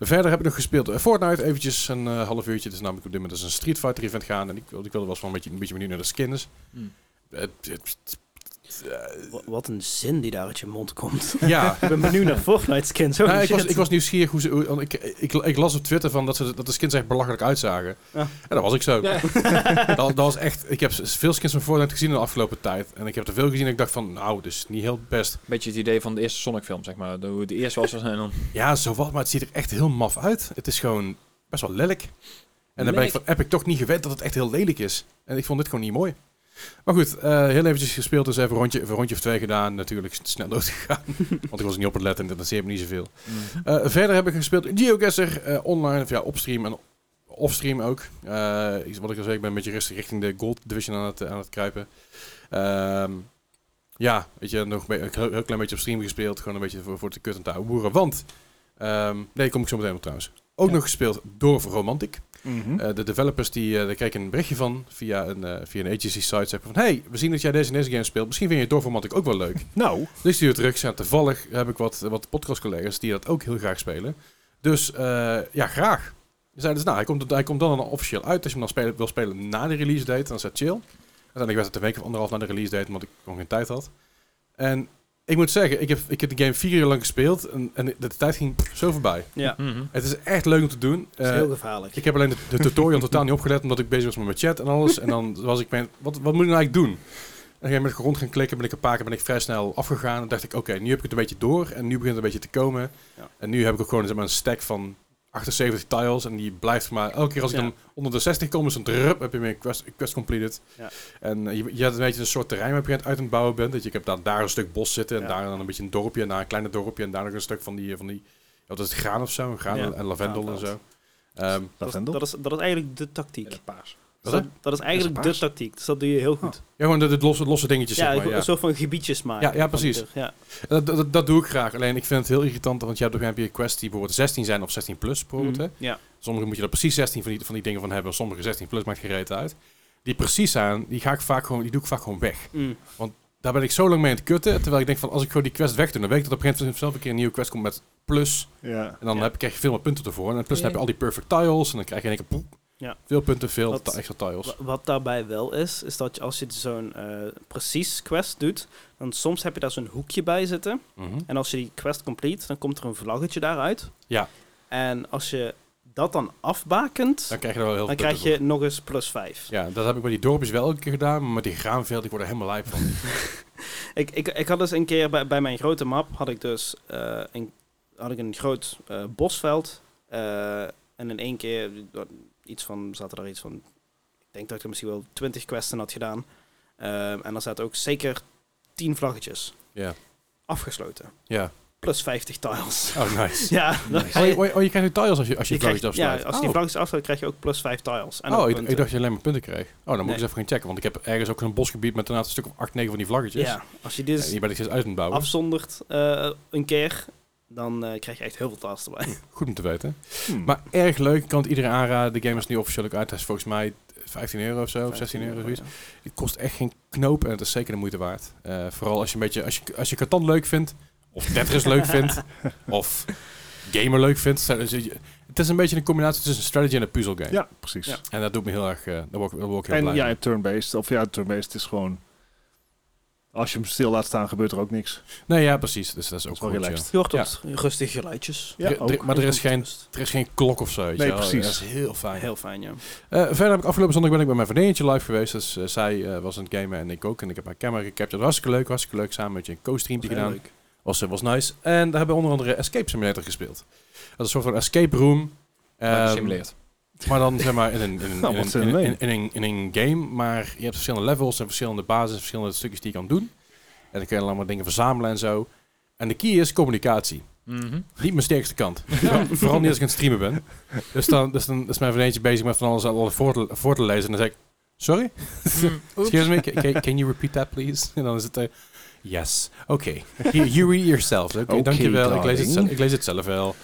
[SPEAKER 1] Verder heb ik nog gespeeld eh, Fortnite. Eventjes een eh, half uurtje. Het is namelijk op dit moment dus een Street Fighter event gaan. En ik, wil- ik wilde wel eens wel een beetje, een beetje benieuwd naar de skins.
[SPEAKER 4] Hmm.
[SPEAKER 1] Het- het- het-
[SPEAKER 3] Wa- Wat een zin die daar uit je mond komt.
[SPEAKER 1] eh, ja,
[SPEAKER 3] ik ben benieuwd naar Fortnite skins. Holy
[SPEAKER 1] Nou, ik, was,
[SPEAKER 3] shit.
[SPEAKER 1] ik was nieuwsgierig hoe ze. hoe- want ik, ik, ik las op Twitter van dat, ze, dat de skins echt belachelijk uitzagen.
[SPEAKER 3] Ja.
[SPEAKER 1] En dat was ik zo. dat, dat was echt. Ik heb s- veel skins van Fortnite gezien in de afgelopen tijd. En ik heb er veel gezien. En ik dacht van, nou, dus niet heel het best.
[SPEAKER 4] Beetje het idee van de eerste Sonic film, zeg maar. De, hoe het de eerste was was en dan...
[SPEAKER 1] Ja, zo wat. Maar het ziet er echt heel maf uit. Het is gewoon best wel lelijk. En dan ben ik van Epic toch niet gewend dat het echt heel lelijk is. En ik vond dit gewoon niet mooi. Maar goed, eh, heel eventjes gespeeld. Dus even een rondje, even een rondje of twee gedaan. Natuurlijk snel doodgegaan. want ik was niet op het letten. En dat zeer me niet zoveel.
[SPEAKER 4] Mhm.
[SPEAKER 1] Eh, verder heb ik gespeeld GeoGuessr eh, online, of ja, op stream en offstream ook. Eh, iets wat ik al zei, ik ben een beetje rustig richting de Gold Division aan het, eh, aan het kruipen. Ehm, ja, weet je, nog een be- een heel, heel klein beetje op stream gespeeld. Gewoon een beetje voor, voor de kut en te ouwehoeren. Want, ehm, nee, kom ik zo meteen op trouwens. Ook
[SPEAKER 4] Ja.
[SPEAKER 1] nog gespeeld door Romantic.
[SPEAKER 2] Mhm.
[SPEAKER 1] Eh, de developers die, eh daar kreeg ik een berichtje van via een, eh, via een agency site. Zeggen van, hey, we zien dat jij deze E en deze game speelt. Misschien vind je het doorformat ook wel leuk.
[SPEAKER 2] nou,
[SPEAKER 1] Dus die terug zijn. Toevallig heb ik wat, wat podcastcollega's die dat ook heel graag spelen. Dus eh, ja, graag. Ze zeiden dus, nou, hij komt, hij komt dan officieel uit. Als je hem dan spelen, wil spelen na de release date, dan is dat chill. Uiteindelijk werd het een week of anderhalf na de release date, omdat ik nog geen tijd had. En ik moet zeggen, ik heb, ik heb de game vier uur lang gespeeld en, en de, de tijd ging zo voorbij.
[SPEAKER 3] Ja,
[SPEAKER 4] Mhm.
[SPEAKER 1] Het is echt leuk om te doen.
[SPEAKER 3] dat is
[SPEAKER 1] Mhm. Eh,
[SPEAKER 3] heel gevaarlijk.
[SPEAKER 1] ik heb alleen de, de tutorial totaal niet opgelet, omdat ik bezig was met mijn chat en alles. En dan was ik, mijn, wat, wat moet ik nou eigenlijk doen? En dan ben ik rond gaan klikken, ben ik een paar keer ben ik vrij snel afgegaan. En dacht ik, oké, nu heb ik het een beetje door en nu begint het een beetje te komen.
[SPEAKER 3] Ja.
[SPEAKER 1] En nu heb ik ook gewoon zeg maar, een stack van 78 tiles en die blijft maar... Elke keer als ik
[SPEAKER 3] Ja.
[SPEAKER 1] dan onder de 60 kom, is het een drup, heb je mijn quest, quest completed.
[SPEAKER 3] Ja.
[SPEAKER 1] En eh, je, je hebt een beetje een soort terrein waar je aan het uit aan het bouwen bent. Dat je ik heb dan daar een stuk bos zitten en
[SPEAKER 3] Ja.
[SPEAKER 1] daar dan een beetje een dorpje en daar een kleiner dorpje. En daar nog een stuk van die, eh, van die wat is het, graan of zo? Graan
[SPEAKER 3] Ja,
[SPEAKER 1] en lavendel en
[SPEAKER 3] graanveld.
[SPEAKER 1] zo. Ehm,
[SPEAKER 3] dat, is, dat, is, dat is eigenlijk de tactiek.
[SPEAKER 4] paars.
[SPEAKER 1] wat
[SPEAKER 3] dat, dat is eigenlijk
[SPEAKER 2] Is het
[SPEAKER 3] de tactiek. Dus dat doe je heel goed.
[SPEAKER 1] Ja, gewoon de, de losse, losse dingetjes,
[SPEAKER 3] ja,
[SPEAKER 1] Oh, dus zeg maar. Ja.
[SPEAKER 3] een soort van gebiedjes maken.
[SPEAKER 1] Ja, ja, precies.
[SPEAKER 3] Van- Ja.
[SPEAKER 1] Dat, dat, dat doe ik graag. Alleen ik vind het heel irritant, want je hebt op een gegeven moment quests die bijvoorbeeld 16 zijn of 16 plus bijvoorbeeld. hè.
[SPEAKER 3] Mm, ja.
[SPEAKER 1] Sommige moet je er precies 16 van die, van die dingen van hebben. Sommige 16 plus maakt gereed uit. Die precies zijn, die, ga ik vaak gewoon, die doe ik vaak gewoon weg.
[SPEAKER 3] Mm.
[SPEAKER 1] Daar ben ik zo lang mee aan het kutten. Terwijl ik denk van, als ik gewoon die quest weg doe, dan weet ik dat op een gegeven moment zelf een keer een nieuwe quest komt met plus.
[SPEAKER 2] ja.
[SPEAKER 1] En dan
[SPEAKER 3] Ja.
[SPEAKER 1] heb, krijg je veel meer punten ervoor. En plus dan heb je al die perfect tiles. En dan krijg je in één keer poep.
[SPEAKER 3] Ja.
[SPEAKER 1] Veel punten, veel
[SPEAKER 3] Wat-
[SPEAKER 1] ta- extra tiles.
[SPEAKER 3] Wa- Wat daarbij wel is, is dat je als je zo'n eh, precies quest doet, dan soms heb je daar zo'n hoekje bij zitten.
[SPEAKER 1] Mhm.
[SPEAKER 3] En als je die quest complete, dan komt er een vlaggetje daaruit.
[SPEAKER 1] Ja.
[SPEAKER 3] En als je dat dan afbakent,
[SPEAKER 1] Dan krijg je er wel heel
[SPEAKER 3] dan
[SPEAKER 1] veel
[SPEAKER 3] krijg
[SPEAKER 1] punten
[SPEAKER 3] je nog eens plus 5.
[SPEAKER 1] voor. Ja, dat heb ik bij die dorpjes wel elke keer gedaan. Maar met die graanveld, ik word er helemaal lijp van.
[SPEAKER 3] Ik, ik, ik had dus een keer bij, bij mijn grote map had ik dus eh, een, had ik een groot eh, bosveld. eh, en in één keer eh, iets van, zaten daar iets van. Ik denk dat ik er misschien wel twintig questen had gedaan. Ehm, en er zaten ook zeker tien vlaggetjes.
[SPEAKER 1] Ja.
[SPEAKER 3] Afgesloten.
[SPEAKER 1] Ja.
[SPEAKER 3] Plus 50 tiles.
[SPEAKER 1] Oh, nice.
[SPEAKER 3] ja, dan ga
[SPEAKER 1] Oh,
[SPEAKER 3] je-
[SPEAKER 1] je, oh, je- oh, je krijgt nu tiles als je, als je, vlaggetjes
[SPEAKER 3] je krijgt- ja,
[SPEAKER 1] afsluit.
[SPEAKER 3] als je die vlaggetjes afsluit, krijg je ook plus 5 tiles. En
[SPEAKER 1] oh,
[SPEAKER 3] ook
[SPEAKER 1] ik, ik
[SPEAKER 3] punten.
[SPEAKER 1] dacht je alleen maar punten kreeg. Oh, dan moet
[SPEAKER 3] Nee.
[SPEAKER 1] ik eens even gaan checken. Want ik heb ergens ook een bosgebied met inderdaad een stuk of 8, 9 van die vlaggetjes.
[SPEAKER 3] Ja, Dus als je dit
[SPEAKER 1] En die ben ik steeds uit aan het bouwen.
[SPEAKER 3] afzondert eh, een keer, dan eh, krijg je echt heel veel tiles erbij.
[SPEAKER 1] Goed om te weten.
[SPEAKER 2] Hmm.
[SPEAKER 1] Maar erg leuk. Ik kan het iedereen aanraden. De game is nu officieel ook uit. Hij is volgens mij 15 euro of zo. Of 16 Oh, euro. Zoiets. Het kost echt geen knoop. En het is zeker de moeite waard. Eh, vooral als je een beetje... Als je, als je Catan leuk vindt. Of Tetris leuk vindt. Of gamer leuk vindt. zijn- is- Het is een beetje een combinatie tussen een strategy en een puzzelgame.
[SPEAKER 2] ja, precies.
[SPEAKER 3] Ja.
[SPEAKER 1] En dat doet me heel erg... eh, daar word ik, daar word ik heel
[SPEAKER 2] En
[SPEAKER 1] blij
[SPEAKER 2] ja,
[SPEAKER 1] mee.
[SPEAKER 2] het turn-based. Of ja, turn-based is gewoon... Als je hem stil laat staan, gebeurt er ook niks.
[SPEAKER 1] Nee, ja, precies. Dus dat is ook
[SPEAKER 2] wel
[SPEAKER 1] goed, ja.
[SPEAKER 2] relaxed.
[SPEAKER 3] Je hoort dat rustig geluidjes.
[SPEAKER 1] Ja,
[SPEAKER 2] ook.
[SPEAKER 1] maar er is geen, er is geen klok of zo. weet
[SPEAKER 2] Nee,
[SPEAKER 1] je wel.
[SPEAKER 2] precies.
[SPEAKER 1] Dat is heel fijn.
[SPEAKER 3] Heel fijn, ja.
[SPEAKER 1] Eh, verder heb ik afgelopen zondag ben ik bij mijn vriendinnetje live geweest. Dus eh, zij eh, was aan het gamen en ik ook. En ik heb haar camera gecaptured. Hartstikke leuk, hartstikke leuk. Samen met je een co-streampje
[SPEAKER 3] Heel
[SPEAKER 1] gedaan.
[SPEAKER 3] leuk.
[SPEAKER 1] Was, eh, was nice. En daar hebben we onder andere Escape Simulator gespeeld. Dat is een soort van escape room. Ehm,
[SPEAKER 4] gesimuleerd.
[SPEAKER 1] maar dan zeg maar in een, in een,
[SPEAKER 2] Nou,
[SPEAKER 1] in
[SPEAKER 2] wat
[SPEAKER 1] een-
[SPEAKER 2] zin
[SPEAKER 1] in,
[SPEAKER 2] alleen.
[SPEAKER 1] een- in een, in een game. Maar je hebt verschillende levels en verschillende bases, verschillende stukjes die je kan doen. En dan kun je allemaal dingen verzamelen en zo. En de key is communicatie.
[SPEAKER 4] Mhm.
[SPEAKER 1] Niet mijn sterkste kant. Vooral- Vooral niet als ik aan het streamen ben. Dus dan, dus dan is mijn vriendje bezig met van alles al voor te, voor te lezen. En dan zeg ik, sorry? Excuse me, ca- ca- can you repeat that please? En dan is het, eh, yes, oké. You, you read yourself. Oké,
[SPEAKER 2] Oké,
[SPEAKER 1] dankjewel. Ik lees, het, zelf-
[SPEAKER 2] darling.
[SPEAKER 1] ik lees het zelf wel.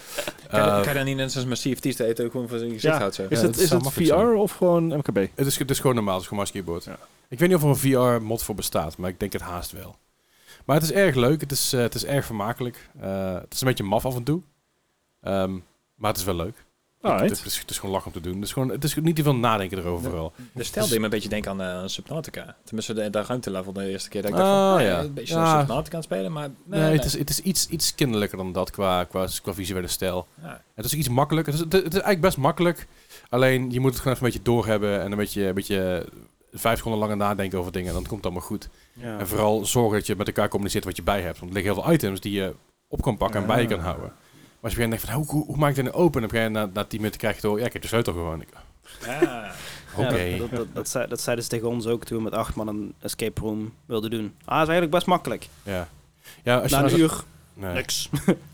[SPEAKER 4] Kan je-
[SPEAKER 1] Eh,
[SPEAKER 4] kan je dan niet net zoals mijn CFT's te eten ook gewoon voor zijn gezicht
[SPEAKER 2] Ja.
[SPEAKER 4] houdt zo?
[SPEAKER 2] Is
[SPEAKER 1] Ja,
[SPEAKER 2] het,
[SPEAKER 1] dat
[SPEAKER 2] is
[SPEAKER 1] zou
[SPEAKER 2] het VR
[SPEAKER 1] makkelijk
[SPEAKER 2] of gewoon MKB?
[SPEAKER 1] het, is, het is gewoon normaal, het is gewoon mouse keyboard.
[SPEAKER 2] Ja.
[SPEAKER 1] Ik weet niet of er een VR-mod voor bestaat, maar ik denk het haast wel. Maar het is erg leuk, het is, eh, het is erg vermakelijk. Eh, het is een beetje maf af en toe. Ehm, maar het is wel leuk.
[SPEAKER 2] Alright.
[SPEAKER 1] Het, is, het is gewoon lach om te doen. Het is, gewoon, het is niet te veel nadenken erover
[SPEAKER 4] Nee.
[SPEAKER 1] vooral.
[SPEAKER 4] De stijl deed me een beetje denken aan eh, Subnautica. Tenminste, de, de ruimtelevel de eerste keer dat ik
[SPEAKER 1] Ah,
[SPEAKER 4] dacht van, ah,
[SPEAKER 1] ja.
[SPEAKER 4] een beetje
[SPEAKER 1] Ja.
[SPEAKER 4] zoals Subnautica aan het spelen, maar
[SPEAKER 1] Nee, Het, is, het is iets, iets kinderlijker dan dat qua, qua, qua visuele stijl.
[SPEAKER 4] Ja.
[SPEAKER 1] Het is ook iets makkelijker. Het is, het is eigenlijk best makkelijk. Alleen je moet het gewoon even een beetje doorhebben en een beetje, een beetje vijf seconden langer nadenken over dingen. Dan komt het allemaal goed.
[SPEAKER 3] Ja.
[SPEAKER 1] En vooral zorgen dat je met elkaar communiceert wat je bij hebt. Want er liggen heel veel items die je op kan pakken en bij je kan houden. Maar als je begint denkt van hoe, hoe, hoe maak ik dit nou open? En op een gegeven moment na, na tien minuten krijg je door, ja ik heb de sleutel gewoon. Ik-
[SPEAKER 4] Ja.
[SPEAKER 1] Oké.
[SPEAKER 3] Ja, dat, dat, dat, zei, dat zeiden ze tegen ons ook toen we met acht man een escape room wilden doen. Ah, dat is eigenlijk best makkelijk.
[SPEAKER 1] Ja. Ja, als je,
[SPEAKER 3] Na
[SPEAKER 1] als-
[SPEAKER 3] een uur,
[SPEAKER 1] nee.
[SPEAKER 3] niks.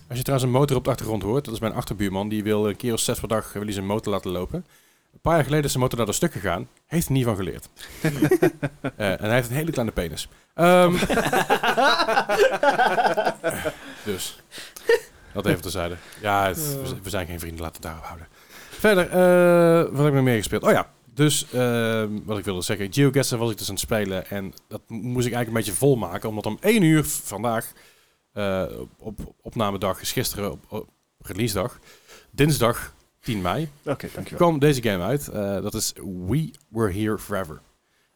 [SPEAKER 1] Als je trouwens een motor op de achtergrond hoort, dat is mijn achterbuurman, die wil een keer of zes per dag eh, wil hij zijn motor laten lopen. Een paar jaar geleden is zijn motor naar de stuk gegaan, heeft er niet van geleerd. Eh, en hij heeft een hele kleine penis. Ehm, dus, dat even terzijde. Ja, het- we, z- we zijn geen vrienden, laten we het daarop houden. Verder, eh, wat heb ik nog meer gespeeld? Oh ja, dus eh, wat ik wilde zeggen. GeoGuessr was ik dus aan het spelen. En dat mo- moest ik eigenlijk een beetje volmaken. Omdat om 1 uur v- vandaag, eh, op, op opnamedag, is gisteren op, op releasedag, dinsdag 10 mei,
[SPEAKER 2] Oké, dankjewel.
[SPEAKER 1] kwam deze game uit. Eh, dat is We Were Here Forever.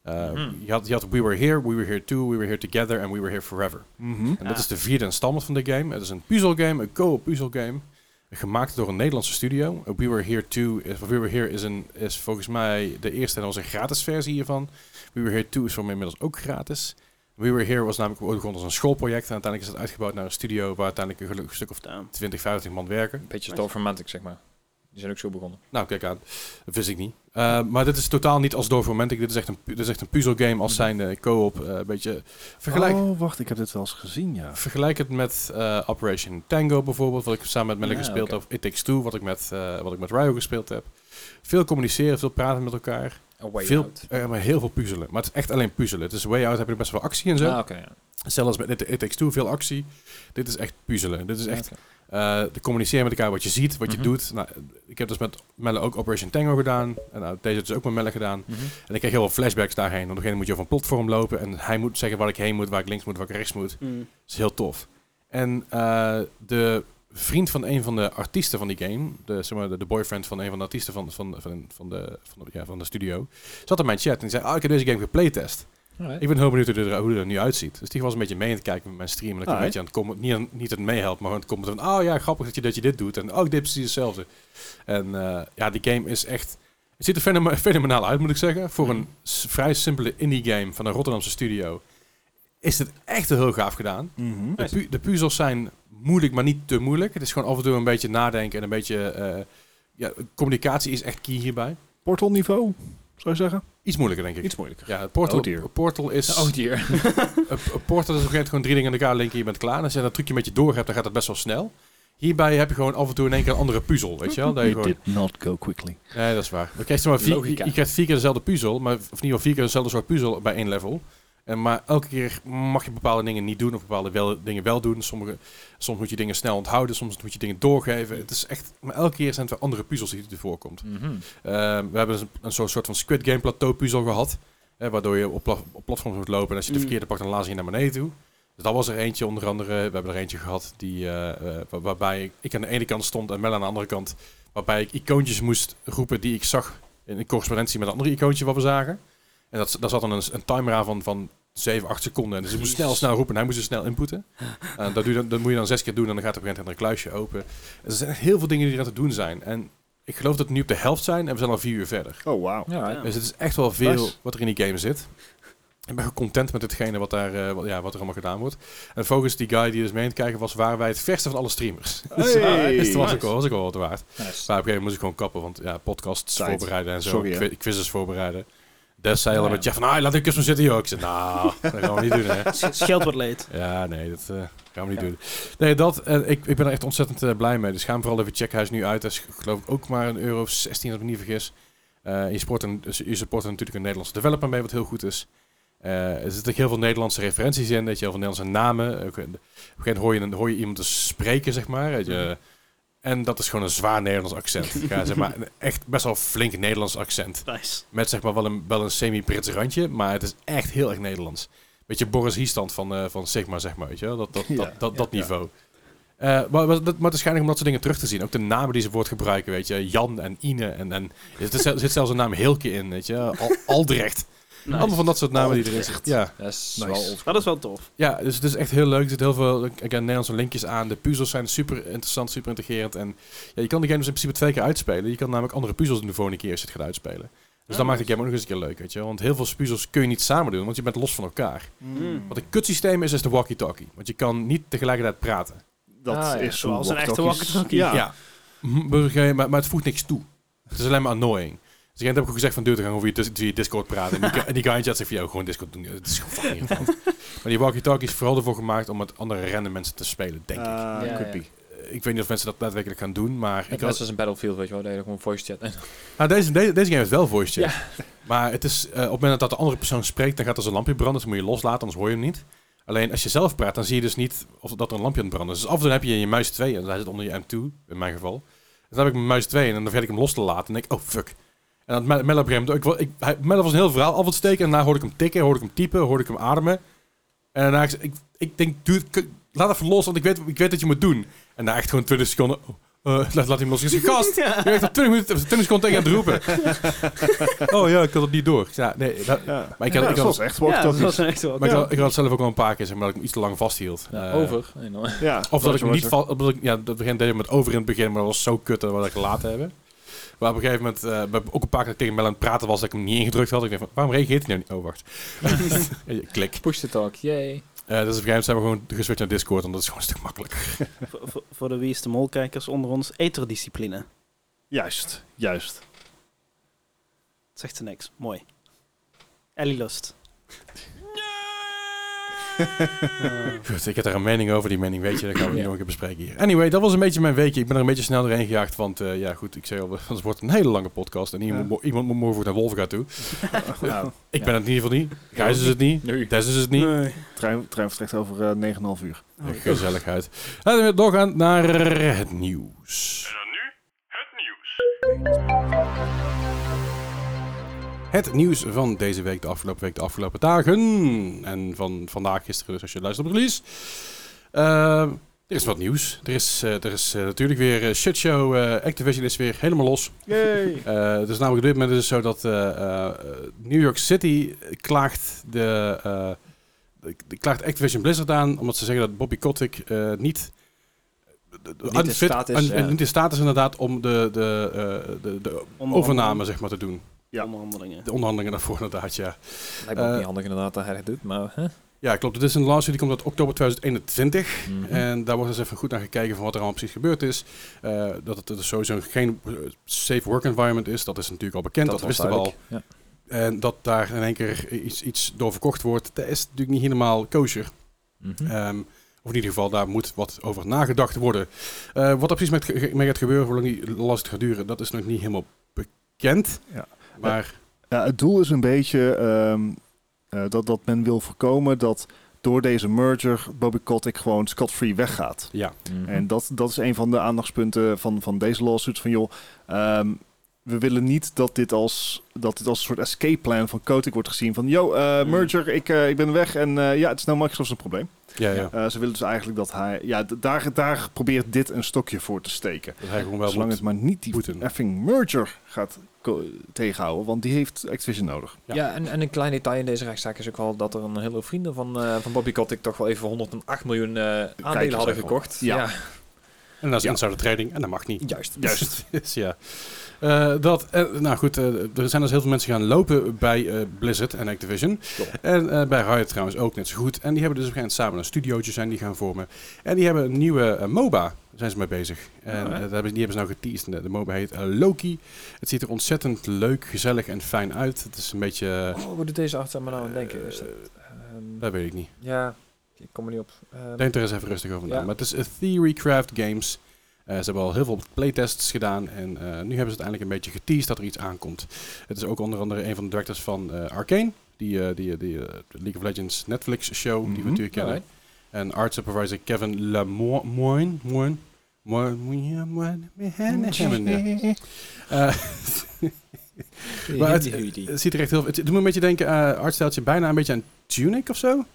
[SPEAKER 1] Eh,
[SPEAKER 4] Mhm.
[SPEAKER 1] je, had, je had We Were Here, We Were Here Too, We Were Here Together en We Were Here Forever.
[SPEAKER 2] Mhm.
[SPEAKER 1] En
[SPEAKER 3] Ja.
[SPEAKER 1] dat is de vierde installment van de game. Het is een puzzelgame, een co-op puzzelgame. Gemaakt door een Nederlandse studio. We Were Here 2 is, We Were Here is, een, is volgens mij de eerste en onze gratis versie hiervan. We Were Here 2 is voor mij inmiddels ook gratis. We Were Here was namelijk ooit begonnen als een schoolproject. En uiteindelijk is het uitgebouwd naar een studio waar uiteindelijk een gelukkig stuk of
[SPEAKER 3] Ja.
[SPEAKER 1] 20, 50 man werken.
[SPEAKER 4] Een beetje
[SPEAKER 3] Nice.
[SPEAKER 4] doorformatic, zeg maar. Die zijn ook zo begonnen.
[SPEAKER 1] Nou, kijk aan. Dat wist ik niet. Eh, maar dit is totaal niet als doorformantic. Dit is echt een, pu- dit is echt een puzzelgame als zijn eh, co-op. eh, Een beetje vergelijk,
[SPEAKER 2] Oh, wacht, ik heb dit wel eens gezien, ja.
[SPEAKER 1] Vergelijk het met eh, Operation Tango bijvoorbeeld, wat ik samen met Melle
[SPEAKER 4] Ja,
[SPEAKER 1] gespeeld
[SPEAKER 4] oké.
[SPEAKER 1] heb. It Takes Two, wat ik, met, eh, wat ik met Ryo gespeeld heb. Veel communiceren, veel praten met elkaar.
[SPEAKER 4] A way
[SPEAKER 1] veel,
[SPEAKER 4] out.
[SPEAKER 1] eh, maar heel veel puzzelen. Maar het is echt alleen puzzelen. Het is Way Out, heb je best wel actie en zo.
[SPEAKER 4] Ah, oké. ja.
[SPEAKER 1] Zelfs met It, It Takes Two veel actie. Dit is echt puzzelen. Dit is echt
[SPEAKER 4] Oké.
[SPEAKER 1] eh, te communiceren met elkaar wat je ziet, wat
[SPEAKER 4] Mhm.
[SPEAKER 1] je doet. Nou, ik heb dus met Melle ook Operation Tango gedaan. En nou, deze heb ik dus ook met Melle gedaan.
[SPEAKER 4] Mhm.
[SPEAKER 1] En ik kreeg heel veel flashbacks daarheen. Want op een gegeven moment moet je over een platform lopen. En hij moet zeggen waar ik heen moet, waar ik links moet, waar ik rechts moet.
[SPEAKER 3] Mm.
[SPEAKER 1] Dat is heel tof. En eh, de vriend van een van de artiesten van die game, de, zeg maar, de, de boyfriend van een van de artiesten van, van, van, van, de, van, de, ja, van de studio, zat in mijn chat en die zei, ah, ik heb deze game geplaytest.
[SPEAKER 4] Alright.
[SPEAKER 1] Ik ben heel benieuwd hoe die er, hoe die er nu uitziet. Dus die was een beetje mee aan het kijken met mijn stream. En ik een
[SPEAKER 2] Alright.
[SPEAKER 1] beetje aan het comment, niet, aan, niet aan het meehelpen, maar aan het commenten van, oh ja, grappig dat je, dat je dit doet. En oh, ik deed precies hetzelfde. En eh, ja, die game is echt... Het ziet er fenome- fenomenaal uit, moet ik zeggen. Voor
[SPEAKER 2] Mhm.
[SPEAKER 1] een s- vrij simpele indie game van een Rotterdamse studio is het echt heel gaaf gedaan.
[SPEAKER 2] Mhm.
[SPEAKER 1] De, pu- de puzzels zijn moeilijk, maar niet te moeilijk. Het is gewoon af en toe een beetje nadenken en een beetje... eh, ja, communicatie is echt key hierbij.
[SPEAKER 2] Portalniveau, zou je zeggen?
[SPEAKER 1] Iets moeilijker, denk ik.
[SPEAKER 2] Iets moeilijker.
[SPEAKER 1] Ja, Portal,
[SPEAKER 2] Oh dear.
[SPEAKER 1] portal is...
[SPEAKER 4] Oh dear.
[SPEAKER 1] Een een portal is op een gegeven moment gewoon drie dingen aan elkaar linken. Je bent klaar. En als je dat trucje met je door hebt, dan gaat het best wel snel. Hierbij heb je gewoon af en toe in één keer een andere puzzel, weet je wel? Dat je
[SPEAKER 2] It
[SPEAKER 1] gewoon...
[SPEAKER 2] did not go quickly.
[SPEAKER 1] Nee, dat is waar. Dan krijg je, maar vier,
[SPEAKER 4] Logica.
[SPEAKER 1] je, je krijgt vier keer dezelfde puzzel, maar, of in ieder geval vier keer dezelfde soort puzzel bij één level. En, maar elke keer mag je bepaalde dingen niet doen of bepaalde wel, dingen wel doen. Sommige, soms moet je dingen snel onthouden, soms moet je dingen doorgeven. Het is echt, maar elke keer zijn het weer andere puzzels die er voorkomt.
[SPEAKER 4] Mhm.
[SPEAKER 1] Eh, we hebben dus een, een soort, soort van Squid Game plateau puzzel gehad. Hè, waardoor je op, pla- op platforms moet lopen. En als je de
[SPEAKER 3] Mm.
[SPEAKER 1] verkeerde pakt, dan laat je naar beneden toe. Dus dat was er eentje onder andere. We hebben er eentje gehad die, eh, eh, waar- waarbij ik, ik aan de ene kant stond en Mel aan de andere kant. Waarbij ik icoontjes moest roepen die ik zag in een correspondentie met een ander icoontje wat we zagen. En dat, daar zat dan een, een timer aan van, van 7, 8 seconden. Dus ik moest
[SPEAKER 3] Jezus.
[SPEAKER 1] snel, snel roepen en hij moest het snel inputten. En dat, doe je dan, dat moet je dan zes keer doen en dan gaat op een gegeven moment een kluisje open. Er zijn echt heel veel dingen die er aan te doen zijn. En ik geloof dat we nu op de helft zijn en we zijn al vier uur verder.
[SPEAKER 2] Oh, wauw.
[SPEAKER 4] Alright.
[SPEAKER 3] Ja.
[SPEAKER 1] Dus het is echt wel veel
[SPEAKER 2] Nice.
[SPEAKER 1] wat er in die game zit. Ik ben content met hetgene wat, daar, eh, wat, ja, wat er allemaal gedaan wordt. En volgens die guy die dus mee aan het kijken was, waren wij het verste van alle streamers.
[SPEAKER 2] Hey.
[SPEAKER 1] Dus dat was, ook
[SPEAKER 3] Nice.
[SPEAKER 1] wel, was ook wel wat waard.
[SPEAKER 4] Nice.
[SPEAKER 1] Maar op een gegeven moment moest ik gewoon kappen, want ja, podcasts
[SPEAKER 2] Tijd.
[SPEAKER 1] voorbereiden en zo,
[SPEAKER 2] Sorry, hè? Nou
[SPEAKER 1] qui- quizzes voorbereiden. Des zei al
[SPEAKER 4] Ja,
[SPEAKER 1] met Jeff van, ah, laat ik eens maar zitten joh. Ik zei, nou, dat gaan we niet doen hè.
[SPEAKER 3] Sch- Scheelt wat leed.
[SPEAKER 1] Ja, nee, dat eh, gaan we niet doen. Nee, dat, en ik, ik ben er echt ontzettend eh, blij mee. Dus ga hem vooral even checken. Hij is nu uit. Dat is geloof ik ook maar een euro of 16, als ik me niet vergis. Eh, je, support een, dus je support er natuurlijk een Nederlandse developer mee, wat heel goed is. Eh, er zitten ook heel veel Nederlandse referenties in, weet je, heel veel Nederlandse namen. Ook, eh, Op een gegeven moment hoor je, een- hoor je iemand dus spreken, zeg maar. weet je. En dat is gewoon een zwaar Nederlands accent. ja, zeg maar, een echt best wel flink Nederlands accent.
[SPEAKER 3] Nice.
[SPEAKER 1] Met zeg maar wel een, wel een semi-Brits randje, maar het is echt heel erg Nederlands. Beetje Boris Hiestand van, eh, van Sigma, zeg maar, weet je wel? Dat, dat,
[SPEAKER 2] Ja,
[SPEAKER 1] dat, dat,
[SPEAKER 4] ja,
[SPEAKER 1] dat
[SPEAKER 4] ja.
[SPEAKER 1] niveau. Eh, maar, maar, dat- maar het is geinig om dat soort dingen terug te zien. Ook de namen die ze woord gebruiken, weet je. Jan en Ine en... en er zit- er zit zelfs een naam Hilke in, weet je. Al, Aldrecht. Allemaal van dat soort namen die erin zitten. Ja.
[SPEAKER 4] Dat is
[SPEAKER 2] Nice.
[SPEAKER 4] wel old-
[SPEAKER 3] Dat is wel tof.
[SPEAKER 1] ja, dus het is echt heel leuk. Er zitten heel veel again, Nederlandse linkjes aan. De puzzels zijn super interessant, super integrerend. En ja, je kan de game dus in principe twee keer uitspelen. Je kan namelijk andere puzzels doen de volgende keer als je het gaat uitspelen. Dus
[SPEAKER 3] Ah,
[SPEAKER 1] dat maakt de game ook nog eens een keer leuk, weet je wel. Want heel veel puzzels kun je niet samen doen, want je bent los van elkaar.
[SPEAKER 3] Mm.
[SPEAKER 1] Wat een kutsysteem is, is de walkie-talkie. Want je kan niet tegelijkertijd praten.
[SPEAKER 2] Dat
[SPEAKER 4] Ah, ja,
[SPEAKER 2] is
[SPEAKER 3] zoals
[SPEAKER 2] hoe
[SPEAKER 3] een echte
[SPEAKER 2] walkie-talkies-
[SPEAKER 3] walkie-talkie.
[SPEAKER 2] Ja.
[SPEAKER 1] Ja. Mhm, maar oké, Maar, maar het voegt niks toe. Het is alleen maar annoying. Dus ik heb ook gezegd van deur te gaan over je, dis- via Discord praten. En die, en die guy in chat zegt van, jou gewoon Discord doen. Het is gewoon fucking irritant. Maar die walkie-talkie is vooral ervoor gemaakt om met andere random mensen te spelen, denk ik.
[SPEAKER 2] Ah,
[SPEAKER 4] Ja,
[SPEAKER 2] could
[SPEAKER 4] ja.
[SPEAKER 2] be.
[SPEAKER 1] Eh, Ik weet niet of mensen dat daadwerkelijk gaan doen, maar... Ik
[SPEAKER 4] Net
[SPEAKER 1] had-
[SPEAKER 4] als een Battlefield, weet je wel. Daar heb je gewoon voice chat.
[SPEAKER 1] nou, deze, deze, deze game heeft wel voice chat. Maar het is, eh, op het moment dat de andere persoon spreekt, dan gaat er zo'n lampje branden. Dus dan moet je loslaten, anders hoor je hem niet. Alleen als je zelf praat, dan zie je dus niet of dat er een lampje aan het branden is. Dus af en toe heb je je muis 2, en hij zit onder je M2, in mijn geval. dan heb ik mijn muis 2 en dan vergeet ik hem los te laten. En denk ik, oh fuck. En dan had Mel op een gegeven moment... Ik, wil- ik, hij- Mel was een heel verhaal af aan het steken. En daarna hoorde ik hem tikken, hoorde ik hem typen, hoorde ik hem ademen. En daarna... Ik, ik, ik denk, dude, k- laat even los, want ik weet, ik weet dat je moet doen. En daar echt gewoon 20 seconden... oh, eh, laat, laat hem los. Ik zeg, gast,
[SPEAKER 3] Ja.
[SPEAKER 1] je hebt al 20, minuten, 20 seconden tegen hem te roepen. oh ja, ik had het niet door. Ik zei, Ja, nee, dat-
[SPEAKER 2] Ja.
[SPEAKER 1] maar ik
[SPEAKER 2] Ja,
[SPEAKER 1] had, ik
[SPEAKER 2] dat
[SPEAKER 1] had,
[SPEAKER 2] was echt
[SPEAKER 3] Ja, dat
[SPEAKER 2] walkie-talkies.
[SPEAKER 3] was echt wel.
[SPEAKER 1] maar ik
[SPEAKER 3] ja.
[SPEAKER 1] had, ik had het zelf ook al een paar keer, zeg maar, dat ik hem iets te lang vasthield.
[SPEAKER 4] Ja,
[SPEAKER 1] Eh,
[SPEAKER 4] over. Nee, nou.
[SPEAKER 2] Ja,
[SPEAKER 1] Of dat ik hem
[SPEAKER 2] was
[SPEAKER 1] niet
[SPEAKER 2] er.
[SPEAKER 1] val, of dat ik, ja, dat begin deden we met over in het begin, maar dat was zo kut dat we dat gelaten hebben. Maar op een gegeven moment, eh, we hebben ook een paar keer tegen Mel aan het praten was dat ik hem niet ingedrukt had. Ik denk van, waarom reageert hij nou niet? Oh, wacht. Klik.
[SPEAKER 4] Push the talk, yay.
[SPEAKER 1] Eh, dus op een gegeven moment zijn we gewoon geswitcht naar Discord, want dat is gewoon een stuk makkelijker.
[SPEAKER 3] Voor- voor- Voor de Wie is de Mol-kijkers onder ons, eterdiscipline. Het
[SPEAKER 2] Juist, juist.
[SPEAKER 3] zegt ze niks. Mooi. Ellie Lust. Eh,
[SPEAKER 1] Goed, ik heb daar een mening over, die mening weet je, dat gaan we niet
[SPEAKER 4] Ja.
[SPEAKER 1] nog een keer bespreken hier. Anyway, dat was een beetje mijn weekje. Ik ben er een beetje snel doorheen gejaagd, want eh, ja goed, ik zei al, het wordt een hele lange podcast en iemand,
[SPEAKER 2] Ja.
[SPEAKER 1] moet- iemand moet morgen naar Wolfga toe.
[SPEAKER 2] Nou,
[SPEAKER 1] Ik
[SPEAKER 4] Ja.
[SPEAKER 1] ben het in ieder geval niet, Gijs is het niet,
[SPEAKER 4] Nee.
[SPEAKER 1] Des is het niet.
[SPEAKER 3] nee.
[SPEAKER 2] trein, trein vertrekt over eh, 9,5 uur.
[SPEAKER 1] Ja, Oh, Gezelligheid. Laten we doorgaan naar het nieuws. En dan nu het nieuws. Het nieuws van deze week, de afgelopen week, de afgelopen dagen. En van vandaag, gisteren, dus als je luistert op release. Eh, er is wat nieuws. Er is, eh, er is eh, natuurlijk weer eh, shitshow. eh, Activision is weer helemaal los.
[SPEAKER 2] Yay!
[SPEAKER 1] Eh, het is namelijk op dit moment is het zo dat eh, eh, eh, New York City klaagt de, eh, de- de- klaagt Activision Blizzard aan omdat ze zeggen dat Bobby Kotick eh, niet
[SPEAKER 4] in staat is, ja.
[SPEAKER 1] niet in staat is inderdaad om de, de, eh, de, de overname zeg maar te doen.
[SPEAKER 2] Ja.
[SPEAKER 3] Onderhandelingen.
[SPEAKER 1] De onderhandelingen daarvoor inderdaad, ja.
[SPEAKER 4] Lijkt me ook
[SPEAKER 1] Eh,
[SPEAKER 4] niet handig inderdaad dat hij het doet, maar... hè?
[SPEAKER 1] Ja, klopt. Het is een lawsuit die komt uit oktober 2021.
[SPEAKER 4] Mhm.
[SPEAKER 1] En daar wordt dus even goed naar gekeken van wat er allemaal precies gebeurd is. Eh, dat het dus sowieso geen eh, safe work environment is, dat is natuurlijk al bekend, dat,
[SPEAKER 4] was
[SPEAKER 1] wisten we al.
[SPEAKER 4] duidelijk.
[SPEAKER 1] En dat daar in één keer iets, iets door verkocht wordt, dat is natuurlijk niet helemaal kosher.
[SPEAKER 4] Ja. Mhm.
[SPEAKER 2] Hm.
[SPEAKER 1] Ehm, of in ieder geval, daar moet wat over nagedacht worden. Eh, wat er precies met, ge- mee gaat gebeuren, hoe lang die last gaat duren, dat is nog niet helemaal bekend.
[SPEAKER 2] Ja.
[SPEAKER 1] Maar
[SPEAKER 2] Ja, het doel is een beetje ehm, eh, dat, dat men wil voorkomen dat door deze merger Bobby Kotick gewoon scot-free weggaat.
[SPEAKER 1] ja,
[SPEAKER 4] Mhm.
[SPEAKER 2] En dat, dat is een van de aandachtspunten van, van deze lawsuits. Van joh, ehm, we willen niet dat dit, als, dat dit als een soort escape plan van Kotick wordt gezien. Van yo, eh,
[SPEAKER 1] Mhm.
[SPEAKER 3] Mm.
[SPEAKER 2] merger, ik, eh, ik ben weg. En eh, ja, het is nou Microsoft's probleem.
[SPEAKER 1] ja, ja.
[SPEAKER 2] Eh, ze willen dus eigenlijk dat hij... Ja, d- daar, daar probeert dit een stokje voor te steken.
[SPEAKER 1] dat hij gewoon wel
[SPEAKER 2] Zolang
[SPEAKER 1] moet.
[SPEAKER 2] het maar niet die
[SPEAKER 1] moeten.
[SPEAKER 2] effing merger gaat ko- tegenhouden. Want die heeft Activision nodig.
[SPEAKER 1] Ja.
[SPEAKER 4] Ja, en, en een klein detail in deze rechtszaak is ook wel dat er een heleboel vrienden van, eh, van Bobby Kotick toch wel even 108 miljoen eh, aandelen hadden
[SPEAKER 2] even.
[SPEAKER 4] gekocht.
[SPEAKER 2] Ja.
[SPEAKER 1] En dat is
[SPEAKER 2] Ja.
[SPEAKER 1] insider trading en dat mag niet.
[SPEAKER 4] juist.
[SPEAKER 2] Juist.
[SPEAKER 1] Dus ja. Eh, dat, eh, nou goed, eh, er zijn dus heel veel mensen gaan lopen bij eh, Blizzard en Activision.
[SPEAKER 4] Klopt.
[SPEAKER 1] En eh, bij Riot trouwens ook net zo goed. En die hebben dus op een gegeven moment samen een studiootje zijn die gaan vormen. En die hebben een nieuwe eh, MOBA, zijn ze mee bezig. En
[SPEAKER 4] Oh,
[SPEAKER 3] Ja, hè?
[SPEAKER 1] eh, daar hebben, ze- die hebben ze nou geteased. En De, de MOBA heet eh, Loki. Het ziet er ontzettend leuk, gezellig en fijn uit. Het is een beetje... eh,
[SPEAKER 4] Oh, wat doet deze arts aan me nou aan denken? Is dat,
[SPEAKER 1] eh,
[SPEAKER 4] ehm,
[SPEAKER 1] dat weet ik niet.
[SPEAKER 4] ja, ik kom er niet op. Ehm,
[SPEAKER 1] Denk er eens even rustig over na.
[SPEAKER 4] Ja.
[SPEAKER 1] Maar het is eh, Theorycraft Games. Eh, ze hebben al heel veel playtests gedaan. En eh, nu hebben ze uiteindelijk een beetje geteased dat er iets aankomt. Het is ook onder andere een van de directors van eh Arcane. Die, eh, die, die eh, de League of Legends Netflix show die
[SPEAKER 2] Mhm.
[SPEAKER 1] we natuurlijk kennen.
[SPEAKER 4] alright.
[SPEAKER 1] En art supervisor Kevin Lemoine. Moine. Moine. Moine. Moine. Moine. Eh, Maar het-
[SPEAKER 4] Hiddie, hiddie.
[SPEAKER 1] Het ziet er echt heel... Het het doet me een beetje denken... eh artstijltje bijna een beetje aan Tunic of zo.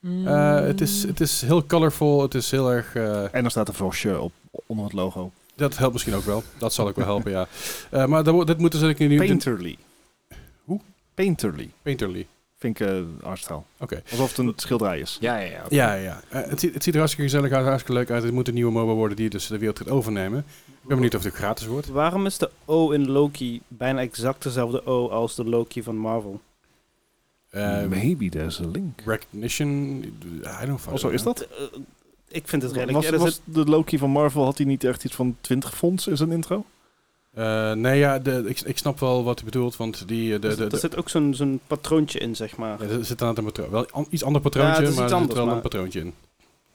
[SPEAKER 4] Mm.
[SPEAKER 1] Eh, het, is, het is heel colorful. Het is heel erg... eh,
[SPEAKER 2] En dan staat er Vosje op onder het logo.
[SPEAKER 1] Dat helpt misschien ook wel. Dat zal ook wel helpen, ja. Eh, maar dat, wo- dit moeten ze natuurlijk nu...
[SPEAKER 2] Painterly.
[SPEAKER 1] Hoe?
[SPEAKER 2] Painterly.
[SPEAKER 1] Painterly.
[SPEAKER 2] Vind ik eh, artstijl.
[SPEAKER 1] Oké.
[SPEAKER 2] Alsof het een schilderij is.
[SPEAKER 4] Ja, ja, ja. oké.
[SPEAKER 1] Ja, ja. Eh, het, ziet, het ziet er hartstikke gezellig uit, hartstikke leuk uit. Het moet een nieuwe MOBA worden die dus de wereld gaat overnemen. Ik ben benieuwd of het ook gratis wordt.
[SPEAKER 3] Waarom is de O in Loki bijna exact dezelfde O als de Loki van Marvel?
[SPEAKER 1] Eh,
[SPEAKER 2] Maybe there's a link.
[SPEAKER 1] recognition... I don't fucking
[SPEAKER 2] Oh, zo is
[SPEAKER 1] know.
[SPEAKER 2] dat?
[SPEAKER 3] Eh, ik vind het redelijk.
[SPEAKER 2] Was,
[SPEAKER 3] ja, er
[SPEAKER 2] was
[SPEAKER 3] zit-
[SPEAKER 2] de Loki van Marvel, had hij niet echt iets van 20 fonds in zijn intro?
[SPEAKER 1] Eh, nee, ja, de, ik, ik snap wel wat hij bedoelt, want die... eh, De, de,
[SPEAKER 3] er zit- er
[SPEAKER 1] de,
[SPEAKER 3] zit ook zo'n zo'n patroontje in, zeg maar.
[SPEAKER 1] ja, er zit aan een patroon. Wel an- iets ander patroontje,
[SPEAKER 3] Ja, het is iets
[SPEAKER 1] maar er zit
[SPEAKER 3] anders,
[SPEAKER 1] wel
[SPEAKER 3] maar-
[SPEAKER 1] een patroontje in.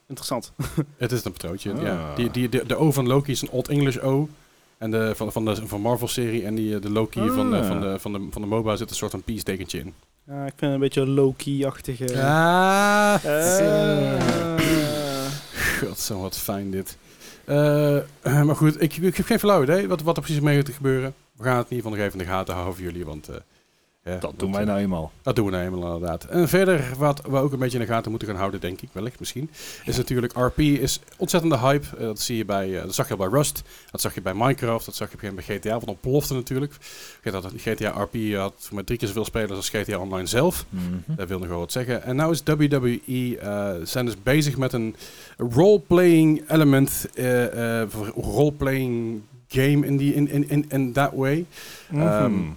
[SPEAKER 3] Interessant.
[SPEAKER 1] Het is een patroontje,
[SPEAKER 2] Ah.
[SPEAKER 1] ja. Die, die, de, de O van Loki is een Old English O. En de, van, van de van Marvel-serie en die, eh, de Loki van, de,
[SPEAKER 2] Ah.
[SPEAKER 1] van, de, van, de, van de MOBA zit een soort van peace-dekentje in.
[SPEAKER 3] Ja, ik vind het een beetje een Loki-achtige.
[SPEAKER 1] Ah,
[SPEAKER 3] Eh,
[SPEAKER 1] god, zo wat fijn dit. Eh, Eh, maar goed, ik, ik heb geen flauw idee wat, wat er precies mee gaat gebeuren. We gaan het in ieder geval nog even in de gaten houden voor jullie, want... eh, hè,
[SPEAKER 2] Dat
[SPEAKER 1] want,
[SPEAKER 2] doen wij
[SPEAKER 1] eh,
[SPEAKER 2] nou eenmaal.
[SPEAKER 1] Dat doen we nou helemaal inderdaad. En verder, wat we ook een beetje in de gaten moeten gaan houden, denk ik, wellicht misschien, is natuurlijk RP is ontzettende hype. Eh, dat zie je bij, eh, dat zag je al bij Rust, dat zag je bij Minecraft, dat zag je op een gegeven moment bij GTA, want dat ontplofte natuurlijk. GTA, GTA RP eh, had voor mij drie keer zoveel spelers als GTA Online zelf.
[SPEAKER 4] Mhm.
[SPEAKER 1] Dat wil nog wel wat zeggen. En nou is WWE eh, zijn dus bezig met een role-playing element, eh, eh, voor role-playing game in, die, in, in, in, in that way. Ehm,
[SPEAKER 2] Mhm.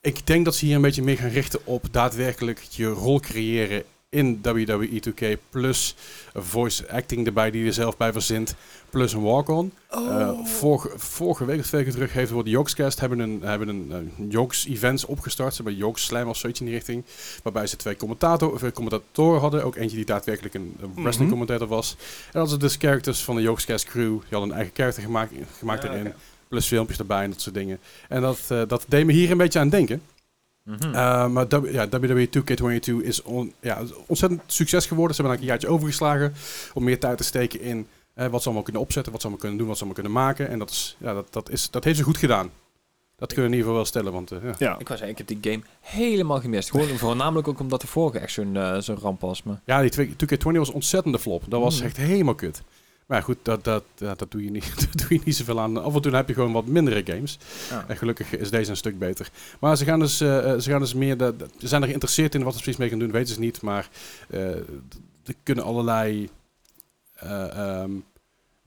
[SPEAKER 1] Ik denk dat ze hier een beetje meer gaan richten op daadwerkelijk je rol creëren in WWE 2K. Plus voice acting erbij die je er zelf bij verzint. Plus een walk-on. Eh, vorige, vorige week of twee weken terug heeft de Jokescast hebben een, hebben een eh, Jokes events opgestart. Ze hebben Jokes Slam of zoiets in die richting. Waarbij ze twee commentator, of, eh, commentatoren hadden. Ook eentje die daadwerkelijk een, een wrestling
[SPEAKER 2] Mhm.
[SPEAKER 1] commentator was. En dat ze dus characters van de Jokescast crew. Die hadden een eigen character gemaakt, gemaakt
[SPEAKER 3] Ja,
[SPEAKER 1] erin.
[SPEAKER 3] oké.
[SPEAKER 1] Plus filmpjes erbij en dat soort dingen. En dat, eh, dat deed me hier een beetje aan denken.
[SPEAKER 4] Mhm. Hmm.
[SPEAKER 1] Eh, maar W- ja, WWE 2K22 is on- ja, ontzettend succes geworden. Ze hebben eigenlijk een jaartje overgeslagen om meer tijd te steken in eh, wat ze allemaal kunnen opzetten, wat ze allemaal kunnen doen, wat ze allemaal kunnen maken. En dat, is, ja, dat, dat, is, dat heeft ze goed gedaan. Dat kunnen we in ieder geval wel stellen, want eh, ja.
[SPEAKER 2] Ja.
[SPEAKER 4] Ik was ik heb die game helemaal gemist. Gewoon, voornamelijk ook omdat de vorige echt zo'n eh, zo'n ramp was. Maar
[SPEAKER 1] ja, die 2K- 2K20 was een ontzettende flop. Dat was
[SPEAKER 4] Mm.
[SPEAKER 1] echt helemaal kut. Maar ja, goed, dat, dat, dat, dat, doe je niet, dat doe je niet zoveel aan. Af en toe heb je gewoon wat mindere games.
[SPEAKER 4] Ja.
[SPEAKER 1] En gelukkig is deze een stuk beter. Maar ze gaan dus, eh, eh, ze gaan dus meer. de- de- ze zijn er geïnteresseerd in wat ze precies mee gaan doen, weten ze niet. Maar eh, d- er kunnen allerlei eh, ehm,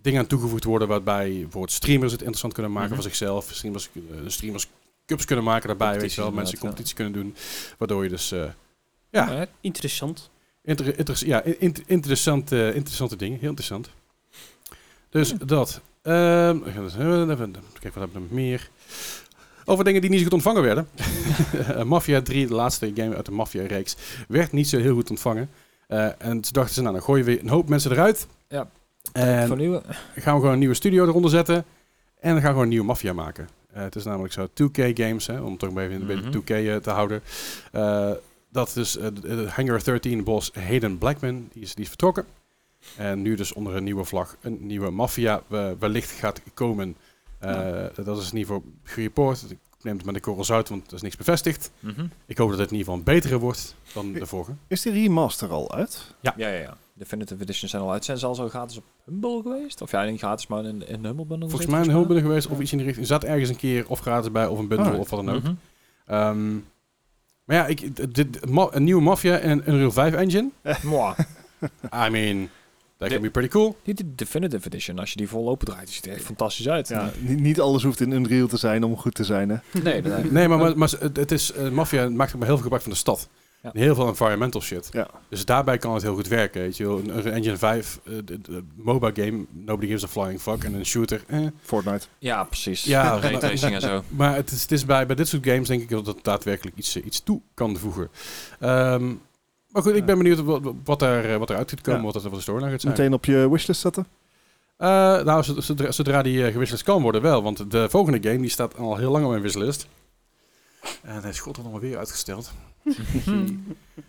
[SPEAKER 1] dingen aan toegevoegd worden. Waarbij bijvoorbeeld streamers het interessant kunnen maken
[SPEAKER 4] Mhm.
[SPEAKER 1] voor zichzelf. Streamers, eh, streamers cups kunnen maken daarbij. Weet je
[SPEAKER 4] Competities
[SPEAKER 1] wel, mensen
[SPEAKER 4] inderdaad,
[SPEAKER 1] competitie kunnen doen. Waardoor je dus. eh, ja,
[SPEAKER 4] eh,
[SPEAKER 3] Interessant.
[SPEAKER 1] Inter- interess- ja, in- in- interessante, interessante dingen. Heel interessant. Dus dat. Ehm, we gaan eens even- even- kijk, wat hebben we nog meer? Over dingen die niet zo goed ontvangen werden. Eh, Mafia 3, de laatste game uit de Mafia-reeks, werd niet zo heel goed ontvangen. Eh, en toen dachten ze, nou, dan gooien we een hoop mensen eruit.
[SPEAKER 4] Ja.
[SPEAKER 1] En
[SPEAKER 4] van nieuwe.
[SPEAKER 1] gaan we gewoon een nieuwe studio eronder zetten. En dan gaan we gewoon een nieuwe Mafia maken. Eh, het is namelijk zo, 2K Games, hè, om toch maar even een
[SPEAKER 4] Mhm.
[SPEAKER 1] beetje 2K eh, te houden. Eh, dat is eh, de- de Hangar 13 boss Hayden Blackman, die is, die is vertrokken. En nu dus onder een nieuwe vlag een nieuwe Mafia eh, wellicht gaat komen. Eh, Dat is in ieder geval gereport. Ik neem het met de korrels uit, want er is niks bevestigd. Ik hoop dat het in ieder geval een betere wordt dan de vorige.
[SPEAKER 2] Is die remaster al uit?
[SPEAKER 4] Ja, ja, ja. Definitive Editions zijn al uit. Zijn ze al zo gratis op Humble geweest? Of ja, niet gratis, maar in, in Humble Bundle.
[SPEAKER 1] Volgens mij een heel bundel geweest of iets in de richting. Er zat ergens een keer of gratis bij of een bundel
[SPEAKER 2] Alright.
[SPEAKER 1] of wat dan ook.
[SPEAKER 4] mhm.
[SPEAKER 1] Ehm, maar ja, ik, d- dit, ma- een nieuwe Mafia en een Unreal 5 engine.
[SPEAKER 4] Mhm.
[SPEAKER 1] I mean, that
[SPEAKER 4] De-
[SPEAKER 1] can be pretty cool.
[SPEAKER 4] Die de Definitive Edition, als je die vol open draait, die ziet er echt fantastisch uit.
[SPEAKER 2] Ja, ni- Niet alles hoeft in Unreal te zijn om goed te zijn, hè?
[SPEAKER 4] Nee, dat
[SPEAKER 1] Nee, maar, maar, maar het, het is, eh, Mafia maakt ook maar heel veel gebruik van de stad.
[SPEAKER 4] Ja.
[SPEAKER 1] En Heel veel environmental shit.
[SPEAKER 2] Ja.
[SPEAKER 1] Dus daarbij kan het heel goed werken. Weet je. wel. Een Unreal Engine 5, eh, de- de mobile game, nobody gives a flying fuck. En een shooter, eh.
[SPEAKER 2] Fortnite.
[SPEAKER 4] Ja, precies.
[SPEAKER 1] Ja,
[SPEAKER 4] raytracing en zo.
[SPEAKER 1] Maar het is, het is bij, bij dit soort games denk ik dat het daadwerkelijk iets, eh, iets toe kan voegen. Ehm, maar goed, ik
[SPEAKER 4] Ja.
[SPEAKER 1] ben benieuwd wat, wat, er, eh, wat eruit gaat komen,
[SPEAKER 2] Ja.
[SPEAKER 1] wat dat er voor de storyline gaat zijn.
[SPEAKER 2] Meteen op je wishlist zetten?
[SPEAKER 1] Eh, nou, zod- zodra, zodra die eh, gewisseld kan worden wel. Want de volgende game die staat al heel lang op mijn wishlist. En hij is god allemaal weer uitgesteld.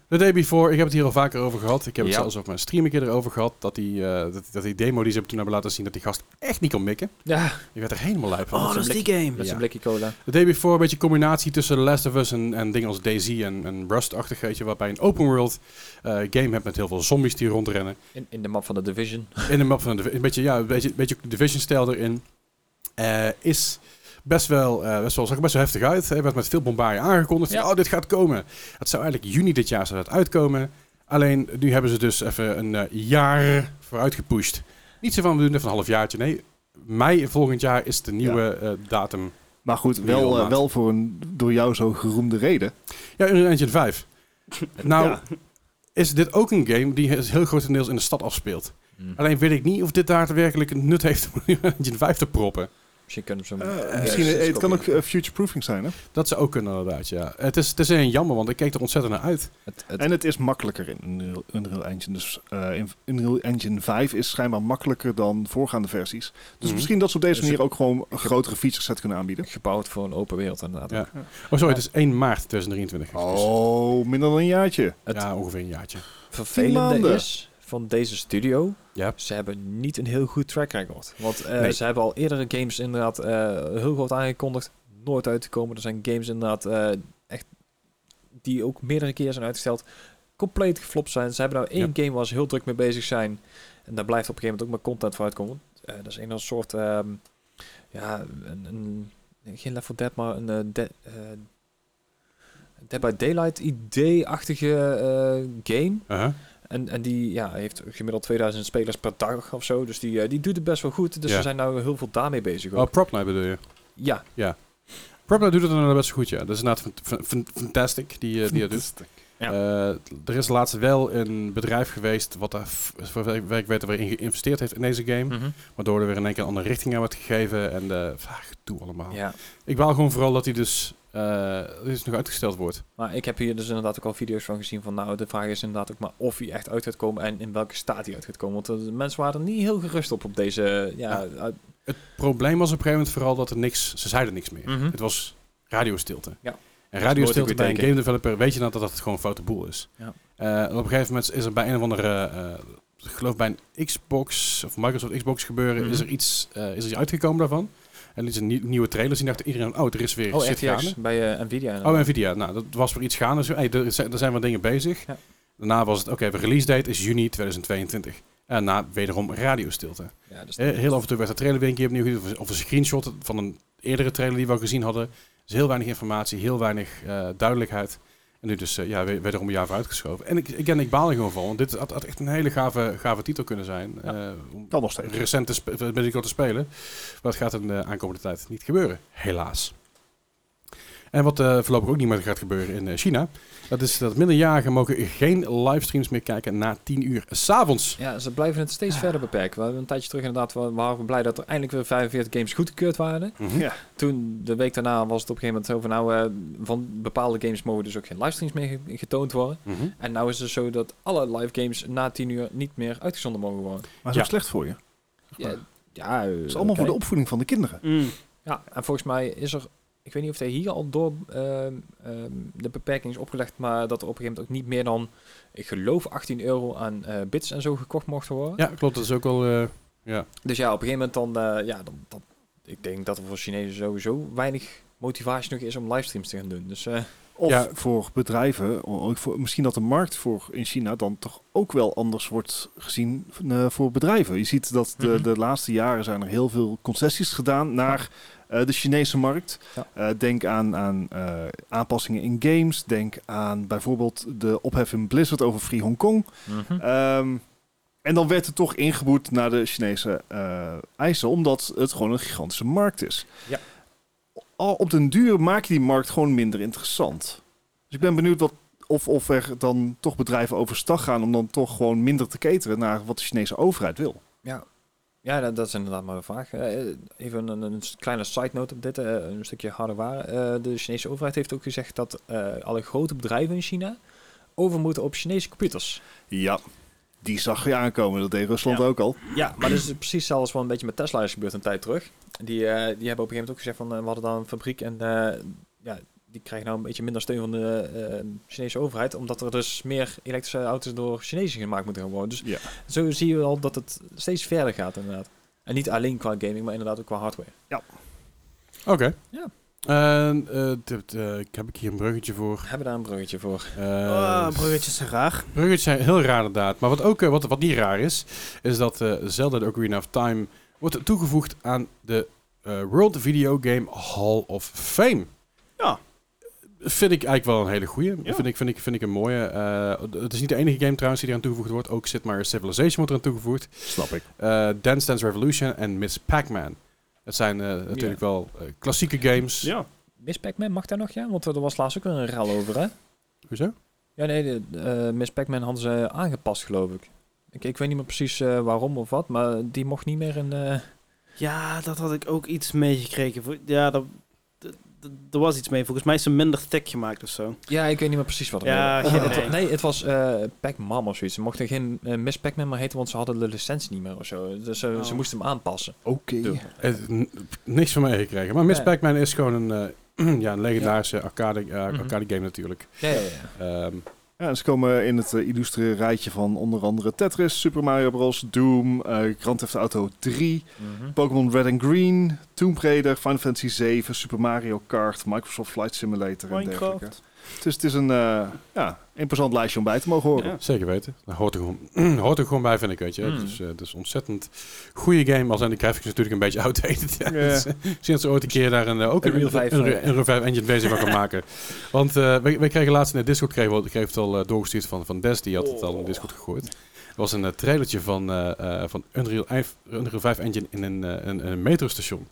[SPEAKER 1] The Day Before, ik heb het hier al vaker over gehad. Ik heb het
[SPEAKER 4] Ja.
[SPEAKER 1] zelfs op mijn stream een keer erover gehad. Dat die, eh, dat, dat die demo die ze toen hebben laten zien, dat die gast echt niet kon mikken.
[SPEAKER 4] Ja,
[SPEAKER 1] Die werd er helemaal lui van.
[SPEAKER 3] Oh, dat is die game.
[SPEAKER 4] met
[SPEAKER 1] Ja.
[SPEAKER 4] zijn blikje cola.
[SPEAKER 1] The Day Before, een beetje combinatie tussen The Last of Us en, en dingen als Daisy en, en Rust-achtig. weet je, Waarbij je een open world eh, game hebt met heel veel zombies die rondrennen.
[SPEAKER 4] In, in de map van de Division.
[SPEAKER 1] In de map van de een beetje, ja, een beetje, een beetje Division-stijl erin. Eh, is best wel, eh, best wel, zag er best wel heftig uit. Hij werd met veel bombardie aangekondigd.
[SPEAKER 4] Ja.
[SPEAKER 1] Oh, dit gaat komen. Het zou eigenlijk juni dit jaar zou dat uitkomen. Alleen, nu hebben ze dus even een eh, jaar vooruit gepusht. Niet zo van, we doen even een halfjaartje. Nee, mei volgend jaar is de nieuwe eh, datum.
[SPEAKER 2] Maar goed,
[SPEAKER 1] Unreal
[SPEAKER 2] wel, eh,
[SPEAKER 1] maat.
[SPEAKER 2] wel voor een door jou zo geroemde reden.
[SPEAKER 1] Ja, Unreal Engine 5. nou,
[SPEAKER 2] Ja.
[SPEAKER 1] is dit ook een game die is heel grotendeels in de stad afspeelt. Alleen weet ik niet of dit daadwerkelijk een nut heeft om Unreal Engine 5 te proppen.
[SPEAKER 4] Misschien kunnen ze hem...
[SPEAKER 2] Eh,
[SPEAKER 4] Ja,
[SPEAKER 2] misschien,
[SPEAKER 4] dat is
[SPEAKER 2] eh, het kan ook
[SPEAKER 4] kopie.
[SPEAKER 2] eh, future-proofing zijn, hè?
[SPEAKER 1] Dat zou ook kunnen, inderdaad, ja. Het is, het is een jammer, want ik keek er ontzettend naar uit.
[SPEAKER 4] Het, het,
[SPEAKER 2] En het is makkelijker in Unreal, Unreal Engine. Dus eh, in Unreal Engine 5 is schijnbaar makkelijker dan voorgaande versies. Dus
[SPEAKER 1] Mhm.
[SPEAKER 2] misschien dat ze op deze
[SPEAKER 4] Dus
[SPEAKER 2] manier ook gewoon een grotere feature set kunnen aanbieden.
[SPEAKER 4] gebouwd voor een open wereld, inderdaad.
[SPEAKER 1] Ja. Oh, sorry, het is 1 maart Dus 2023. excuus.
[SPEAKER 2] Oh, minder dan een jaartje.
[SPEAKER 4] Het
[SPEAKER 1] Ja, ongeveer een jaartje.
[SPEAKER 4] vervelende
[SPEAKER 2] maanden.
[SPEAKER 4] is van deze studio,
[SPEAKER 1] Ja.
[SPEAKER 4] Ze hebben niet een heel goed track record. Want eh,
[SPEAKER 1] Nee.
[SPEAKER 4] ze hebben al eerdere games inderdaad eh, heel groot aangekondigd. Nooit uit te komen. Er zijn games inderdaad eh, echt die ook meerdere keer zijn uitgesteld. Compleet geflopt zijn. Ze hebben nou één game waar ze heel druk mee bezig zijn. En daar blijft op een gegeven moment ook maar content voor uitkomen. Eh, dat is een als soort... ehm, ja, een, een, geen Left 4 Dead, maar een... eh, de- eh, Dead by Daylight idee-achtige eh, game.
[SPEAKER 1] Uh-huh.
[SPEAKER 4] En, en die ja, heeft gemiddeld 2000 spelers per dag of zo. Dus die, eh, die doet het best wel goed. Dus
[SPEAKER 1] Ja.
[SPEAKER 4] we zijn nou heel veel daarmee bezig.
[SPEAKER 1] Oh,
[SPEAKER 4] Ook.
[SPEAKER 1] Prop Night bedoel je?
[SPEAKER 4] Ja,
[SPEAKER 1] Prop Night doet het dan best goed, ja. Dat is inderdaad fan- fan- fan- fantastic, die, eh, die dat doet.
[SPEAKER 4] Ja.
[SPEAKER 1] Eh, er is laatst wel een bedrijf geweest wat daar, f- voor wer- ik weet, er weer in geïnvesteerd heeft in deze game.
[SPEAKER 4] Hm.
[SPEAKER 1] Waardoor er weer in één keer een andere richting aan werd gegeven. En eh ah, gedoe allemaal.
[SPEAKER 4] ja,
[SPEAKER 1] Ik baal gewoon vooral dat hij dus, eh, dus nog uitgesteld wordt.
[SPEAKER 4] maar ik heb hier dus inderdaad ook al video's van gezien van... Nou, de vraag is inderdaad ook maar of hij echt uit gaat komen en in welke staat hij uit gaat komen. Want eh, de mensen waren er niet heel gerust op op deze... Ja, uit-
[SPEAKER 1] Het probleem was op een gegeven moment vooral dat er niks, ze zeiden niks meer.
[SPEAKER 4] Mhm.
[SPEAKER 1] Het was radiostilte.
[SPEAKER 4] Ja.
[SPEAKER 1] En
[SPEAKER 4] nooit een
[SPEAKER 1] radiostilte
[SPEAKER 4] goed
[SPEAKER 1] bij een
[SPEAKER 4] teken.
[SPEAKER 1] game developer weet je nou dat dat gewoon een foute boel is.
[SPEAKER 4] Ja.
[SPEAKER 1] Eh, en op een gegeven moment is er bij een of andere, eh, ik geloof bij een Xbox of Microsoft Xbox gebeuren,
[SPEAKER 4] Mhm.
[SPEAKER 1] is er iets, eh, is er iets uitgekomen daarvan. En dit is een nieuw- nieuwe trailer. Zien dacht iedereen, oh, er is weer
[SPEAKER 4] oh,
[SPEAKER 1] shit gaande.
[SPEAKER 4] RTX bij eh, Nvidia.
[SPEAKER 1] Oh,
[SPEAKER 4] inderdaad.
[SPEAKER 1] Nvidia. Nou, dat was weer iets gaande. Zo, hey, er, zijn, er zijn wat dingen bezig.
[SPEAKER 4] Ja.
[SPEAKER 1] Daarna was het, oké, we release date is juni 2022. En na wederom radiostilte.
[SPEAKER 4] ja, dus
[SPEAKER 1] He- Eh, Heel af en toe werd de trailer weer een keer opnieuw gezien. Of, of een screenshot van een eerdere trailer die we al gezien hadden. Dus heel weinig informatie, heel weinig eh, duidelijkheid. En nu dus, eh, ja, we- wederom een jaar vooruitgeschoven. En ik, again, ik baal er gewoon van. Want dit had, had echt een hele gave, gave titel kunnen zijn. eh, om
[SPEAKER 2] Kan nog steeds.
[SPEAKER 1] recent te, spe- met die te spelen. Maar dat gaat in de aankomende tijd niet gebeuren. Helaas. En wat eh, voorlopig ook niet meer gaat gebeuren in eh, China. Dat is dat minderjarigen mogen geen livestreams meer kijken na 10 uur s'avonds.
[SPEAKER 4] Ja, ze blijven het
[SPEAKER 1] Ah.
[SPEAKER 4] steeds verder beperken. We hebben een tijdje terug inderdaad, we waren we blij dat er eindelijk weer 45 games goedgekeurd waren.
[SPEAKER 1] Mhm.
[SPEAKER 2] Ja.
[SPEAKER 4] Toen, de week daarna, was het op een gegeven moment over, nou, eh, van bepaalde games mogen dus ook geen livestreams meer ge- getoond worden.
[SPEAKER 1] Mhm.
[SPEAKER 4] En nou is het zo dat alle live games na 10 uur niet meer uitgezonden mogen worden.
[SPEAKER 2] Maar
[SPEAKER 1] Ja.
[SPEAKER 2] zo slecht voor je. Het
[SPEAKER 4] Ja, ja eh,
[SPEAKER 2] is allemaal
[SPEAKER 4] oké.
[SPEAKER 2] voor de opvoeding van de kinderen.
[SPEAKER 3] Mm.
[SPEAKER 4] Ja, en volgens mij is er, ik weet niet of hij hier al door ehm, ehm, de beperking is opgelegd, maar dat er op een gegeven moment ook niet meer dan, ik geloof, 18 euro aan eh, bits en zo gekocht mochten worden.
[SPEAKER 1] Ja, klopt. Dat is ook wel... eh,
[SPEAKER 4] Dus ja, op een gegeven moment dan, eh, ja, dan, dan, ik denk dat er voor Chinezen sowieso weinig motivatie nog is om livestreams te gaan doen. Dus eh,
[SPEAKER 2] Of
[SPEAKER 1] Ja.
[SPEAKER 2] voor bedrijven. o- ook voor- misschien dat de markt voor in China dan toch ook wel anders wordt gezien eh, voor bedrijven. Je ziet dat de,
[SPEAKER 4] Mhm.
[SPEAKER 2] de laatste jaren zijn er heel veel concessies gedaan naar eh, de Chinese markt.
[SPEAKER 4] Ja.
[SPEAKER 2] Eh, denk aan, aan eh, aanpassingen in games. Denk aan bijvoorbeeld de ophef in Blizzard over Free Hong Kong. Ehm, en dan werd het toch ingeboet naar de Chinese eh, eisen, omdat het gewoon een gigantische markt is.
[SPEAKER 4] Ja.
[SPEAKER 2] Al op den duur maak je die markt gewoon minder interessant. Dus ik ben benieuwd wat, of, of er dan toch bedrijven overstag gaan om dan toch gewoon minder te cateren naar wat de Chinese overheid wil.
[SPEAKER 4] ja. Ja, dat, dat is inderdaad maar de vraag. Eh, eh, even een, een kleine side note op dit, eh, een stukje harde waar. Eh, de Chinese overheid heeft ook gezegd dat eh, alle grote bedrijven in China over moeten op Chinese computers.
[SPEAKER 2] Ja, die zag je aankomen. Dat deed Rusland
[SPEAKER 3] Ja.
[SPEAKER 2] ook al.
[SPEAKER 4] Ja, maar dat is precies zelfs wel een beetje met Tesla is gebeurd een tijd terug. Die, eh, die hebben op een gegeven moment ook gezegd van eh, we hadden dan een fabriek en eh, ja, die krijgen nou een beetje minder steun van de eh, Chinese overheid. Omdat er dus meer elektrische auto's door Chinezen gemaakt moeten gaan worden. Dus
[SPEAKER 2] Ja.
[SPEAKER 4] zo zie je al dat het steeds verder gaat inderdaad. En niet alleen qua gaming, maar inderdaad ook qua hardware.
[SPEAKER 1] Oké.
[SPEAKER 4] Ja.
[SPEAKER 1] En, eh, dit, eh, ik heb ik hier een bruggetje voor.
[SPEAKER 4] We hebben daar een bruggetje voor.
[SPEAKER 1] Eh,
[SPEAKER 3] Ah, bruggetjes zijn raar.
[SPEAKER 1] bruggetjes zijn heel raar inderdaad. Maar wat ook eh, wat, wat niet raar is, is dat eh Zelda The Ocarina of Time wordt toegevoegd aan de eh, World Video Game Hall of Fame.
[SPEAKER 3] Ja.
[SPEAKER 1] Vind ik eigenlijk wel een hele goeie.
[SPEAKER 3] Ja.
[SPEAKER 1] Vind, ik, vind, ik, vind ik een mooie. Eh, het is niet de enige game trouwens die eraan toegevoegd wordt. Ook Sid Meier's Civilization wordt eraan toegevoegd.
[SPEAKER 2] Snap ik.
[SPEAKER 1] Eh, Dance Dance Revolution en Miss Pac-Man. Het zijn eh, natuurlijk wel eh, klassieke games.
[SPEAKER 3] Ja.
[SPEAKER 4] Miss Pac-Man mag daar nog, ja? Want er was laatst ook weer een rel over, hè?
[SPEAKER 1] Hoezo?
[SPEAKER 4] Ja, nee, de, eh, Miss Pac-Man hadden ze aangepast, geloof ik. Ik, ik weet niet meer precies eh, waarom of wat, maar die mocht niet meer in... eh,
[SPEAKER 3] Ja, dat had ik ook iets meegekregen. Vo- Ja, dat, dat- dat- er was iets mee. Volgens mij is ze minder thick gemaakt of zo.
[SPEAKER 4] Ja, ik weet niet meer precies wat er
[SPEAKER 3] Ja,
[SPEAKER 4] mee-
[SPEAKER 3] geen
[SPEAKER 4] het,
[SPEAKER 3] idee.
[SPEAKER 4] Nee, het was eh Pac-Man of zoiets. Ze mochten geen eh, Miss Pac-Man meer heten, want ze hadden de licentie niet meer of zo. Dus eh,
[SPEAKER 3] Oh.
[SPEAKER 4] ze moesten hem aanpassen.
[SPEAKER 2] Oké.
[SPEAKER 4] Doe.
[SPEAKER 1] Het- Eh, n- niks van mij gekregen. Maar Miss
[SPEAKER 4] Nee.
[SPEAKER 1] Pac-Man is gewoon een, eh, ja, een legendarische arcade, eh,
[SPEAKER 4] Mhm.
[SPEAKER 1] arcade game natuurlijk.
[SPEAKER 4] Ja, ja, ja.
[SPEAKER 1] Ehm,
[SPEAKER 2] Ja, en ze komen in het eh, illustre rijtje van onder andere Tetris, Super Mario Bros., Doom, eh Grand Theft Auto 3,
[SPEAKER 3] Mhm.
[SPEAKER 2] Pokémon Red and Green, Tomb Raider, Final Fantasy 7, Super Mario Kart, Microsoft Flight Simulator en dergelijke.
[SPEAKER 3] Minecraft.
[SPEAKER 2] Dus het is een eh, ja, imposant lijstje om bij te mogen horen.
[SPEAKER 3] Ja.
[SPEAKER 1] Zeker weten. Dat hoort er gewoon, hoort er gewoon bij, vind ik. Weet je.
[SPEAKER 4] Mm.
[SPEAKER 1] Het, is, eh, het is een ontzettend goede game, al zijn de graphics natuurlijk een beetje outdated. Ja.
[SPEAKER 2] Ja.
[SPEAKER 1] Dus, eh, Misschien dat ze ooit een keer daar een, eh, ook een,
[SPEAKER 4] Unreal
[SPEAKER 1] een,
[SPEAKER 4] 5,
[SPEAKER 1] een,
[SPEAKER 4] eh,
[SPEAKER 1] een Unreal 5 engine versie van gaan maken. Want eh wij, wij kregen laatst in de Discord, kregen, we- kregen we het al eh, doorgestuurd van, van Des, die had het al in de Discord gegooid. Er was een eh, trailertje van, eh, eh, van Unreal, 5, Unreal 5 engine in een, eh, een, een metrostation.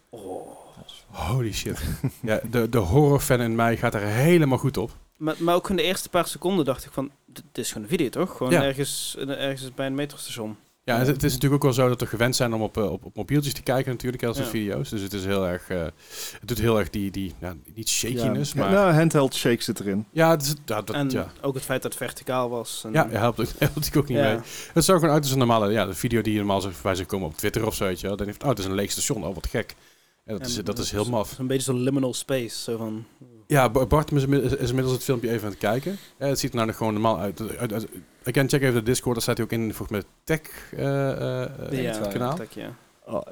[SPEAKER 1] Holy shit. ja, de, de horrorfan in mij gaat er helemaal goed op.
[SPEAKER 3] Maar, maar ook in de eerste paar seconden dacht ik van, dit dit is gewoon een video toch? Gewoon
[SPEAKER 1] Ja.
[SPEAKER 3] ergens, eh, ergens bij een metrostation.
[SPEAKER 1] Ja, het, het is natuurlijk ook wel zo dat we gewend zijn om op, eh, op, op mobieltjes te kijken natuurlijk, als soort
[SPEAKER 3] Ja.
[SPEAKER 1] video's. Dus het is heel erg, eh, het doet heel erg die, die ja, niet shakiness,
[SPEAKER 2] Ja,
[SPEAKER 1] maar ja,
[SPEAKER 2] nou, handheld shake zit erin.
[SPEAKER 1] het is, ja, dat,
[SPEAKER 3] en
[SPEAKER 1] ja.
[SPEAKER 3] ook het feit dat het verticaal was. En,
[SPEAKER 1] Ja, helpt ook, helpt natuurlijk ook niet mee. Het zag gewoon uit als een normale ja, de video die je normaal zou voorbij zou komen op Twitter of zo. Weet je, wel. dan heeft oh, het is een leeg station, oh wat gek. En dat,
[SPEAKER 3] En
[SPEAKER 1] is, dat is heel maf.
[SPEAKER 3] Een beetje zo'n liminal space. Zo van,
[SPEAKER 1] Ja, Ba- Bart is inmi- is inmiddels het filmpje even aan het kijken. Eh, het ziet er nou nog gewoon normaal uit. Uit- uit- Ik kan check even de Discord, daar staat hij ook in volgens mij tech eh, eh, eh,
[SPEAKER 3] ja,
[SPEAKER 1] het kanaal.
[SPEAKER 3] tak, ja.
[SPEAKER 2] Oh,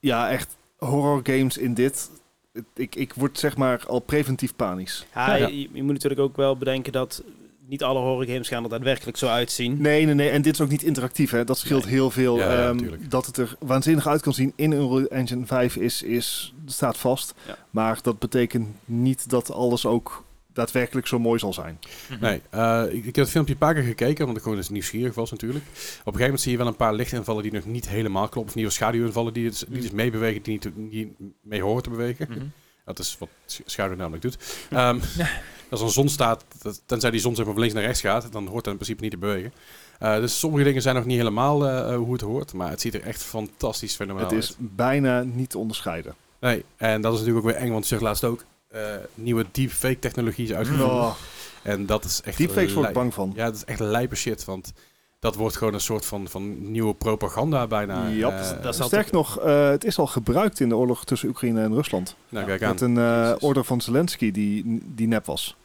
[SPEAKER 2] ja, echt horror games in dit. Het- Ik, ik word zeg maar al preventief panisch.
[SPEAKER 3] Ja,
[SPEAKER 1] Ja.
[SPEAKER 3] Je, je moet natuurlijk ook wel bedenken dat niet alle horrorgames gaan er daadwerkelijk zo uitzien.
[SPEAKER 2] Nee, nee, nee. En dit is ook niet interactief, hè. Dat scheelt heel veel.
[SPEAKER 1] Hm? Ja, ja,
[SPEAKER 2] Ehm,
[SPEAKER 1] tuurlijk.
[SPEAKER 2] dat het er waanzinnig uit kan zien in Unreal Engine 5 is, is, staat vast.
[SPEAKER 3] Ja.
[SPEAKER 2] Maar dat betekent niet dat alles ook daadwerkelijk zo mooi zal zijn.
[SPEAKER 1] Nee, eh, ik, ik heb het filmpje een paar keer gekeken, omdat ik gewoon eens nieuwsgierig was natuurlijk. Op een gegeven moment zie je wel een paar lichtinvallen die nog niet helemaal kloppen. Of nieuwe schaduwinvallen die, dus- die dus meebewegen, die niet die mee horen te bewegen.
[SPEAKER 4] Mm.
[SPEAKER 3] Mhm.
[SPEAKER 1] Dat is wat sch- schaduw namelijk doet. Ehm, Als er een zon staat, dat- tenzij die zon zeg maar van links naar rechts gaat, dan hoort dat in principe niet te bewegen. Eh, dus sommige dingen zijn nog niet helemaal eh, eh, hoe het hoort, maar het ziet er echt fantastisch fenomenaal
[SPEAKER 2] het
[SPEAKER 1] uit.
[SPEAKER 2] is bijna niet te onderscheiden.
[SPEAKER 1] Nee, en dat is natuurlijk ook weer eng, want ze zegt laatst ook, eh, nieuwe deepfake technologie is uitgevonden.
[SPEAKER 2] Oh,
[SPEAKER 1] En dat is Hm. echt...
[SPEAKER 2] deepfakes word
[SPEAKER 1] lijp.
[SPEAKER 2] ik bang van.
[SPEAKER 1] Ja, dat is echt lijpe shit, want dat wordt gewoon een soort van, van nieuwe propaganda bijna.
[SPEAKER 2] Jap,
[SPEAKER 1] Eh,
[SPEAKER 3] dat is-
[SPEAKER 2] Sterk nog, eh, het is al gebruikt in de oorlog tussen Oekraïne en Rusland.
[SPEAKER 1] nou, kijk aan.
[SPEAKER 2] Met een eh,
[SPEAKER 1] Jezus.
[SPEAKER 2] order van Zelensky die, die nep was.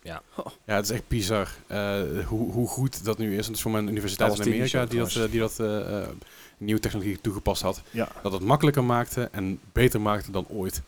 [SPEAKER 1] Ja, het is echt bizar eh, hoe, hoe goed dat nu is. En dat is voor mijn universiteit
[SPEAKER 4] Alles
[SPEAKER 1] in Amerika die
[SPEAKER 4] technisch ook
[SPEAKER 1] dat, eh, die dat eh, eh, nieuwe technologie toegepast had.
[SPEAKER 2] Ja.
[SPEAKER 1] Dat het makkelijker maakte en beter maakte dan ooit.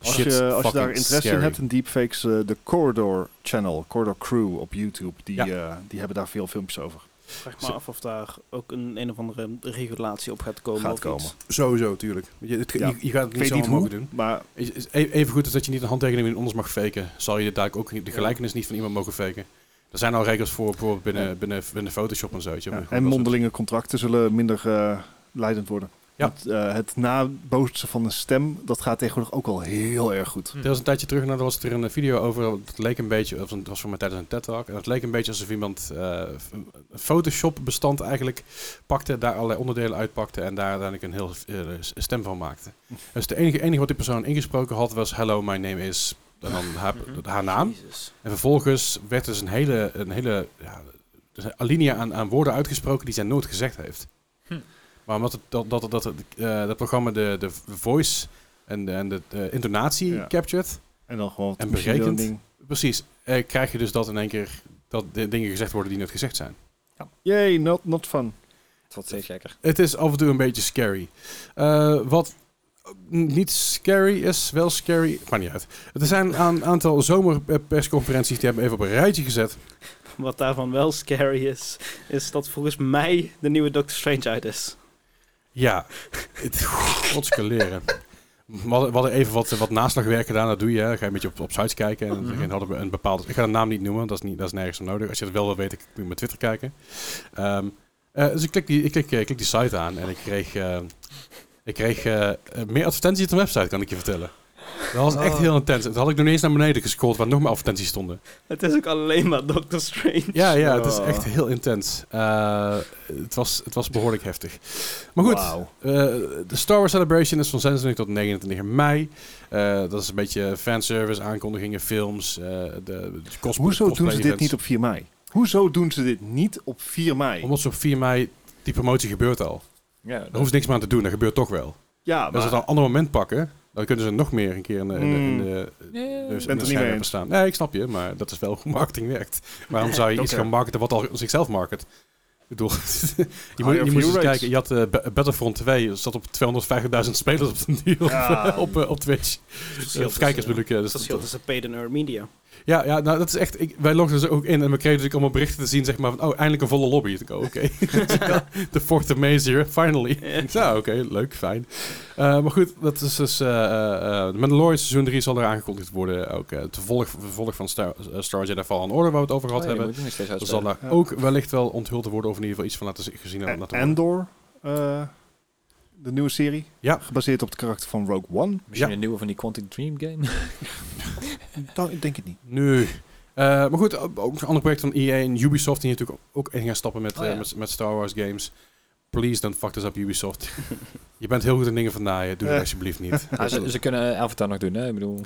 [SPEAKER 2] Als
[SPEAKER 1] Shit
[SPEAKER 2] je, als je daar
[SPEAKER 1] fucking
[SPEAKER 2] interesse in
[SPEAKER 1] scary.
[SPEAKER 2] hebt in deepfakes, eh, de Corridor Channel, Corridor Crew op YouTube, die,
[SPEAKER 1] Ja.
[SPEAKER 2] eh, die hebben daar veel filmpjes over.
[SPEAKER 3] Vraag me af of daar ook een, een of andere regulatie op gaat komen.
[SPEAKER 2] Gaat
[SPEAKER 3] of iets.
[SPEAKER 2] komen.
[SPEAKER 1] Sowieso, tuurlijk. Je, het-
[SPEAKER 2] Ja.
[SPEAKER 1] je, je gaat het niet
[SPEAKER 2] Ik weet
[SPEAKER 1] zo
[SPEAKER 2] niet
[SPEAKER 1] mogen
[SPEAKER 2] hoe,
[SPEAKER 1] doen.
[SPEAKER 2] maar
[SPEAKER 1] Is- is e- Even goed als dat je niet een handtekening in anders mag faken, zal je dadelijk ook niet- de gelijkenis niet van iemand mogen faken. Er zijn al regels voor, bijvoorbeeld binnen, binnen, binnen Photoshop en zo. weet je.
[SPEAKER 2] ja,
[SPEAKER 1] Maar
[SPEAKER 2] en
[SPEAKER 1] goed, dat-
[SPEAKER 2] mondelinge contracten zullen minder eh, leidend worden.
[SPEAKER 1] Ja.
[SPEAKER 2] Het, eh, het nabootsen van een stem, dat gaat tegenwoordig ook al heel erg goed.
[SPEAKER 1] Er was een tijdje terug, en daar was er een video over. Dat leek een beetje, of het was voor mij tijdens een TED-talk. En het leek een beetje alsof iemand eh, een Photoshop-bestand eigenlijk pakte, daar allerlei onderdelen uitpakte en daar uiteindelijk een heel eh, stem van maakte. Dus het enige, enige wat die persoon ingesproken had was: Hello, my name is. En dan haar, haar naam.
[SPEAKER 3] Jezus.
[SPEAKER 1] En vervolgens werd dus een hele, een hele ja, dus een alinea aan, aan woorden uitgesproken die zij nooit gezegd heeft.
[SPEAKER 4] Hm.
[SPEAKER 1] Maar omdat het, dat, dat, dat, het, eh, dat programma de, de voice en de, en de eh, intonatie
[SPEAKER 2] Ja.
[SPEAKER 1] captured,
[SPEAKER 2] En dan gewoon het
[SPEAKER 1] En
[SPEAKER 2] machine
[SPEAKER 1] berekend.
[SPEAKER 2] learning.
[SPEAKER 1] Precies. Eh, krijg je dus dat in één keer dat de dingen gezegd worden die net gezegd zijn.
[SPEAKER 2] Yay, not, not fun.
[SPEAKER 4] Het wordt steeds gekker.
[SPEAKER 1] Het is af en toe een beetje scary. Eh, wat niet scary is, wel scary. Maakt niet uit. Er zijn een aan- aantal zomerpersconferenties die hebben even op een rijtje gezet.
[SPEAKER 3] Wat daarvan wel scary is, is dat volgens mij de nieuwe Doctor Strange uit is.
[SPEAKER 1] Ja, het godske leren. We hadden, we hadden even wat, wat naslagwerk gedaan, dat doe je. hè. Dan ga je een beetje op, op sites kijken. En dan hadden we een bepaalde... Ik ga de naam niet noemen, want dat is, niet, dat is nergens om nodig. Als je dat wel wil weten, kun je op mijn Twitter kijken. Ehm, eh, dus ik klik, die, ik, klik, eh, ik klik die site aan en ik kreeg, eh, ik kreeg eh, eh, meer advertenties op de website, kan ik je vertellen. Dat was echt
[SPEAKER 4] Oh.
[SPEAKER 1] heel intens. Dat had ik nog niet eens naar beneden gescrollt, waar nog meer advertenties stonden.
[SPEAKER 3] Het is ook alleen maar Doctor Strange.
[SPEAKER 1] Ja, ja, het is
[SPEAKER 2] Oh.
[SPEAKER 1] echt heel intens. Eh, het, was, het was behoorlijk heftig. Maar goed,
[SPEAKER 2] Wauw.
[SPEAKER 1] eh, de Star Wars Celebration is van 26 tot 29 mei. Eh, dat is een beetje fanservice, aankondigingen, films, eh de, de cos-
[SPEAKER 2] Hoezo doen
[SPEAKER 1] cosplay
[SPEAKER 2] ze dit
[SPEAKER 1] events.
[SPEAKER 2] niet op 4 mei? Hoezo doen ze dit niet op 4 mei?
[SPEAKER 1] Omdat ze op 4 mei, die promotie gebeurt al.
[SPEAKER 4] Ja,
[SPEAKER 1] Daar hoeft niks meer aan te doen, dat gebeurt toch wel.
[SPEAKER 2] Ja,
[SPEAKER 1] Als ze
[SPEAKER 2] maar
[SPEAKER 1] het al een ander moment pakken, Dan kunnen ze nog meer een keer in de, in de, in de,
[SPEAKER 2] Hmm.
[SPEAKER 1] dus
[SPEAKER 2] het
[SPEAKER 1] in de
[SPEAKER 2] niet
[SPEAKER 1] schermen
[SPEAKER 2] mee eens.
[SPEAKER 1] staan. Nee, ik snap je, maar dat is wel hoe marketing werkt. Waarom zou je
[SPEAKER 2] dat
[SPEAKER 1] iets
[SPEAKER 2] ja.
[SPEAKER 1] gaan marketen wat al zichzelf market? Ik bedoel, je moet,
[SPEAKER 2] Higher
[SPEAKER 1] je moet eens
[SPEAKER 2] view rates.
[SPEAKER 1] kijken, je had eh, Ba- Battlefront 2, zat op 250.000 spelers op de duur
[SPEAKER 2] Ja.
[SPEAKER 1] op, eh, op Twitch. Of kijkers bedoel ik. eh, dus
[SPEAKER 3] Dat verschil tussen paid en earned media.
[SPEAKER 1] ja, ja, nou dat is echt, ik, wij logden dus ook in en we kregen dus ook allemaal berichten te zien, zeg maar, van, oh, eindelijk een volle lobby. Ik, oh, oké, de fourth major, finally. Ja, oké, leuk, fijn. Eh, maar goed, dat is dus... eh eh, eh, Mandalorian seizoen 3 zal er aangekondigd worden. Ook eh, het vervolg, vervolg van Star, eh, Star Jedi Fallen Order, waar we het over
[SPEAKER 4] Oh,
[SPEAKER 1] gehad hebben. Dat zal daar
[SPEAKER 2] Ja.
[SPEAKER 1] ook wellicht wel onthuld worden, of in ieder geval iets van laten zien- gezien hebben. laten worden.
[SPEAKER 2] Endor, eh, de nieuwe serie.
[SPEAKER 1] Ja.
[SPEAKER 2] Gebaseerd op het karakter van Rogue One.
[SPEAKER 4] Misschien
[SPEAKER 1] Ja.
[SPEAKER 4] een nieuwe van die Quantic Dream game.
[SPEAKER 2] Dat ik denk ik niet.
[SPEAKER 1] Nu. Eh, maar goed, ook ook een ander project van EA en Ubisoft, die natuurlijk ook in gaan stappen met,
[SPEAKER 4] Oh, ja.
[SPEAKER 1] eh, met, met Star Wars games. Please don't fuck this up, Ubisoft. je bent heel goed in dingen van naaien, doe dat
[SPEAKER 2] Eh.
[SPEAKER 1] alsjeblieft niet.
[SPEAKER 4] Ah, ze, ze kunnen Avatar nog doen, hè? Ik bedoel,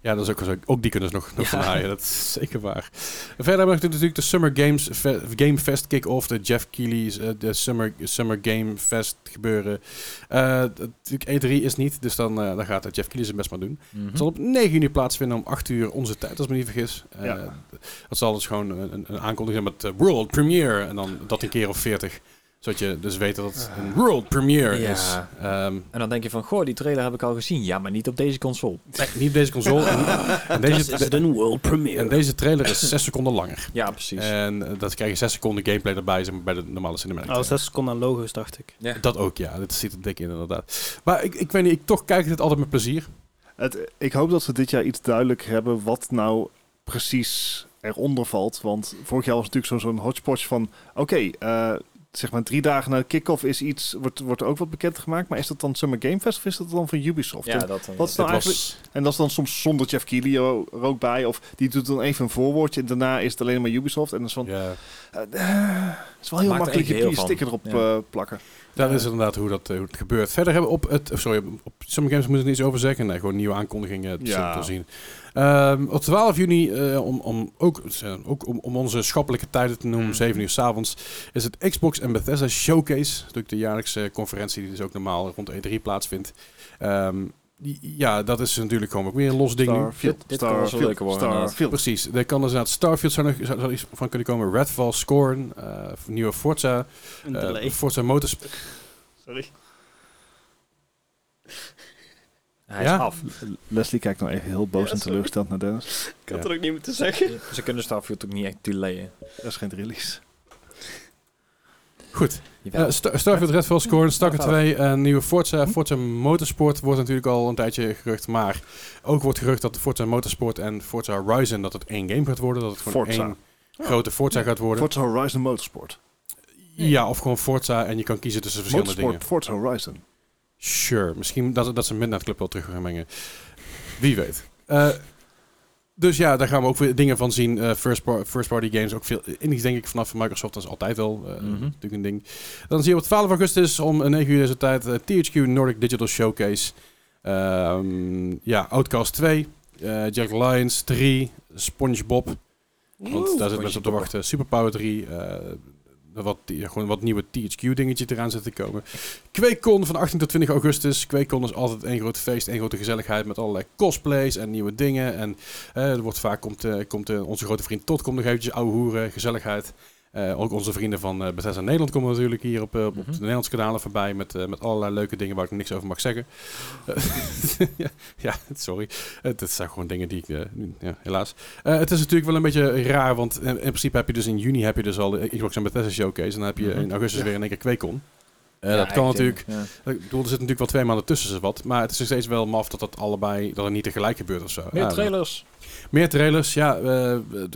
[SPEAKER 1] Ja, dat is ook, zo. ook die kunnen ze nog, nog van haaien. Dat is zeker waar. Verder hebben we natuurlijk de Summer Games Fe- Game Fest kick-off. De Jeff Keighley's, eh, de Summer, Summer Game Fest gebeuren. Eh, dat- natuurlijk E3 is niet, dus dan, eh, dan gaat eh, Jeff Keighley zijn best maar doen.
[SPEAKER 4] Mhm.
[SPEAKER 2] Mhm.
[SPEAKER 1] Het zal op 9 juni plaatsvinden om 8 uur onze tijd, als ik me niet vergis. Eh,
[SPEAKER 2] Ja.
[SPEAKER 1] Dat zal dus gewoon een, een aankondiging zijn met eh, World Premiere. En dan dat een keer of 40. Zodat je dus weet dat het een World Premiere
[SPEAKER 4] Ah. Ja.
[SPEAKER 1] is. Ehm,
[SPEAKER 4] en dan denk je van, goh, die trailer heb ik al gezien. Ja, maar niet op deze console.
[SPEAKER 1] nee, niet op deze console. En, en
[SPEAKER 3] This
[SPEAKER 1] deze,
[SPEAKER 3] is een world
[SPEAKER 1] en
[SPEAKER 3] premiere.
[SPEAKER 1] deze trailer is 6 seconden langer.
[SPEAKER 4] Ja, precies.
[SPEAKER 1] En eh, dat krijg je 6 seconden gameplay erbij zeg maar, bij de normale cinematic.
[SPEAKER 3] Oh, zes seconden aan logo's, dacht ik.
[SPEAKER 4] ja.
[SPEAKER 1] Dat ook, ja. Dat zit er dik in, inderdaad. Maar ik, ik weet niet, ik toch kijk ik dit altijd met plezier.
[SPEAKER 2] Het, ik hoop dat ze dit jaar iets duidelijk hebben wat nou precies eronder valt. Want vorig jaar was natuurlijk zo- zo'n hodgepodge van... Oké, eh, zeg maar drie dagen na de kick-off is iets, wordt, wordt ook wat bekendgemaakt. Maar is dat dan Summer Game Fest of is dat dan van Ubisoft?
[SPEAKER 4] ja,
[SPEAKER 2] En,
[SPEAKER 4] dat eh, dan.
[SPEAKER 2] wat is
[SPEAKER 1] Dit
[SPEAKER 2] nou eigenlijk...
[SPEAKER 1] was,
[SPEAKER 2] En dat is dan soms zonder Jeff Keighley er er ook bij. Of die doet dan even een voorwoordje. En daarna is het alleen maar Ubisoft. En dan is van...
[SPEAKER 1] ja,
[SPEAKER 2] Het is wel heel
[SPEAKER 4] Maakt er
[SPEAKER 2] makkelijk je
[SPEAKER 4] echt heel
[SPEAKER 2] die sticker erop
[SPEAKER 4] van.
[SPEAKER 2] eh, plakken.
[SPEAKER 1] dat is inderdaad hoe dat, eh, hoe het gebeurt. Verder hebben we op het... oh, sorry, op sommige games moet ik er niets over zeggen. Nee, gewoon nieuwe aankondigingen te
[SPEAKER 2] Ja.
[SPEAKER 1] te zien. Ehm, op 12 juni, eh, om, om, ook, eh, ook om, om onze schappelijke tijden te noemen, om 7 uur s'avonds, is het Xbox en Bethesda Showcase. Natuurlijk de jaarlijkse conferentie die dus ook normaal rond E3 plaatsvindt. Ehm, die- ja, dat is natuurlijk gewoon ook weer een los ding nu.
[SPEAKER 2] Starfield,
[SPEAKER 4] Dit- dit kan wel eens wel leuker worden, inderdaad.
[SPEAKER 2] Starfield.
[SPEAKER 1] Precies, daar kan dus naar Starfield zou, nog, zou, zou iets van kunnen komen. Redfall, Scorn, eh, nieuwe Forza,
[SPEAKER 3] Een
[SPEAKER 1] eh,
[SPEAKER 3] delay.
[SPEAKER 1] Forza Motors.
[SPEAKER 3] Sorry.
[SPEAKER 4] Hij
[SPEAKER 1] Ja.
[SPEAKER 4] is af.
[SPEAKER 2] Leslie kijkt nou even heel boos en
[SPEAKER 3] Ja, sorry.
[SPEAKER 2] teleurgesteld naar Dennis.
[SPEAKER 3] Ik had er ook niet meer te zeggen.
[SPEAKER 4] Ze kunnen Starfield ook niet echt delayen.
[SPEAKER 2] Dat is geen release.
[SPEAKER 1] Goed,
[SPEAKER 4] Jawel.
[SPEAKER 1] Eh, Star- Starfield, Redfall, Scorn, Stalker
[SPEAKER 4] Ja, gaat
[SPEAKER 1] 2, een nieuwe Forza. Forza Motorsport wordt natuurlijk al een tijdje gerucht, maar ook wordt gerucht dat Forza Motorsport en Forza Horizon dat het één game gaat worden, dat het gewoon
[SPEAKER 2] Forza.
[SPEAKER 1] één grote Forza gaat worden.
[SPEAKER 2] Forza Horizon Motorsport.
[SPEAKER 1] Ja, of gewoon Forza en je kan kiezen tussen verschillende
[SPEAKER 2] Motorsport Forza Horizon.
[SPEAKER 1] dingen. Sure, misschien dat, dat ze Midnight Club wel terug gaan mengen. Wie weet. Eh, dus ja, daar gaan we ook weer dingen van zien. Eh, first, par- first party games, ook veel indies denk ik vanaf Microsoft. Dat is altijd wel eh,
[SPEAKER 4] Mhm.
[SPEAKER 1] natuurlijk een ding. Dan zie je op 12 augustus om 9 uur deze tijd eh, THQ Nordic Digital Showcase. Ehm, ja, Outcast 2, eh, Jack Lions 3, SpongeBob. Want daar zitten mensen op te wachten. Superpower 3, eh, wat, die- gewoon wat nieuwe THQ-dingetje eraan zit te komen. QuakeCon van 18 tot 20 augustus. QuakeCon is altijd een groot feest, een grote gezelligheid met allerlei cosplays en nieuwe dingen. En eh, er wordt vaak, komt, eh, komt eh, onze grote vriend Todd komt nog eventjes ouwe hoeren, gezelligheid. Eh, ook onze vrienden van eh Bethesda Nederland komen natuurlijk hier op, eh, op
[SPEAKER 4] Mhm.
[SPEAKER 1] de Nederlandse kanalen voorbij met, eh, met allerlei leuke dingen waar ik niks over mag zeggen. Eh, ja, ja, sorry. Het dat zijn gewoon dingen die ik, eh, nu- ja, helaas. Eh, het is natuurlijk wel een beetje raar, want in, in principe heb je dus in juni heb je dus al de Xbox en Bethesda Showcase. En dan heb je
[SPEAKER 4] Mhm.
[SPEAKER 1] in augustus weer in één keer QuakeCon. Eh,
[SPEAKER 4] Ja,
[SPEAKER 1] dat kan
[SPEAKER 4] echt,
[SPEAKER 1] natuurlijk. eh,
[SPEAKER 4] ja.
[SPEAKER 1] Ik bedoel, er zit natuurlijk wel twee maanden tussen zo wat. Maar het is nog steeds wel maf dat dat allebei, dat het niet tegelijk gebeurt of zo.
[SPEAKER 4] Meer
[SPEAKER 1] Ja,
[SPEAKER 4] trailers.
[SPEAKER 1] Meer trailers, ja. eh, we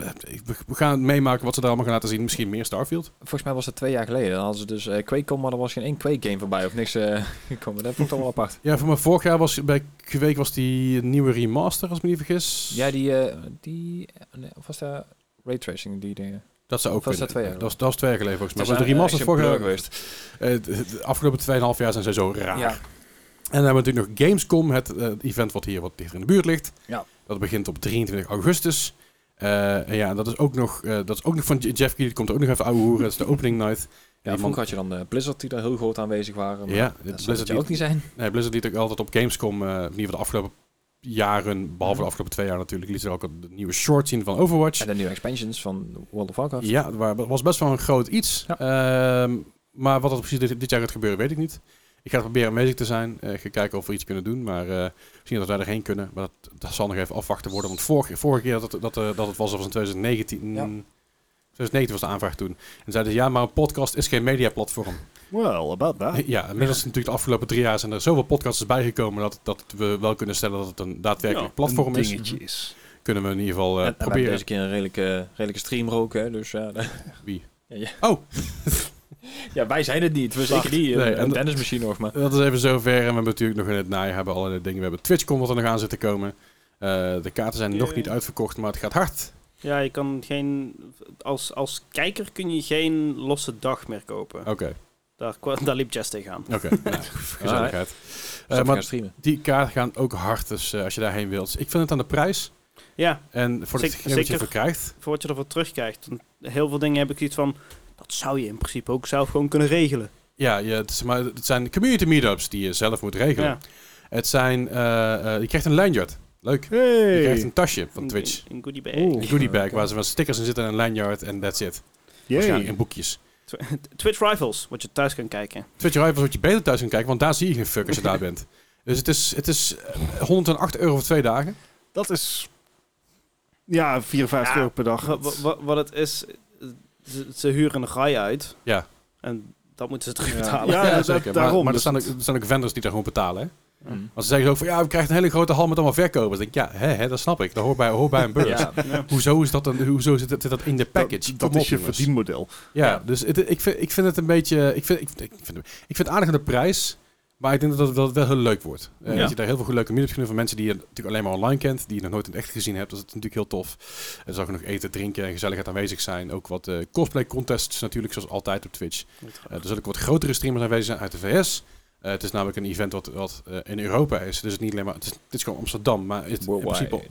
[SPEAKER 1] we gaan meemaken wat ze daar allemaal gaan laten zien. Misschien meer Starfield.
[SPEAKER 4] Volgens mij was dat twee jaar geleden. Dan hadden ze dus eh Quake maar er was geen één Quake game voorbij of niks eh gekomen. Dat vond ik toch wel apart.
[SPEAKER 1] Ja, voor mijn vorig jaar was bij Kweek was die nieuwe remaster, als ik me niet vergis.
[SPEAKER 4] Ja, die... eh, die nee, of was dat raytracing, die dingen?
[SPEAKER 1] dat zou ook
[SPEAKER 4] Of was dat
[SPEAKER 1] kunnen.
[SPEAKER 4] twee jaar
[SPEAKER 1] dat, was, dat was twee jaar geleden volgens mij.
[SPEAKER 4] Dat
[SPEAKER 1] Maar de
[SPEAKER 4] zijn, eh,
[SPEAKER 1] remaster
[SPEAKER 4] echt
[SPEAKER 1] vorig
[SPEAKER 4] een
[SPEAKER 1] jaar
[SPEAKER 4] blur
[SPEAKER 1] geweest. de afgelopen 2,5 jaar zijn ze zo raar.
[SPEAKER 4] Ja.
[SPEAKER 1] En dan hebben we natuurlijk nog Gamescom, het eh, event wat hier wat dichter in de buurt ligt.
[SPEAKER 4] Ja.
[SPEAKER 1] Dat begint op 23 augustus. Eh, en ja, dat is ook nog, eh, dat is ook nog van J- Jeff Keighley. Die komt er ook nog even ouwe hoeren. Dat is de opening night. die man-
[SPEAKER 4] vroeger had je dan eh, Blizzard die daar heel groot aanwezig waren. Maar
[SPEAKER 1] Ja,
[SPEAKER 4] dat zou
[SPEAKER 1] Blizzard
[SPEAKER 4] het
[SPEAKER 1] die-
[SPEAKER 4] ook niet zijn.
[SPEAKER 1] Nee, Blizzard liet ook altijd op Gamescom, eh, in ieder geval de afgelopen jaren, behalve de afgelopen twee jaar natuurlijk, liet ze ook een nieuwe short zien van Overwatch.
[SPEAKER 4] En de nieuwe expansions van World of Warcraft.
[SPEAKER 1] Ja, het wa- was best wel een groot iets. Ehm, maar wat er precies dit, dit jaar gaat gebeuren, weet ik niet. Ik ga proberen aanwezig te zijn. Eh, Ik ga kijken of we iets kunnen doen. Maar eh, misschien dat wij erheen kunnen. Maar dat, dat zal nog even afwachten worden. Want vorige, vorige keer dat het, dat, eh, dat het was, dat was in 2019.
[SPEAKER 4] Ja.
[SPEAKER 1] 2019 was de aanvraag toen. En zeiden ze, ja, maar een podcast is geen mediaplatform.
[SPEAKER 2] Well, about
[SPEAKER 4] Ah.
[SPEAKER 2] that.
[SPEAKER 1] Ja, inmiddels is natuurlijk de afgelopen drie jaar zijn er zoveel podcasts bijgekomen... dat, dat we wel kunnen stellen dat het een daadwerkelijk platform
[SPEAKER 2] Een
[SPEAKER 1] is.
[SPEAKER 2] dingetje is.
[SPEAKER 1] Kunnen we in ieder geval eh,
[SPEAKER 4] en, en we hebben
[SPEAKER 1] proberen.
[SPEAKER 4] deze keer een redelijke, redelijke stream roken, hè, dus ja.
[SPEAKER 1] Wie?
[SPEAKER 4] Ja, ja.
[SPEAKER 1] Oh.
[SPEAKER 4] ja, wij zijn het niet. We zeker niet.
[SPEAKER 1] Nee,
[SPEAKER 4] Nee,
[SPEAKER 1] en- Eh,
[SPEAKER 4] en Dennis misschien nog, maar...
[SPEAKER 1] Dat is even zover. En we hebben natuurlijk nog in het najaar hebben we allerlei dingen. We hebben TwitchCon wat er nog aan zit te komen. Eh, de kaarten zijn nog
[SPEAKER 3] Ja.
[SPEAKER 1] niet uitverkocht, maar het gaat hard.
[SPEAKER 3] Ja, je kan geen... Als, als kijker kun je geen losse dag meer kopen.
[SPEAKER 1] Oké,
[SPEAKER 3] Daar, kwa- daar liep Jess tegenaan.
[SPEAKER 1] oké. nou, gezelligheid. Eh,
[SPEAKER 4] Zullen we gaan
[SPEAKER 1] maar
[SPEAKER 4] streamen.
[SPEAKER 1] die kaarten gaan ook hard, dus eh, als je daarheen wilt. Ik vind het aan de prijs
[SPEAKER 3] Ja,
[SPEAKER 1] en voor
[SPEAKER 3] Zeker-
[SPEAKER 1] hetgeen wat je
[SPEAKER 3] zeker.
[SPEAKER 1] ervoor krijgt.
[SPEAKER 3] voor wat je ervoor terugkrijgt. Want Heel veel dingen heb ik iets van... Dat zou je in principe ook zelf gewoon kunnen regelen.
[SPEAKER 1] Ja, je, het, is, maar het zijn community meetups die je zelf moet regelen.
[SPEAKER 3] Ja.
[SPEAKER 1] Het zijn, eh, eh, je krijgt een lanyard. Leuk. Je krijgt
[SPEAKER 2] Hey!
[SPEAKER 1] een tasje van
[SPEAKER 3] Een-
[SPEAKER 1] Twitch.
[SPEAKER 3] Een, een goodie bag.
[SPEAKER 1] Een goodie bag waar ze wat stickers in zitten en een lanyard en that's it. Waarschijnlijk
[SPEAKER 2] Yay.
[SPEAKER 1] in boekjes.
[SPEAKER 3] Tw- Twitch Rivals, wat je thuis kan kijken.
[SPEAKER 1] Twitch Rivals wat je beter thuis kan kijken, want daar zie je geen fuck als je daar bent. Dus het is, het is eh, 108 euro voor twee dagen.
[SPEAKER 2] Dat is... Ja, 54
[SPEAKER 3] Ja.
[SPEAKER 2] euro per dag.
[SPEAKER 3] Wa- wa- wa- wat het is, eh, ze, ze huren een rij uit.
[SPEAKER 1] Ja.
[SPEAKER 3] En dat moeten ze terug
[SPEAKER 4] Ja.
[SPEAKER 3] betalen.
[SPEAKER 2] Ja, dat- daarom.
[SPEAKER 1] Maar, maar er,
[SPEAKER 2] Dus
[SPEAKER 1] staan ook,
[SPEAKER 2] dat-
[SPEAKER 1] er staan ook vendors die daar gewoon betalen. Hè?
[SPEAKER 4] Mhm.
[SPEAKER 1] Want ze zeggen ook van ja, we krijgen een hele grote hal met allemaal verkopers. Ik denk ja, hè, hè, dat snap ik. Dat hoort bij, hoort bij een beurs.
[SPEAKER 4] Ja,
[SPEAKER 3] Ja.
[SPEAKER 1] Hoezo, is dat een, hoezo zit, dat- zit dat in de package?
[SPEAKER 2] Dat,
[SPEAKER 1] Kom
[SPEAKER 2] dat is
[SPEAKER 1] op,
[SPEAKER 2] je
[SPEAKER 1] jongens.
[SPEAKER 2] verdienmodel.
[SPEAKER 1] Ja,
[SPEAKER 4] Ja.
[SPEAKER 1] dus het, ik, vind, ik vind het een beetje. Ik vind, ik, vind- ik vind, ik vind het aardig aan de prijs. Maar ik denk dat het, dat het wel heel leuk wordt. Eh,
[SPEAKER 3] Ja.
[SPEAKER 1] Dat je daar heel veel leuke meetups kunt van mensen die je natuurlijk alleen maar online kent. Die je nog nooit in het echt gezien hebt. Dus dat is natuurlijk heel tof. Er zal genoeg eten, drinken en gezelligheid aanwezig zijn. Ook wat eh, cosplay contests natuurlijk, zoals altijd op Twitch. Eh, er zullen ook wat grotere streamers aanwezig zijn uit de VS. Eh, het is namelijk een event wat, wat eh, in Europa is. Dus het, niet alleen maar, het, is, het is gewoon Amsterdam. Maar het, in principe
[SPEAKER 4] Worldwide.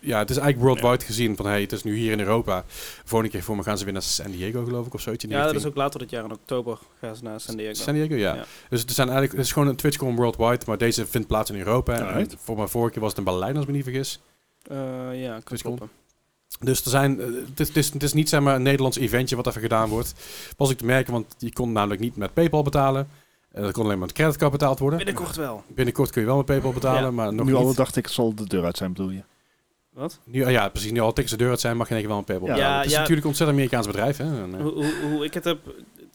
[SPEAKER 1] ja, het is eigenlijk worldwide gezien van hey, het is nu hier in Europa. Volgende keer voor me gaan ze weer naar San Diego geloof ik of zoiets. in die
[SPEAKER 3] Ja, dat
[SPEAKER 1] richting.
[SPEAKER 3] is ook later dit jaar in oktober gaan ze naar San Diego.
[SPEAKER 1] San Diego, ja.
[SPEAKER 3] Ja.
[SPEAKER 1] Dus het, zijn eigenlijk, het is gewoon een TwitchCon worldwide, maar deze vindt plaats in Europa. En
[SPEAKER 2] Alright.
[SPEAKER 1] voor mijn vorige keer was het in Berlijn, als ik me niet vergis.
[SPEAKER 3] Eh, ja, kan
[SPEAKER 1] Dus kom.
[SPEAKER 3] kloppen.
[SPEAKER 1] Dus er zijn, eh, het, is, het, is, het is niet zeg maar, een Nederlands eventje wat even gedaan wordt. Was ik te merken, want je kon namelijk niet met PayPal betalen. Eh, dat kon alleen maar met creditcard betaald worden.
[SPEAKER 3] Binnenkort wel.
[SPEAKER 1] Binnenkort kun je wel met PayPal betalen,
[SPEAKER 3] Ja.
[SPEAKER 1] maar nog
[SPEAKER 2] nu
[SPEAKER 1] niet.
[SPEAKER 2] al dacht ik, het zal de deur uit zijn, bedoel je?
[SPEAKER 3] Wat?
[SPEAKER 1] Nu, ah ja, precies. Nu al tikkers de deur uit zijn, mag je denk ik wel met PayPal
[SPEAKER 2] Ja.
[SPEAKER 1] betalen.
[SPEAKER 3] Ja,
[SPEAKER 1] het is
[SPEAKER 3] ja.
[SPEAKER 1] natuurlijk een ontzettend Amerikaans bedrijf. Hè? En, eh,
[SPEAKER 3] Hoe, hoe, hoe ik het heb...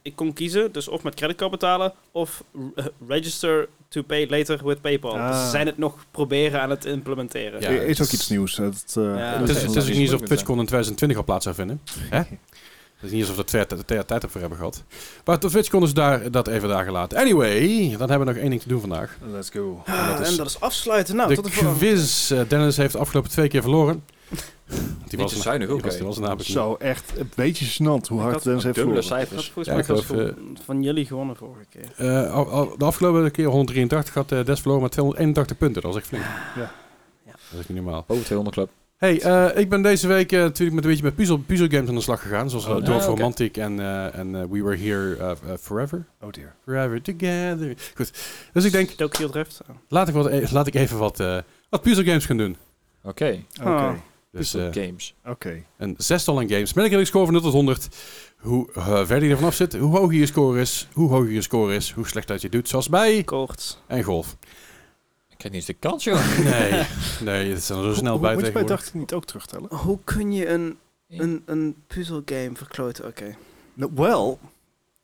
[SPEAKER 3] Ik kon kiezen, dus of met creditcard betalen... of eh, register to pay later with PayPal.
[SPEAKER 2] Ah.
[SPEAKER 3] Dus ze zijn het nog proberen aan het implementeren.
[SPEAKER 1] Ja,
[SPEAKER 2] Er is
[SPEAKER 1] het is-
[SPEAKER 2] ook iets nieuws. Het, eh,
[SPEAKER 3] Ja,
[SPEAKER 1] het is,
[SPEAKER 4] dat
[SPEAKER 1] het
[SPEAKER 4] is
[SPEAKER 1] is ook
[SPEAKER 4] wel
[SPEAKER 1] niet
[SPEAKER 4] iets
[SPEAKER 1] alsof
[SPEAKER 4] moeilijks,
[SPEAKER 1] TwitchCon in 2020 al plaats zou vinden. Hè? Het is niet alsof we er twee- twee twee jaar tijd voor hebben gehad. Maar tot Twitch konden ze daar, dat even daar gelaten. Anyway, dan hebben we nog één ding te doen vandaag.
[SPEAKER 2] Let's go.
[SPEAKER 3] Ah,
[SPEAKER 1] dat is-
[SPEAKER 3] en dat is afsluiten. Nou,
[SPEAKER 1] de
[SPEAKER 3] tot de volgende.
[SPEAKER 1] quiz. Eh, Dennis heeft de afgelopen twee keer verloren. Die
[SPEAKER 4] Niet te
[SPEAKER 1] was,
[SPEAKER 4] zuinig
[SPEAKER 1] die
[SPEAKER 4] ook,
[SPEAKER 1] was,
[SPEAKER 4] hè.
[SPEAKER 1] die was er namelijk niet.
[SPEAKER 2] Zo, echt een beetje gênant hoe hard
[SPEAKER 3] had
[SPEAKER 2] Dennis heeft
[SPEAKER 4] Dubbele
[SPEAKER 2] verloren.
[SPEAKER 3] Ik had
[SPEAKER 4] cijfers.
[SPEAKER 3] volgens
[SPEAKER 1] Ja,
[SPEAKER 3] mij
[SPEAKER 1] ik
[SPEAKER 3] zelfs
[SPEAKER 1] geloof,
[SPEAKER 3] van, van jullie gewonnen vorige keer.
[SPEAKER 1] Eh, al- al- de afgelopen keer 183 had eh, Des verloren met 281 punten. Dat was echt flink.
[SPEAKER 2] Ja.
[SPEAKER 3] Ja.
[SPEAKER 1] Dat is niet normaal.
[SPEAKER 4] Boven 200 club.
[SPEAKER 1] Hey, eh, ik ben deze week eh, natuurlijk met een beetje met puzzel, puzzelgames aan de slag gegaan. Zoals
[SPEAKER 2] Oh,
[SPEAKER 1] Door
[SPEAKER 2] nice.
[SPEAKER 1] Dwarf
[SPEAKER 4] Ah, oké.
[SPEAKER 1] Romantic en, eh, en eh, We Were Here eh, eh, Forever.
[SPEAKER 2] Oh dear.
[SPEAKER 1] Forever Together. Goed. Dus ik denk,
[SPEAKER 3] Tokyo Drift. Ah.
[SPEAKER 1] laat ik, wat, e- laat ik even wat, eh wat puzzelgames gaan doen.
[SPEAKER 4] Oké.
[SPEAKER 2] Oké.
[SPEAKER 3] Ah.
[SPEAKER 1] Dus
[SPEAKER 4] Pixel
[SPEAKER 1] eh,
[SPEAKER 4] games.
[SPEAKER 2] Oké.
[SPEAKER 1] een zestal aan games. Met een redelijk score van 0 tot 100. Hoe eh, verder je ervan af zit, hoe hoger je score is, hoe hoger je score is, hoe slecht dat je doet. Zoals bij
[SPEAKER 3] Koorts.
[SPEAKER 1] en golf.
[SPEAKER 4] Ik krijg niet eens de kans, joh.
[SPEAKER 1] Nee, nee, het zijn er zo snel
[SPEAKER 2] Hoe-
[SPEAKER 1] bij
[SPEAKER 2] Moet je bij
[SPEAKER 1] tegenwoordig.
[SPEAKER 2] dacht ik niet ook terugtellen?
[SPEAKER 3] Hoe kun je een, een, een puzzelgame verkloten? Oké.
[SPEAKER 2] Nou, wel,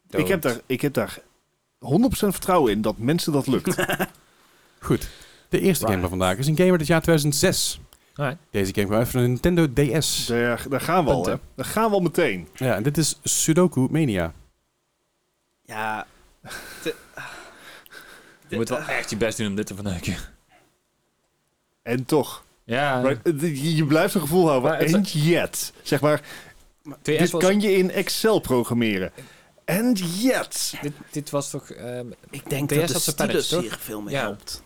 [SPEAKER 2] ik heb,
[SPEAKER 4] Dood.
[SPEAKER 2] daar, ik heb daar 100% vertrouwen in dat mensen dat lukt.
[SPEAKER 1] Goed. De eerste game
[SPEAKER 4] Right.
[SPEAKER 1] van vandaag is een game uit het jaar 2006.
[SPEAKER 4] Alright.
[SPEAKER 1] Deze game kwam uit van de Nintendo DS.
[SPEAKER 2] daar, daar gaan we al, hè.
[SPEAKER 4] Punten.
[SPEAKER 2] Daar gaan we al meteen.
[SPEAKER 1] Ja, en dit is Sudoku Mania.
[SPEAKER 3] Ja.
[SPEAKER 4] Je moet wel echt je best doen om dit te verneuken.
[SPEAKER 2] En toch.
[SPEAKER 4] Ja.
[SPEAKER 2] right, je- je blijft een gevoel houden.
[SPEAKER 4] Maar het-
[SPEAKER 2] And yet. Zeg maar,
[SPEAKER 4] Dit,
[SPEAKER 2] dit
[SPEAKER 4] was,
[SPEAKER 2] kan je in Excel programmeren. And yet.
[SPEAKER 4] dit, dit was toch... ehm,
[SPEAKER 3] Ik denk
[SPEAKER 4] DS
[SPEAKER 3] dat de
[SPEAKER 4] had zijn
[SPEAKER 3] stylus
[SPEAKER 4] paddocks, toch?
[SPEAKER 3] hier veel mee
[SPEAKER 4] Ja.
[SPEAKER 3] helpt.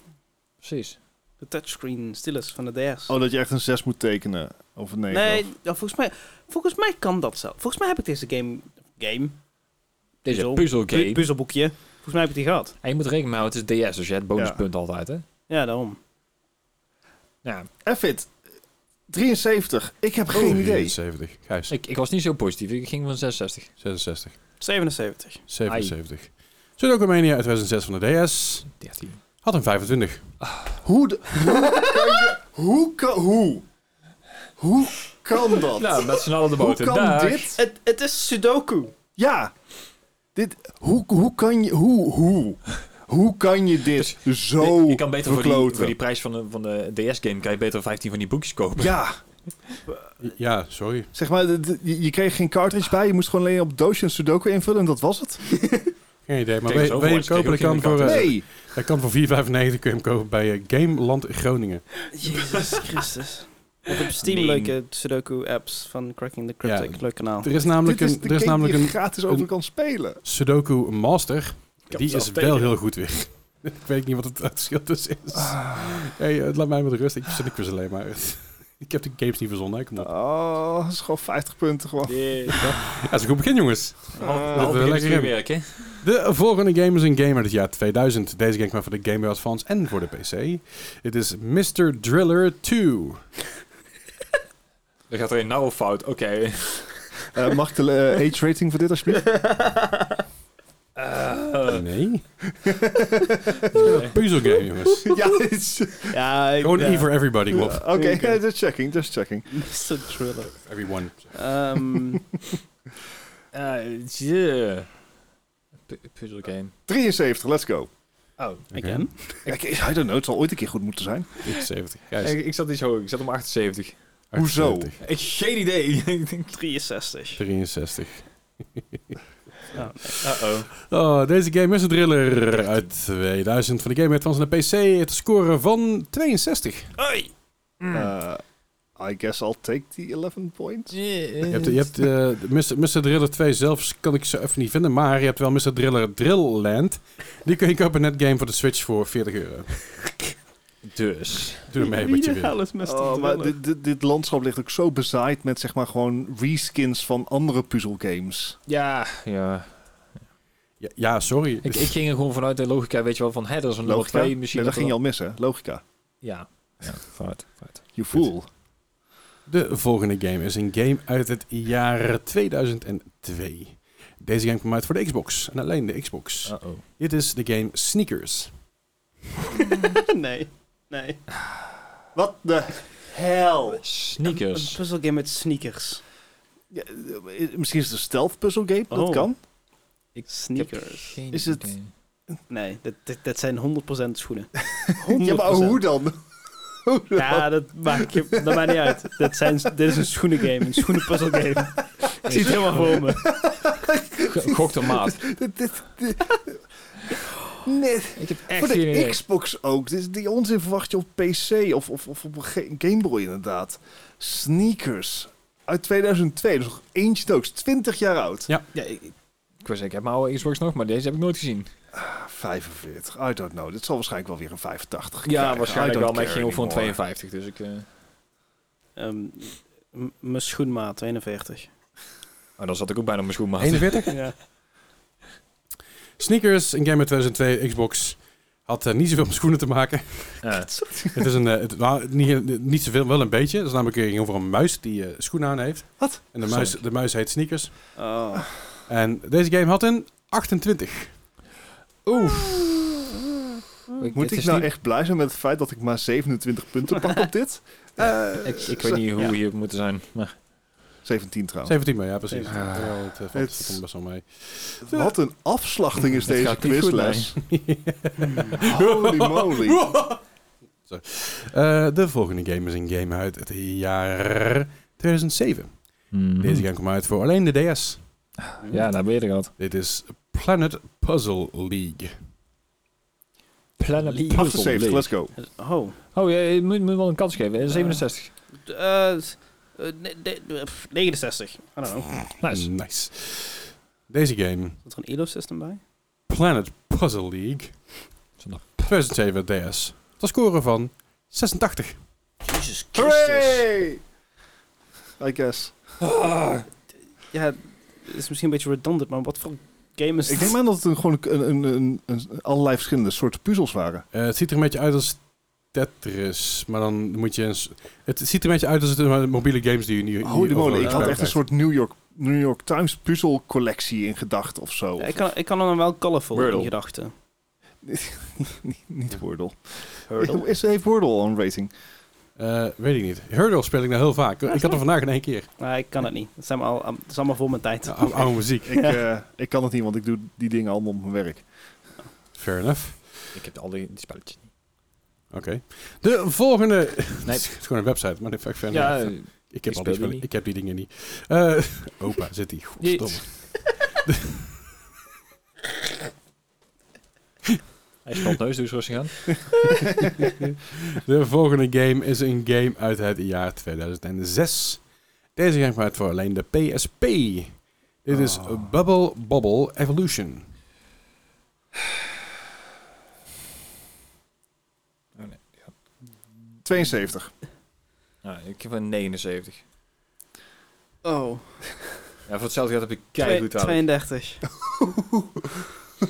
[SPEAKER 4] precies.
[SPEAKER 3] De touchscreen stylus van de DS.
[SPEAKER 2] Oh, dat je echt een 6 moet tekenen. Of een 9.
[SPEAKER 3] nee, ja, volgens, mij, volgens mij kan dat zo. Volgens mij heb ik deze game... Game?
[SPEAKER 4] Deze
[SPEAKER 3] Puzzel.
[SPEAKER 4] puzzelgame.
[SPEAKER 3] Pu- puzzelboekje. Volgens mij heb ik die gehad.
[SPEAKER 4] En je moet rekening mee houden, het is DS, dus je hebt bonuspunt altijd, hè?
[SPEAKER 3] Ja, daarom.
[SPEAKER 4] Ja,
[SPEAKER 2] Effit, 73. Ik heb
[SPEAKER 4] Oh,
[SPEAKER 2] geen idee.
[SPEAKER 1] 70. Gijs,
[SPEAKER 4] ik, ik was niet zo positief. Ik ging van 66.
[SPEAKER 1] 66.
[SPEAKER 3] 77.
[SPEAKER 1] 77. Sudoku Mania uit 2006 van de DS
[SPEAKER 4] 13.
[SPEAKER 1] had een 25.
[SPEAKER 2] Hoe, de- hoe kan je... Hoe kan... Hoe? Hoe kan dat?
[SPEAKER 4] Nou, met z'n allen de
[SPEAKER 2] hoe
[SPEAKER 4] boot.
[SPEAKER 2] kan
[SPEAKER 4] Dag.
[SPEAKER 2] dit?
[SPEAKER 3] Het, het is Sudoku.
[SPEAKER 2] Ja. Dit... Hoe, hoe kan je... Hoe? Hoe? Hoe kan je dit zo
[SPEAKER 4] Dus Je kan beter voor die,
[SPEAKER 2] verkloten?
[SPEAKER 4] voor die prijs van de, van de DS-game kan je beter 15 van die boekjes kopen.
[SPEAKER 2] Ja,
[SPEAKER 1] Ja, sorry.
[SPEAKER 2] zeg maar, de- de- je je kreeg geen cartridge bij. Je moest gewoon alleen op doosje een Sudoku invullen en dat was het.
[SPEAKER 1] Geen idee, maar weet
[SPEAKER 4] Kijk, zo
[SPEAKER 1] je hem
[SPEAKER 4] was het.
[SPEAKER 1] kopen? Dat
[SPEAKER 4] Kijk, ook
[SPEAKER 1] kan
[SPEAKER 4] in
[SPEAKER 1] voor,
[SPEAKER 4] de
[SPEAKER 1] eh,
[SPEAKER 2] Nee.
[SPEAKER 1] dat kan voor 4,95 kun je hem kopen bij eh, Gameland Groningen.
[SPEAKER 3] Jezus Christus. Je hebt op Steam
[SPEAKER 4] Meme.
[SPEAKER 3] leuke Sudoku-apps van Cracking the Cryptic.
[SPEAKER 1] Ja.
[SPEAKER 3] Leuk kanaal.
[SPEAKER 1] Er is namelijk
[SPEAKER 2] Oh, Dit
[SPEAKER 1] een,
[SPEAKER 2] is de
[SPEAKER 1] er is
[SPEAKER 2] game
[SPEAKER 1] namelijk
[SPEAKER 2] die
[SPEAKER 1] een
[SPEAKER 2] je gratis over kan spelen.
[SPEAKER 1] Sudoku Master.
[SPEAKER 4] heb
[SPEAKER 1] Die
[SPEAKER 4] het
[SPEAKER 1] is
[SPEAKER 4] zelf
[SPEAKER 1] wel
[SPEAKER 4] tegen.
[SPEAKER 1] heel goed weer. ik weet niet wat het verschil tussen is.
[SPEAKER 2] Ah.
[SPEAKER 1] Hey, eh, laat mij met rust. Ik zit ik quiz alleen maar. ik heb de games niet verzonnen. hè, Kom op.
[SPEAKER 2] Oh, dat is gewoon 50 punten gewoon.
[SPEAKER 4] Yeah.
[SPEAKER 2] Ah.
[SPEAKER 1] Ja, dat is een goed begin, jongens.
[SPEAKER 4] Oh,
[SPEAKER 2] Eh,
[SPEAKER 1] dat-
[SPEAKER 4] Half
[SPEAKER 1] lekker
[SPEAKER 4] uur
[SPEAKER 1] in.
[SPEAKER 4] werken.
[SPEAKER 1] De volgende game is een game uit het jaar 2000. Deze game kwam voor de Game Boy Advance en voor de PC. Het is Mr. Driller 2.
[SPEAKER 4] Er gaat er een nauwe fout. Oké.
[SPEAKER 2] Eh, mag ik de eh, age rating voor dit alsjeblieft?
[SPEAKER 4] Eh,
[SPEAKER 1] Nee. Een puzzelgame, jongens.
[SPEAKER 2] ja, het is-
[SPEAKER 3] Ja, ik-
[SPEAKER 1] Gewoon
[SPEAKER 3] ja.
[SPEAKER 1] E for everybody, Rob.
[SPEAKER 2] Oké, eh, just checking, just checking.
[SPEAKER 3] Mr. Thriller.
[SPEAKER 1] Everyone.
[SPEAKER 3] Ehm,
[SPEAKER 4] eh, yeah. Pu- Puzzelgame.
[SPEAKER 2] 73, let's go.
[SPEAKER 4] Oh.
[SPEAKER 3] again.
[SPEAKER 2] Ik, I don't know, het zal ooit een keer goed moeten zijn.
[SPEAKER 1] 70. Gijs.
[SPEAKER 4] Ik, ik zat iets hoger. Ik zat om 78.
[SPEAKER 2] Hoezo?
[SPEAKER 1] 78.
[SPEAKER 4] Ik geen idee. Ik denk,
[SPEAKER 3] 63.
[SPEAKER 1] 63.
[SPEAKER 3] Ja.
[SPEAKER 4] Uh-oh.
[SPEAKER 1] Oh, deze game is een thriller uit 2000 van de Game Boy Advance en de PC. Het scoren van 62.
[SPEAKER 3] Hoi!
[SPEAKER 2] Eh, I guess I'll take the 11 points.
[SPEAKER 1] Je hebt, je hebt eh, Mr. Mr. Driller 2 zelfs, kan ik zo even niet vinden. Maar je hebt wel Mr. Driller Drill Land. Die kun je kopen net game voor de Switch voor 40 euro.
[SPEAKER 4] Dus.
[SPEAKER 1] Doe ermee wat je
[SPEAKER 3] Wie de
[SPEAKER 1] wil.
[SPEAKER 3] hel is Mr.
[SPEAKER 2] Oh, maar
[SPEAKER 3] Thriller?
[SPEAKER 2] dit, dit, dit landschap ligt ook zo bezaaid met zeg maar gewoon reskins van andere puzzelgames.
[SPEAKER 4] Ja. ja.
[SPEAKER 1] Ja, ja, sorry.
[SPEAKER 4] Ik, ik ging er gewoon vanuit de logica, weet je wel, van hè, dat is een nummer
[SPEAKER 2] Logica?
[SPEAKER 4] 2 misschien.
[SPEAKER 2] Nee, dat ging
[SPEAKER 4] dat
[SPEAKER 2] je
[SPEAKER 4] er-
[SPEAKER 2] al missen, logica.
[SPEAKER 4] Ja. ja fout, fout.
[SPEAKER 2] You fool.
[SPEAKER 1] De volgende game is een game uit het jaar 2002. Deze game kwam uit voor de Xbox. En alleen de Xbox.
[SPEAKER 4] Uh-oh.
[SPEAKER 1] Dit is de game Sneakers.
[SPEAKER 3] nee. Nee.
[SPEAKER 2] Wat de hel?
[SPEAKER 3] Een
[SPEAKER 4] Sneakers.
[SPEAKER 3] puzzelgame met sneakers.
[SPEAKER 2] Eh, misschien is het een stealth puzzelgame, dat
[SPEAKER 3] Oh.
[SPEAKER 2] kan.
[SPEAKER 3] Sneakers.
[SPEAKER 4] Geen
[SPEAKER 2] Is het-
[SPEAKER 4] idee.
[SPEAKER 3] Nee, dat, dat, dat zijn 100% schoenen. 100%.
[SPEAKER 2] Ja, maar hoe dan?
[SPEAKER 3] Ja, dat maakt, je, dat maakt niet uit. Dat zijn, dit is een schoenengame, een schoenenpuzzelgame. Ik zie het helemaal voor me.
[SPEAKER 4] G- Gok de maat.
[SPEAKER 2] Dit- dit- dit- Nee,
[SPEAKER 4] Ik heb echt
[SPEAKER 2] voor
[SPEAKER 4] geen
[SPEAKER 2] de
[SPEAKER 4] idee.
[SPEAKER 2] Xbox ook. Dit, die onzin verwacht je op PC of, of, of op een Ga- Game Boy inderdaad. Sneakers. Uit 2002, dus nog eentje doos. 20 jaar oud.
[SPEAKER 3] Ja, ik-
[SPEAKER 4] Ik was ik heb mijn oude Xbox nog, maar deze heb ik nooit gezien.
[SPEAKER 2] Ah, 45, I don't know. Dit zal waarschijnlijk wel weer een 85
[SPEAKER 4] Ja,
[SPEAKER 2] krijgen.
[SPEAKER 4] waarschijnlijk
[SPEAKER 2] I
[SPEAKER 4] wel,
[SPEAKER 2] don't
[SPEAKER 4] maar ik
[SPEAKER 2] care
[SPEAKER 4] ging ook voor een
[SPEAKER 2] anymore.
[SPEAKER 4] 52, dus ik... eh
[SPEAKER 3] ehm, m- mijn schoenmaat, 41.
[SPEAKER 4] Oh, dan zat ik ook bijna op mijn schoenmaat.
[SPEAKER 1] 41?
[SPEAKER 3] Ja.
[SPEAKER 1] Sneakers, een game uit 2002, Xbox. Had eh, niet zoveel met schoenen te maken.
[SPEAKER 4] Ja.
[SPEAKER 1] het is een, eh, het, nou, niet, niet zoveel, wel een beetje. Dat is namelijk eh, ging over een muis die eh, schoenen aan heeft.
[SPEAKER 2] Wat?
[SPEAKER 1] En de muis, de muis heet Sneakers.
[SPEAKER 3] Oh.
[SPEAKER 1] En deze game had een 28.
[SPEAKER 4] Oeh.
[SPEAKER 2] Moet ik nou echt blij zijn met het feit dat ik maar 27 punten pak op dit? Eh,
[SPEAKER 4] Ik, ik weet niet hoe
[SPEAKER 3] Ja.
[SPEAKER 4] we hier moeten zijn, maar...
[SPEAKER 2] 17 trouwens.
[SPEAKER 1] 17 maar ja, precies.
[SPEAKER 3] Ah.
[SPEAKER 1] Ja, het eh, valt-
[SPEAKER 2] Het-
[SPEAKER 1] het komt best wel mee.
[SPEAKER 2] Wat een afslachting is
[SPEAKER 4] Het
[SPEAKER 2] deze
[SPEAKER 4] gaat niet goed,
[SPEAKER 2] quizles. Holy moly.
[SPEAKER 1] Eh, de volgende game is een game uit het jaar 2007.
[SPEAKER 2] Mhm.
[SPEAKER 1] Deze game kwam uit voor alleen de DS.
[SPEAKER 4] Hmm. Ja, daar ben je gehad.
[SPEAKER 1] Dit is Planet Puzzle League.
[SPEAKER 4] Planet
[SPEAKER 3] League.
[SPEAKER 2] 78, let's go.
[SPEAKER 3] Oh.
[SPEAKER 4] Oh, je, je moet, moet wel een kans geven. Eh, 67.
[SPEAKER 3] Eh, eh, ne- de- de- pff, 69. I don't know.
[SPEAKER 4] Nice.
[SPEAKER 1] Nice. Deze game,
[SPEAKER 3] Zat er een ELO-system bij?
[SPEAKER 1] Planet Puzzle League, 2007 DS. Tot scoren van 86.
[SPEAKER 3] Jezus
[SPEAKER 2] Hooray! I guess.
[SPEAKER 3] Ja, het is misschien een beetje redundant, maar wat voor game is.
[SPEAKER 2] Ik denk maar dat het een, gewoon een, een, een, een- allerlei verschillende soorten puzzels waren.
[SPEAKER 1] Eh, het ziet er een beetje uit als Tetris, maar dan moet je eens... Het ziet er een beetje uit als het eh, mobiele games die je nu...
[SPEAKER 2] Holy
[SPEAKER 1] die overal
[SPEAKER 2] moly, ik had echt een
[SPEAKER 1] krijgt.
[SPEAKER 2] soort New York, New York Times puzzelcollectie in gedachten of zo.
[SPEAKER 3] Ja, ik, kan, ik kan hem wel colorful
[SPEAKER 4] Wordle.
[SPEAKER 3] in gedachten.
[SPEAKER 2] Niet- Niet Wordle. Is heeft Wordle een rating?
[SPEAKER 1] Eh, weet ik niet. Hurdle speel ik nou heel vaak. ik had er vandaag in één keer.
[SPEAKER 3] Maar ik kan het niet. Dat, zijn allemaal, dat is allemaal voor mijn tijd.
[SPEAKER 1] Ja, ou- oude muziek.
[SPEAKER 2] Ik, eh, ik kan het niet, want ik doe die dingen allemaal op mijn werk.
[SPEAKER 1] Fair enough.
[SPEAKER 4] Ik heb al die, die spelletjes niet.
[SPEAKER 1] Oké. De volgende...
[SPEAKER 4] Nee.
[SPEAKER 1] het is gewoon een website, maar dat vind ik fair
[SPEAKER 4] Ja,
[SPEAKER 1] enough.
[SPEAKER 4] eh,
[SPEAKER 1] Ik heb,
[SPEAKER 4] ik
[SPEAKER 1] al die
[SPEAKER 4] speel die
[SPEAKER 1] spellen-
[SPEAKER 4] niet.
[SPEAKER 1] ik heb die dingen niet. Eh, opa, zit die. Godverdomme.
[SPEAKER 4] hij speelt neus, dus rustig aan.
[SPEAKER 1] De volgende game is een game uit het jaar 2006. Deze game gaat voor alleen de PSP. Dit is
[SPEAKER 2] Oh.
[SPEAKER 1] Bubble Bobble Evolution.
[SPEAKER 4] Oh, nee.
[SPEAKER 2] 72.
[SPEAKER 4] Nou, ik heb een 79.
[SPEAKER 3] Oh,
[SPEAKER 4] Ja, voor hetzelfde geld heb ik
[SPEAKER 3] twee-
[SPEAKER 4] keihard aan.
[SPEAKER 3] 32.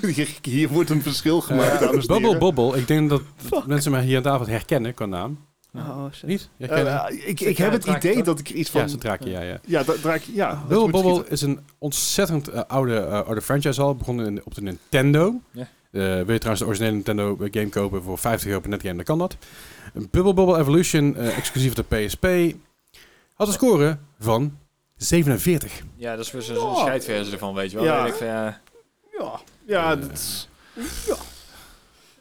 [SPEAKER 2] Hier- Hier wordt een verschil gemaakt.
[SPEAKER 1] Eh,
[SPEAKER 2] dames en
[SPEAKER 1] Bubble
[SPEAKER 2] heren.
[SPEAKER 1] Bobble, ik denk dat mensen mij hier aan tafel herkennen qua naam.
[SPEAKER 3] Oh, shit.
[SPEAKER 1] Niet? Herkennen?
[SPEAKER 2] Eh, eh, ik, ik heb het
[SPEAKER 4] draak,
[SPEAKER 2] idee
[SPEAKER 4] toch?
[SPEAKER 2] dat ik er iets van...
[SPEAKER 1] ja, ze draakje, ja, ja.
[SPEAKER 2] Ja, dat draak, ja. dat
[SPEAKER 1] Bubble
[SPEAKER 2] moet
[SPEAKER 1] Bobble
[SPEAKER 2] schieten.
[SPEAKER 1] is een ontzettend eh, oude, eh, oude franchise al. Begonnen in- op de Nintendo.
[SPEAKER 4] Ja.
[SPEAKER 1] Eh, wil je trouwens de originele Nintendo eh, game kopen voor 50 euro per netgame, dan kan dat. Bubble Bobble Evolution, eh, exclusief op de PSP, had een score van 47.
[SPEAKER 4] Ja, dat is weer zo'n
[SPEAKER 2] Ja.
[SPEAKER 4] scheidversie ervan, weet je wel.
[SPEAKER 2] Ja.
[SPEAKER 4] Dan denk Ik van, Oh. ja,
[SPEAKER 2] Ja, ja
[SPEAKER 1] Eh,
[SPEAKER 2] dat is-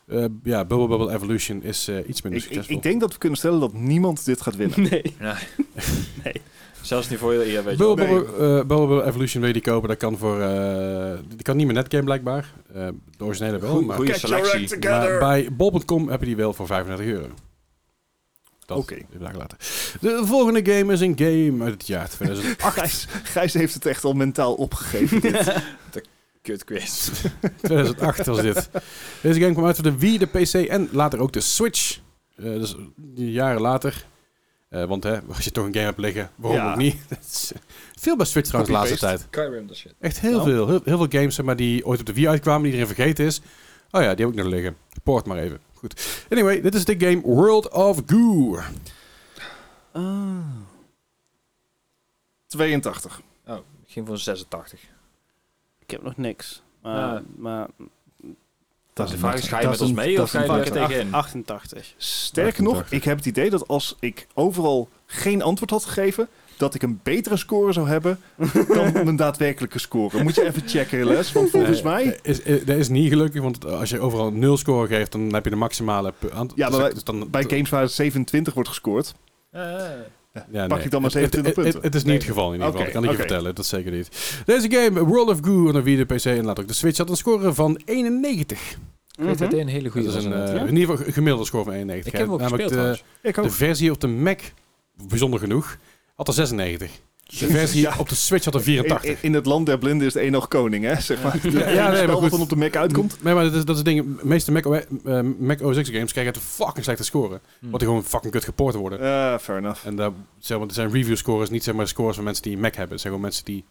[SPEAKER 1] Eh, ja, Bubble Bubble Evolution is eh, iets minder
[SPEAKER 2] ik, ik,
[SPEAKER 1] succesvol.
[SPEAKER 2] ik denk dat we kunnen stellen dat niemand dit gaat winnen.
[SPEAKER 3] Nee.
[SPEAKER 4] zelfs niet voor je eer, weet je wel.
[SPEAKER 1] Bubble,
[SPEAKER 2] wel.
[SPEAKER 1] Bubble, eh, Bubble Bubble Evolution wil je die kopen, dat kan voor... eh, die kan niet meer netgame blijkbaar. Eh, de originele wel,
[SPEAKER 4] Goeie-
[SPEAKER 1] maar,
[SPEAKER 4] goeie
[SPEAKER 2] Get your act
[SPEAKER 4] selectie.
[SPEAKER 2] together.
[SPEAKER 1] maar bij bol.com heb je die wel voor 35 euro. Dat
[SPEAKER 2] Oké.
[SPEAKER 1] even dagen later. De volgende game is een game uit het jaar 2000.
[SPEAKER 2] Gijs, Gijs heeft het echt al mentaal opgegeven. dit.
[SPEAKER 4] Kut quiz.
[SPEAKER 1] 2008 was dit. Deze game kwam uit voor de Wii, de PC en later ook de Switch. Eh, dus jaren later. Eh, want hè, als je toch een game hebt liggen, waarom
[SPEAKER 2] Ja.
[SPEAKER 1] ook niet? Dat is, eh, veel bij Switch trouwens de laatste
[SPEAKER 2] Copy-paste.
[SPEAKER 1] tijd.
[SPEAKER 4] Skyrim, dat shit.
[SPEAKER 1] Echt heel
[SPEAKER 4] Ja.
[SPEAKER 1] veel. Heel, heel veel games zeg maar, die ooit op de Wii uitkwamen, die iedereen vergeten is. Oh ja, die heb ik nog liggen. Poort maar even. Goed. Anyway, dit is de game World of Goo.
[SPEAKER 2] 82.
[SPEAKER 4] Oh, ik ging voor een 86.
[SPEAKER 3] Ik heb nog niks. Maar,
[SPEAKER 4] Ja.
[SPEAKER 3] maar
[SPEAKER 4] Dat is de vraag is, ga je
[SPEAKER 2] dat
[SPEAKER 4] met
[SPEAKER 2] is
[SPEAKER 4] ons
[SPEAKER 2] een-
[SPEAKER 4] mee
[SPEAKER 2] dat
[SPEAKER 4] of
[SPEAKER 2] is een Ah,
[SPEAKER 4] ga je er
[SPEAKER 2] fucking
[SPEAKER 4] tegenin?
[SPEAKER 3] 88.
[SPEAKER 2] Sterker nog,
[SPEAKER 1] 88.
[SPEAKER 2] ik heb het idee dat als ik overal geen antwoord had gegeven, dat ik een betere score zou hebben dan mijn daadwerkelijke score. Moet je even checken, Les, want volgens
[SPEAKER 1] Nee,
[SPEAKER 2] mij...
[SPEAKER 1] eh, Is, eh, dat is niet gelukkig, want als je overal nul score geeft, dan heb je de maximale... pu- aant-
[SPEAKER 2] Ja, maar
[SPEAKER 1] dus-
[SPEAKER 2] wij-
[SPEAKER 1] dus dan,
[SPEAKER 2] Bij games waar 27 wordt gescoord,
[SPEAKER 4] Eh, eh.
[SPEAKER 1] Ja,
[SPEAKER 2] Pak ah. ik dan maar
[SPEAKER 1] Het- het-
[SPEAKER 2] 27
[SPEAKER 1] het-
[SPEAKER 2] punten?
[SPEAKER 1] Het, het is niet het geval in ieder geval,
[SPEAKER 2] Oké,
[SPEAKER 1] dat kan ik
[SPEAKER 2] oké.
[SPEAKER 1] je vertellen. Dat zeker niet. Deze game, World of Goo, en de PC en later ook de Switch, had een score van 91.
[SPEAKER 4] Ik weet dat
[SPEAKER 3] Mhm.
[SPEAKER 4] dit een hele
[SPEAKER 1] Dat
[SPEAKER 4] goede
[SPEAKER 1] is
[SPEAKER 4] was.
[SPEAKER 1] een, eh,
[SPEAKER 4] inderdaad.
[SPEAKER 1] in ieder geval een gemiddelde score van 91.
[SPEAKER 4] Ik heb hem ook
[SPEAKER 1] Namelijk
[SPEAKER 4] gespeeld,
[SPEAKER 1] de,
[SPEAKER 4] trouwens. Oh.
[SPEAKER 2] ik
[SPEAKER 1] de
[SPEAKER 2] ook.
[SPEAKER 1] versie op de Mac, bijzonder genoeg, had er 96. De versie
[SPEAKER 2] Ja.
[SPEAKER 1] op de Switch had er
[SPEAKER 2] In,
[SPEAKER 1] 84.
[SPEAKER 2] in het land der blinden is de een nog koning, hè? Zeg maar.
[SPEAKER 1] Ja, nee, maar
[SPEAKER 2] spel wat
[SPEAKER 1] goed.
[SPEAKER 2] dan op de Mac uitkomt.
[SPEAKER 1] Nee, maar dat is, dat is het ding. De meeste Mac, OS eh, Mac OS X games krijgen het fucking slechte score.
[SPEAKER 4] Hm.
[SPEAKER 1] Wat die gewoon fucking kut gepoord worden.
[SPEAKER 2] Eh, fair enough.
[SPEAKER 1] En daar zeg maar, er zijn review scores, niet zeg maar scores van mensen die een Mac hebben. Het zijn gewoon mensen die.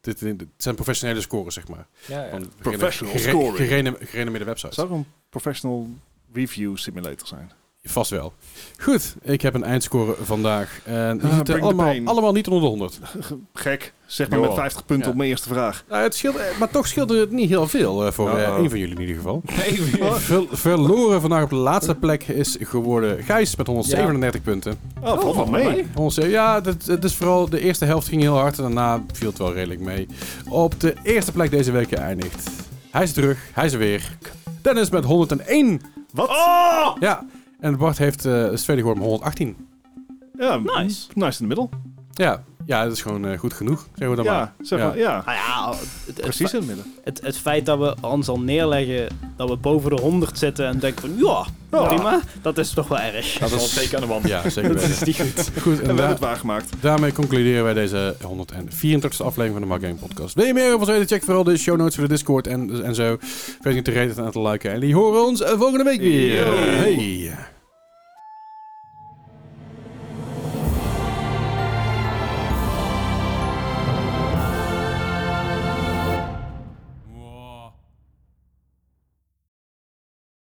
[SPEAKER 1] Dit, dit- dit zijn professionele scores, zeg maar.
[SPEAKER 4] Ja, ja.
[SPEAKER 1] Van
[SPEAKER 2] Professional
[SPEAKER 1] gerene-
[SPEAKER 2] scoring.
[SPEAKER 1] gerene- Gerenommeerde websites.
[SPEAKER 2] Zou er een professional review simulator zijn?
[SPEAKER 1] Vast wel. Goed, ik heb een eindscore vandaag. En die
[SPEAKER 2] Ah,
[SPEAKER 1] zitten
[SPEAKER 2] bring the
[SPEAKER 1] allemaal,
[SPEAKER 2] pain.
[SPEAKER 1] allemaal niet onder de 100.
[SPEAKER 2] Gek, zeg maar
[SPEAKER 4] Joh.
[SPEAKER 2] met 50 punten
[SPEAKER 1] Ja.
[SPEAKER 2] op mijn eerste vraag.
[SPEAKER 1] Nou, het scheelt, eh, maar toch scheelde het niet heel veel eh, voor eh,
[SPEAKER 2] Oh.
[SPEAKER 4] Uh-oh.
[SPEAKER 1] één van jullie in ieder geval.
[SPEAKER 4] Nee,
[SPEAKER 1] Ver- verloren vandaag op de laatste plek is geworden Gijs met 137 punten.
[SPEAKER 2] Oh, valt wel mee.
[SPEAKER 1] Onze, eh, ja, dat- het is vooral de eerste helft ging heel hard en daarna viel het wel redelijk mee. Op de eerste plek deze week geëindigd. Hij is terug, hij is er weer. Dennis met 101.
[SPEAKER 2] Wat?
[SPEAKER 1] Ja, en Bart heeft eh het tweede geworden met 118.
[SPEAKER 2] Ja,
[SPEAKER 3] Nice.
[SPEAKER 2] Nice in de middel.
[SPEAKER 1] Ja, ja dat is gewoon eh, goed genoeg, zeggen we dan maar.
[SPEAKER 2] Ja, zeg
[SPEAKER 1] Ja.
[SPEAKER 2] maar, ja.
[SPEAKER 3] Ah ja, het, het,
[SPEAKER 2] Precies in het midden.
[SPEAKER 3] Het, het feit dat we ons al neerleggen, dat we boven de 100 zitten en denken van ja,
[SPEAKER 2] Ja.
[SPEAKER 3] prima, dat is toch wel erg.
[SPEAKER 4] Dat is al een teken aan de wand.
[SPEAKER 1] Ja, zeker weten.
[SPEAKER 3] niet goed.
[SPEAKER 1] Goed, en
[SPEAKER 2] En we hebben
[SPEAKER 1] daar-
[SPEAKER 2] het waargemaakt.
[SPEAKER 1] daarmee concluderen wij deze 134e aflevering van de Mark Game Podcast. Wil je meer over ons weten? Check vooral de show notes voor de Discord en, en zo. Vergeet niet te reten en aan te liken. En die horen ons eh, volgende week weer.
[SPEAKER 2] Yo.
[SPEAKER 1] Hey.